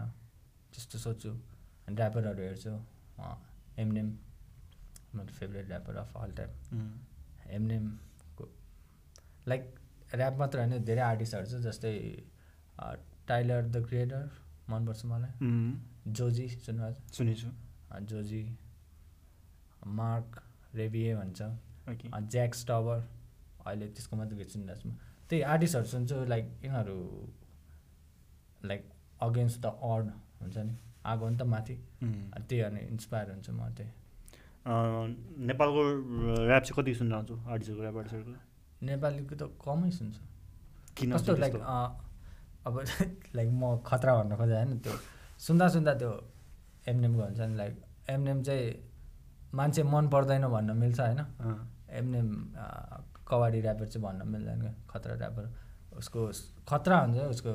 Speaker 1: त्यस्तो सोध्छु ऱ्यापरहरू हेर्छु अँ, एमनेम मेरो favourite rapper of all time एमनेमको लाइक ऱ्याप मात्र होइन धेरै आर्टिस्टहरू छ जस्तै अ, टाइलर द क्रिएटर मनपर्छ मलाई जोजी सुन्नुभएको छ?
Speaker 2: सुनेछु
Speaker 1: अ, जोजी मार्क रेबिए भन्छ
Speaker 2: ओके
Speaker 1: अ, ज्याक स्टबर अहिले त्यसको मात्रै गीत सुनिरहेको छु म त्यही आर्टिस्टहरू सुन्छु लाइक यिनीहरू लाइक अगेन्स्ट द अड हुन्छ नि आएको हो नि त माथि अनि त्यही अनि इन्सपायर हुन्छु म त्यही
Speaker 2: नेपालको ऱ्याप चाहिँ कति सुन्न आउँछु आर्टिस्टहरूको ऱ्याप आर्टिस्टहरूको
Speaker 1: नेपालीको त कमै सुन्छु
Speaker 2: किन
Speaker 1: कस्तो
Speaker 2: चाहिँ
Speaker 1: लाइक
Speaker 2: त्यस्तो?
Speaker 1: अँ, अब लाइक म खतरा भन्न खोजेँ होइन त्यो सुन्दा सुन्दा त्यो एमनेमको हुन्छ नि लाइक एमनेम चाहिँ मान्छे मन पर्दैन भन्न मिल्छ होइन
Speaker 2: अँ,
Speaker 1: एमनेम अँ, कवाडी ऱ्यापर चाहिँ भन्न मिल्दैन क्या खतरा ऱ्यापर उसको स- खतरा हुन्छ उसको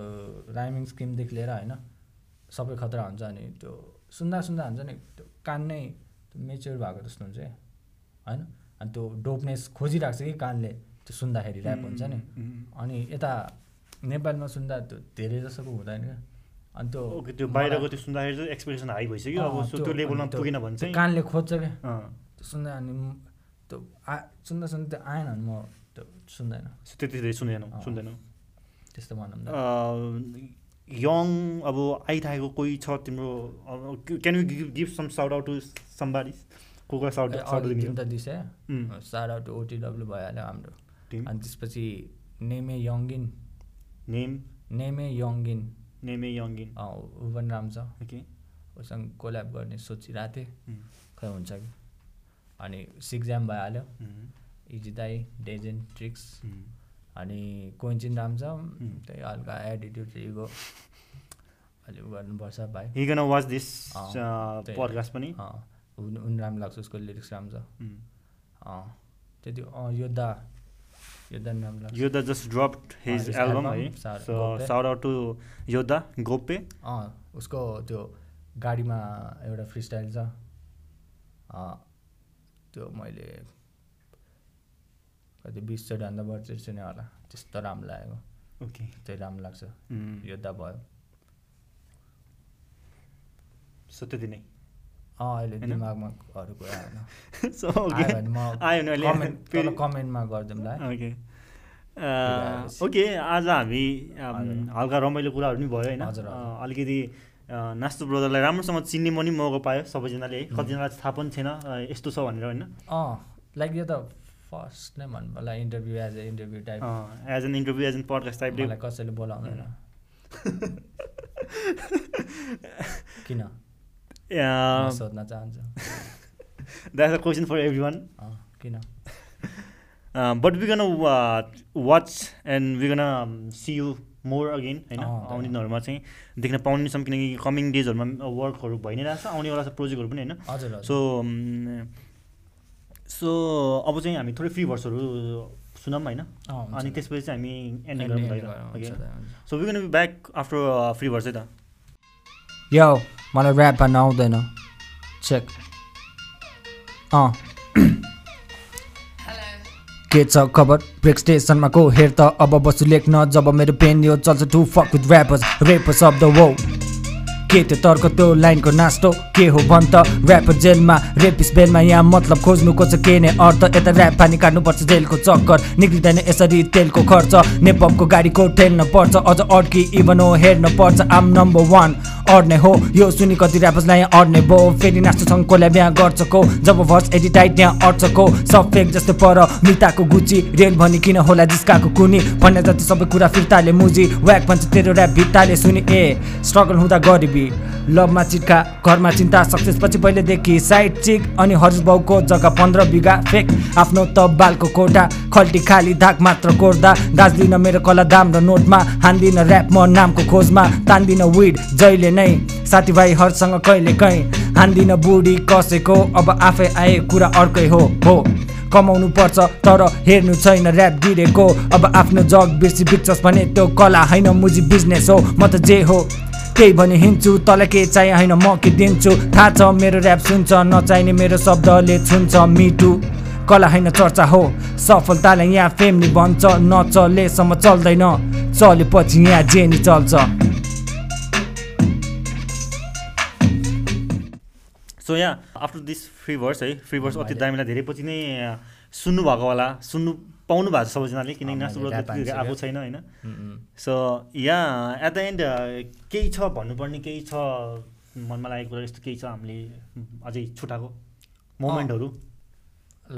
Speaker 1: राइमिङ स्किमदेखि लिएर होइन सबै खतरा हुन्छ अनि त्यो सुन्दा सुन्दा हुन्छ नि त्यो कान नै त्यो मेच्योर भएको जस्तो हुन्छ क्या होइन अनि त्यो डोपनेस खोजिरहेको छ कि कानले त्यो सुन्दाखेरि ऱ्याप हुन्छ नि
Speaker 2: उम्,
Speaker 1: अनि यता नेपालमा सुन्दा त्यो धेरै जसोको हुँदैन क्या अनि त्यो
Speaker 2: ओके त्यो
Speaker 1: मलाई-
Speaker 2: बाहिरको त्यो सुन्दाखेरि चाहिँ एक्सपेक्टेसन हाई भइसक्यो अब
Speaker 1: अँ,
Speaker 2: सो त्यो लेभलमा
Speaker 1: अनि त्यो-
Speaker 2: पुगेन भने
Speaker 1: त्यो
Speaker 2: चाहिँ
Speaker 1: कानले खोज्छ क्या
Speaker 2: अँ,
Speaker 1: त्यो सुन्दा अनि म- त्यो आ सुन्दा सुन्दा त्यो आएन भने म त्यो सुन्दैन
Speaker 2: सो त्यति धेरै सुन्दैनौँ
Speaker 1: अँ।
Speaker 2: सुन्दैनौँ
Speaker 1: त्यस्तो भनौँ न
Speaker 2: यङ अब आइरहेको कोही छ तिम्रो can you give some shout out to somebody को को साउट
Speaker 1: ए,
Speaker 2: साउट
Speaker 1: अरू टिम त दिस
Speaker 2: उम्.
Speaker 1: सारा टु ओटिडब्ल्यु भइहाल्यो हाम्रो
Speaker 2: टिम
Speaker 1: अनि त्यसपछि नेमे यङ्गिन
Speaker 2: नेम
Speaker 1: नेमे यङ्गिन
Speaker 2: नेम ए यङ्गिन
Speaker 1: अँ, ऊ पनि राम्रो छ
Speaker 2: ओके
Speaker 1: उसँग कोल्याब गर्ने सोचिरहेको थिएँ खै हुन्छ कि अनि सिक्जाम भइहाल्यो इजी दाई डेजेन ट्रिक्स अनि कोइन्चिन राम्सम
Speaker 2: हुँ.
Speaker 1: त्यही हल्का एटिट्युड इगो अलिक उ गर्नुपर्छ भाइ
Speaker 2: हि गन वाच दिस
Speaker 1: अँ, त्यही।
Speaker 2: पडकास्ट uh, पनि Mm.
Speaker 1: अँ, उन उन राम्रो लाग्छ उसको लिरिक्स राम्रो छ
Speaker 2: उम्.
Speaker 1: अँ, त्यति अँ, योद्धा योद्धा नि राम्रो लाग्छ
Speaker 2: Yoddha just dropped his
Speaker 1: his
Speaker 2: album
Speaker 1: album,
Speaker 2: है
Speaker 1: Sar-
Speaker 2: सो
Speaker 1: Gope.
Speaker 2: Shout out to Yoddha Gope
Speaker 1: अँ उसको त्यो गाडीमा एउटा फ्री स्टाइल छ अँ, त्यो मैले कति बिस सेटभन्दा बढी सुने होला त्यस्तो राम्रो लागेको
Speaker 2: ओके
Speaker 1: त्यही राम्रो लाग्छ
Speaker 2: उम्,
Speaker 1: योद्धा भयो
Speaker 2: सो त्यति नै
Speaker 1: अँ अहिले
Speaker 2: होइन?
Speaker 1: दिमागमा अरू कुरा आएन
Speaker 2: सो
Speaker 1: आयो
Speaker 2: ओके
Speaker 1: भने म
Speaker 2: आयो भने अहिले
Speaker 1: कमेन्ट तल
Speaker 2: फेरि-
Speaker 1: कमेन्टमा गरिदिउँ ल है
Speaker 2: ओके अ,
Speaker 1: आएपछि।
Speaker 2: ओके आज हामी अम,
Speaker 1: हजुर।
Speaker 2: हल्का रमाइलो कुराहरू पनि भयो होइन
Speaker 1: हजुर, हजुर।
Speaker 2: अ, अलिकति अ, नास्तो ब्रदरलाई राम्रोसँग चिन्ने पनि मौका पायो सबैजनाले है कतिजनालाई थाहा पनि थिएन अ, यस्तो छ भनेर होइन
Speaker 1: अँ लाइक यो त फर्स्ट नै भन्नु होला interview as a interview type
Speaker 2: as an interview as an podcast टाइपले
Speaker 1: मलाई कसैले बोलाउँदैन किन म
Speaker 2: द्याट
Speaker 1: सोध्न चाहन्छु
Speaker 2: a question for everyone
Speaker 1: अँ, किन
Speaker 2: but we gonna watch and we gonna see you more again होइन
Speaker 1: अँ,
Speaker 2: आउने दिनहरूमा चाहिँ देख्न पाउने छौँ किनकि कमिङ डेजहरूमा वर्कहरू भइ नै रहेछ आउनेवाला छ प्रोजेक्टहरू पनि होइन
Speaker 1: हजुर हजुर
Speaker 2: सो म, सो um, अब चाहिँ हामी थोरै फ्री वर्ड्सहरू सुनौँ होइन
Speaker 1: अँ, हुन्छ।
Speaker 2: अनि त्यसपछि चाहिँ हामी एन्ड
Speaker 1: Ending
Speaker 2: गरौँ
Speaker 1: गरौँ, हुन्छ,
Speaker 2: होइन
Speaker 1: हुन्छ।
Speaker 2: So we gonna be back after free words uh, है त
Speaker 1: यो मलाई ऱ्याप भन्न आउँदैन चेक अँ के छ खबर ब्रेक स्टेसनमा को हेर त अब बस्छु लेख्न जब मेरो पेन यो चल्छ to fuck with rappers rapper शब्द वो के त्यो तर्क त्यो लाइनको नास्टो के हो भन त ऱ्यापर जेलमा रेपिस बेलमा यहाँ मतलब खोज्नुको छ के नै अर्थ यता ऱ्याप पानी काट्नुपर्छ जेलको चक्कर निक्लिँदैन यसरी तेलको खर्च नेपालको गाडीको ठेल्न पर्छ अझ अड्की इभन हो हेर्न पर्छ आम नम्बर वान अड्ने हो यो सुनि कति ऱ्यापर्सलाई यहाँ अड्ने भयो फेरि नास्टोसँग कसलाई बिहा गर्छ को जब भर्स एडिट टाइट त्यहाँ अट्छको सब फेक जस्तो पर मिताको गुची रेल भनी किन होला जिस्काको कुनी भन्ने जति सबै कुरा फिर्ताले मुजी व्याक भन्छ तेरो ऱ्याप भित्ताले सुनि ए स्ट्रगल हुँदा गरिबी लभमा चिट्का घरमा चिन्ता सक्सेसपछि पहिलेदेखि साइड चिक अनि हरिश बाउको जग्गा पन्ध्र बिघा फेक आफ्नो त बालको कोटा खल्टी खाली धाक मात्र कोर्दा दाज्दिन मेरो कला दाम र नोटमा हान्दिन ऱ्याप म नामको खोजमा तान्दिन विड जहिले नै साथीभाइहरूसँग कहिले कहीँ हान्दिन बुढी कसैको अब आफै आए कुरा अर्कै हो हो कमाउनु पर्छ तर हेर्नु छैन ऱ्याप गिरेको अब आफ्नो जग बिर्सी बिक्छस् भने त्यो कला होइन मुजी बिजनेस हो म त जे हो त्यही भने हिँड्छु तँलाई के चाहियो होइन म के दिन्छु थाहा छ मेरो ऱ्याप सुन्छ नचाहिने मेरो शब्दले छुन्छ मिटु कला होइन चर्चा हो सफलतालाई यहाँ फेमली भन्छ नचलेसम्म चल्दैन चलेपछि यहाँ जे नि चल्छ
Speaker 2: सो यहाँ आफ्टर दिस फ्री वर्स है फ्री
Speaker 1: Mm,
Speaker 2: वर्स अति दामीलाई धेरै पछि नै सुन्नुभएको होला सुन्नु पाउनु भएको छ सबैजनाले किनकि
Speaker 1: अँ,
Speaker 2: नाच्नु
Speaker 1: मैले
Speaker 2: बेला
Speaker 1: थाहा
Speaker 2: त्यति धेरै आएको
Speaker 1: पाइसक्यो।
Speaker 2: छैन होइन सो यहाँ एट द एन्ड uh, केही छ भन्नुपर्ने केही छ मनमा लागेको कुरा यस्तो केही छ हामीले अझै छुट्याएको मोमेन्टहरू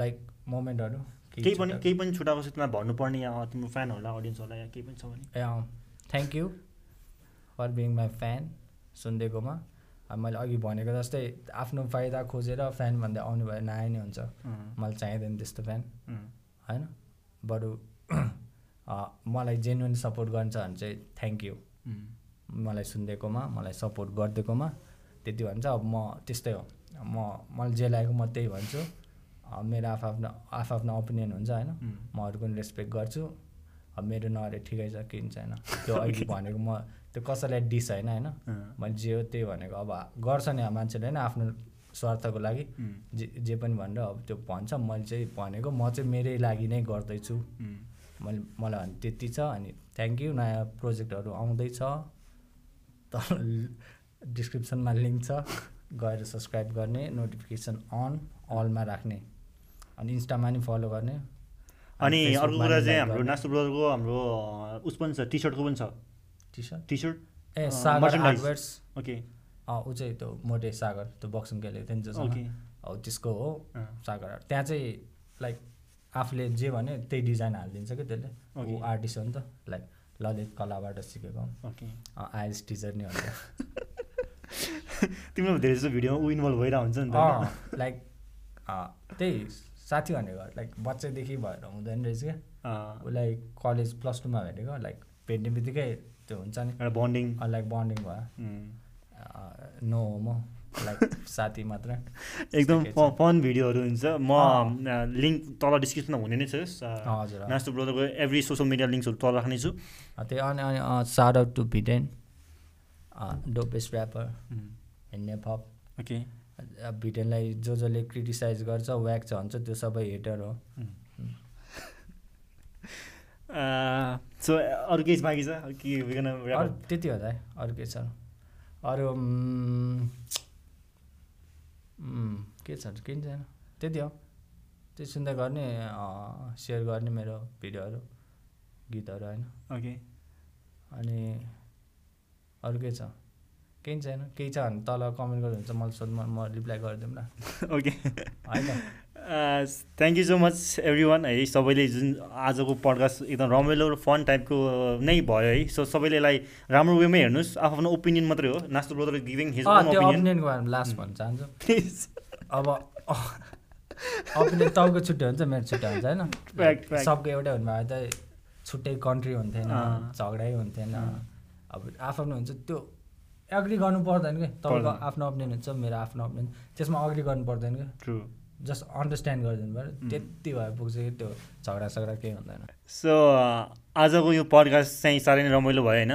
Speaker 1: लाइक मोमेन्टहरू
Speaker 2: केही पनि केही पनि छुट्याएको छ त्यसमा भन्नुपर्ने या तिम्रो फ्यानहरूलाई अडियन्सहरूलाई या केही पनि छ भने
Speaker 1: thank you for being my fan सुनिदिएकोमा अब मैले अघि भनेको जस्तै आफ्नो फाइदा खोजेर फ्यान भन्दै आउनु भयो नआए नै हुन्छ
Speaker 2: अँ,
Speaker 1: मलाई चाहिँदैन त्यस्तो फ्यान
Speaker 2: अँ,
Speaker 1: होइन बरु अँ, मलाई जेन्युन सपोर्ट गर्नु छ भने चाहिँ थ्याङ्क यू
Speaker 2: अँ,
Speaker 1: मलाई सुनिदिएकोमा मलाई सपोर्ट गरिदिएकोमा त्यति भन्छ अब म त्यस्तै हो म मलाई जे लागेको म त्यही भन्छु अब मेरो आफआफ्नो आफआफ्नो ओपिनियन हुन्छ होइन
Speaker 2: अँ।
Speaker 1: म अरूको पनि रेस्पेक्ट गर्छु अब मेरो नहरे ठिकै छ किन छैन त्यो अघि भनेको म त्यो कसैलाई डिस होइन होइन
Speaker 2: अँ,
Speaker 1: मैले जे हो त्यही भनेको अब गर्छ नि अब मान्छेले होइन आफ्नो स्वार्थको लागि
Speaker 2: अँ,
Speaker 1: जे जे पनि भनेर अब त्यो भन्छ मैले चाहिँ भनेको म चाहिँ मेरै लागि नै गर्दैछु
Speaker 2: अँ।
Speaker 1: मैले मलाई भने त्यति छ अनि थ्याङ्क यू नयाँ प्रोजेक्टहरू आउँदैछ तल डिस्क्रिप्सनमा लिङ्क छ गएर सब्सक्राइब गर्ने नोटिफिकेसन अन अलमा राख्ने अनि इन्स्टामा नि फलो गर्ने
Speaker 2: अनि अर्को कुरा चाहिँ हाम्रो
Speaker 1: हाम्रो
Speaker 2: नाच्नु ब्रदरको हाम्रो अँ, उस पनि छ टी सर्टको पनि छ
Speaker 1: टी सर्ट
Speaker 2: टी सर्ट
Speaker 1: ए
Speaker 2: अँ,
Speaker 1: सागर
Speaker 2: merchandise।
Speaker 1: हार्डवेयर्स
Speaker 2: ओके
Speaker 1: अँ ऊ चाहिँ त्यो मोटे सागर त्यो बक्सिङ खेलेको थियो नि जोसँग
Speaker 2: ओके
Speaker 1: हो त्यसको हो
Speaker 2: अँ।
Speaker 1: सागर art। त्यहाँ चाहिँ लाइक आफूले जे भन्यो त्यही डिजाइन हालिदिन्छ कि त्यसले ऊ
Speaker 2: Okay.
Speaker 1: आर्टिस्ट हो नि त लाइक ललित कलाबाट सिकेको हो।
Speaker 2: ओके
Speaker 1: अँ, आइएल्स टिचर नै हुन्छ
Speaker 2: तिम्रो धेरै जस्तो भिडियोमा ऊ इन्भल्भ भइरहेको हुन्छ नि त होइन?
Speaker 1: अँ, लाइक अँ, त्यही साथी भनेको लाइक बच्चैदेखि भएर हुँदैन रहेछ क्या
Speaker 2: अँ,
Speaker 1: उसलाई कलेज प्लस टूमा भेटेको लाइक भेट्ने बित्तिकै त्यो हुन्छ नि
Speaker 2: एउटा बन्डिङ
Speaker 1: अँ, लाइक बन्डिङ भयो अँ, नो हो म लाइक साथी मात्र
Speaker 2: एकदम
Speaker 1: ठिकै छ।
Speaker 2: फ- फन भिडियोहरू हुन्छ म
Speaker 1: अँ।
Speaker 2: लिङ्क तल डिस्क्रिप्सनमा हुने नै छ
Speaker 1: अँ, हजुर अँ।
Speaker 2: नास्तो ब्रदरको एभ्री सोसियल मिडिया लिङ्क्सहरू तल राख्नेछु
Speaker 1: अँ, त्यही अनि अनि सार Ah, टु भिडेन डोपेस ऱ्यापर
Speaker 2: उम्,
Speaker 1: हिँड्ने पप
Speaker 2: ओके
Speaker 1: अब भिटेनलाई Ah, जो जसले क्रिटिसाइज गर्छ व्याक्छ भन्छ त्यो सबै हेटर हो
Speaker 2: सो अरू केही बाँकी छ के we gonna wrap
Speaker 1: अरू
Speaker 2: up?
Speaker 1: त्यति होला है अरू के छ अरू उम्, उम्, के छ केही छैन त्यति हो त्यो सुन्दै गर्ने अँ, सेयर गर्ने मेरो भिडियोहरू गीतहरू होइन
Speaker 2: Okay.
Speaker 1: अनि अरू के छ केही छैन केही छ भने तल कमेन्ट गर्नुहुन्छ मलाई सोध्नु म रिप्लाई गरिदिउँ न
Speaker 2: Okay.
Speaker 1: होइन
Speaker 2: Uh, thank you so much everyone है सबैले जुन आजको पडकास्ट एकदम रमाइलो र फन टाइपको नै भयो है सो सबैले यसलाई राम्रो वेमै हेर्नुहोस् आफ्नो ओपिनियन मात्रै हो नास्तो ब्रोदर गिभिङ हिज
Speaker 1: अँ,
Speaker 2: ओन
Speaker 1: त्यो
Speaker 2: ओपिनियन
Speaker 1: अपिनियनको बारेमा लास्ट भन्न चाहन्छु
Speaker 2: प्लिज
Speaker 1: अब अपिनियन तपाईँको छुट्टै हुन्छ मेरो छुट्टै हुन्छ होइन
Speaker 2: Correct, correct.
Speaker 1: सबको एउटै हुनुभयो त छुट्टै कन्ट्री हुन्थेन
Speaker 2: अँ।
Speaker 1: झगडै हुन्थेन अब आफ्नो हुन्छ त्यो एग्री गर्नु पर्दैन कि तपाईँको
Speaker 2: पर्दैन।
Speaker 1: आफ्नो अपिनियन हुन्छ मेरो आफ्नो अपिनियन त्यसमा अग्री गर्नु पर्दैन कि
Speaker 2: ट्रु
Speaker 1: जस्ट अन्डरस्ट्यान्ड गरिदिनु पऱ्यो त्यति भए पुग्छ कि त्यो झगडा सगडा केही हुँदैन
Speaker 2: सो uh, आजको यो पडकास्ट चाहिँ साह्रै नै रमाइलो भयो होइन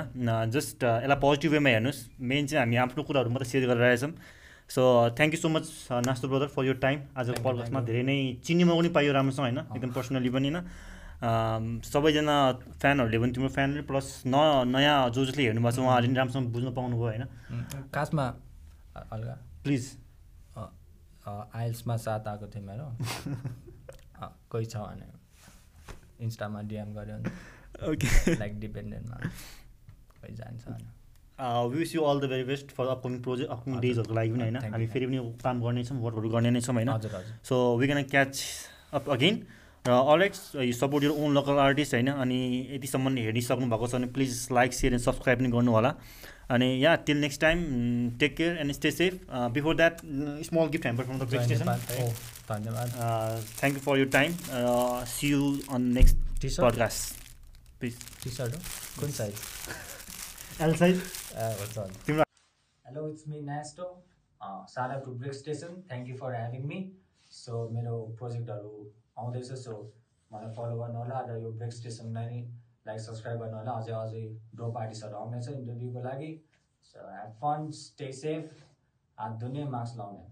Speaker 2: जस्ट यसलाई पोजिटिभ वेमा हेर्नुहोस् मेन चाहिँ हामी आफ्नो कुराहरू मात्रै सेयर गरेर रहेछौँ so thank you so much Nasto brother for your time आजको
Speaker 1: Thank you,
Speaker 2: पडकास्टमा
Speaker 1: thank
Speaker 2: धेरै नै चिनिमा पनि पाइयो राम्रोसँग होइन
Speaker 1: अँ।
Speaker 2: एकदम पर्सनली पनि होइन अम, सबैजना फ्यानहरूले पनि तिम्रो फ्यानले प्लस न नयाँ जो जसले हेर्नुभएको छ उहाँहरूले पनि राम्रोसँग बुझ्न पाउनुभयो होइन
Speaker 1: उम्, खासमा अ- हल्का
Speaker 2: प्लिज
Speaker 1: अ- अ- आइल्समा साथ आएको थियो मेरो अ, कोही छ भने इन्स्टामा डिएम गऱ्यो भने
Speaker 2: ओके
Speaker 1: लाइक डिपेन्डेन्टमा कोही जान्छ भने
Speaker 2: wish you all the very best for upcoming project upcoming
Speaker 1: हजुर।
Speaker 2: डेजहरूको लागि पनि होइन
Speaker 1: Thank you,
Speaker 2: हामी फेरि पनि यो काम गर्नेछौँ वर्कहरू गर्ने नै छौँ होइन
Speaker 1: हजुर हजुर
Speaker 2: so we can catch up again र alright you support your own local artist होइन अनि यतिसम्म हेरिसक्नु भएको छ भने please like share and subscribe पनि गर्नु होला अनि या till next time take care and stay safe before that small gift hamper from the break station
Speaker 1: धन्यवाद ओ, धन्यवाद
Speaker 2: thank you for your time see you on next
Speaker 1: T shirt
Speaker 2: podcast please
Speaker 1: T short हो कुन size
Speaker 2: L size तिम्रो-
Speaker 1: hello it's me Nasto सारा to break station thank you for having me so मेरो प्रोजेक्टहरू आउँदैछ सो मलाई follow गर्नु होला र यो ब्रेक स्टेसनलाई नै लाइक सब्सक्राइब गर्नु होला अझै अझै डोप आर्टिस्टहरू आउनेछ इन्टरभ्यूको लागि so have fun stay safe हात धुने मास्क लाउने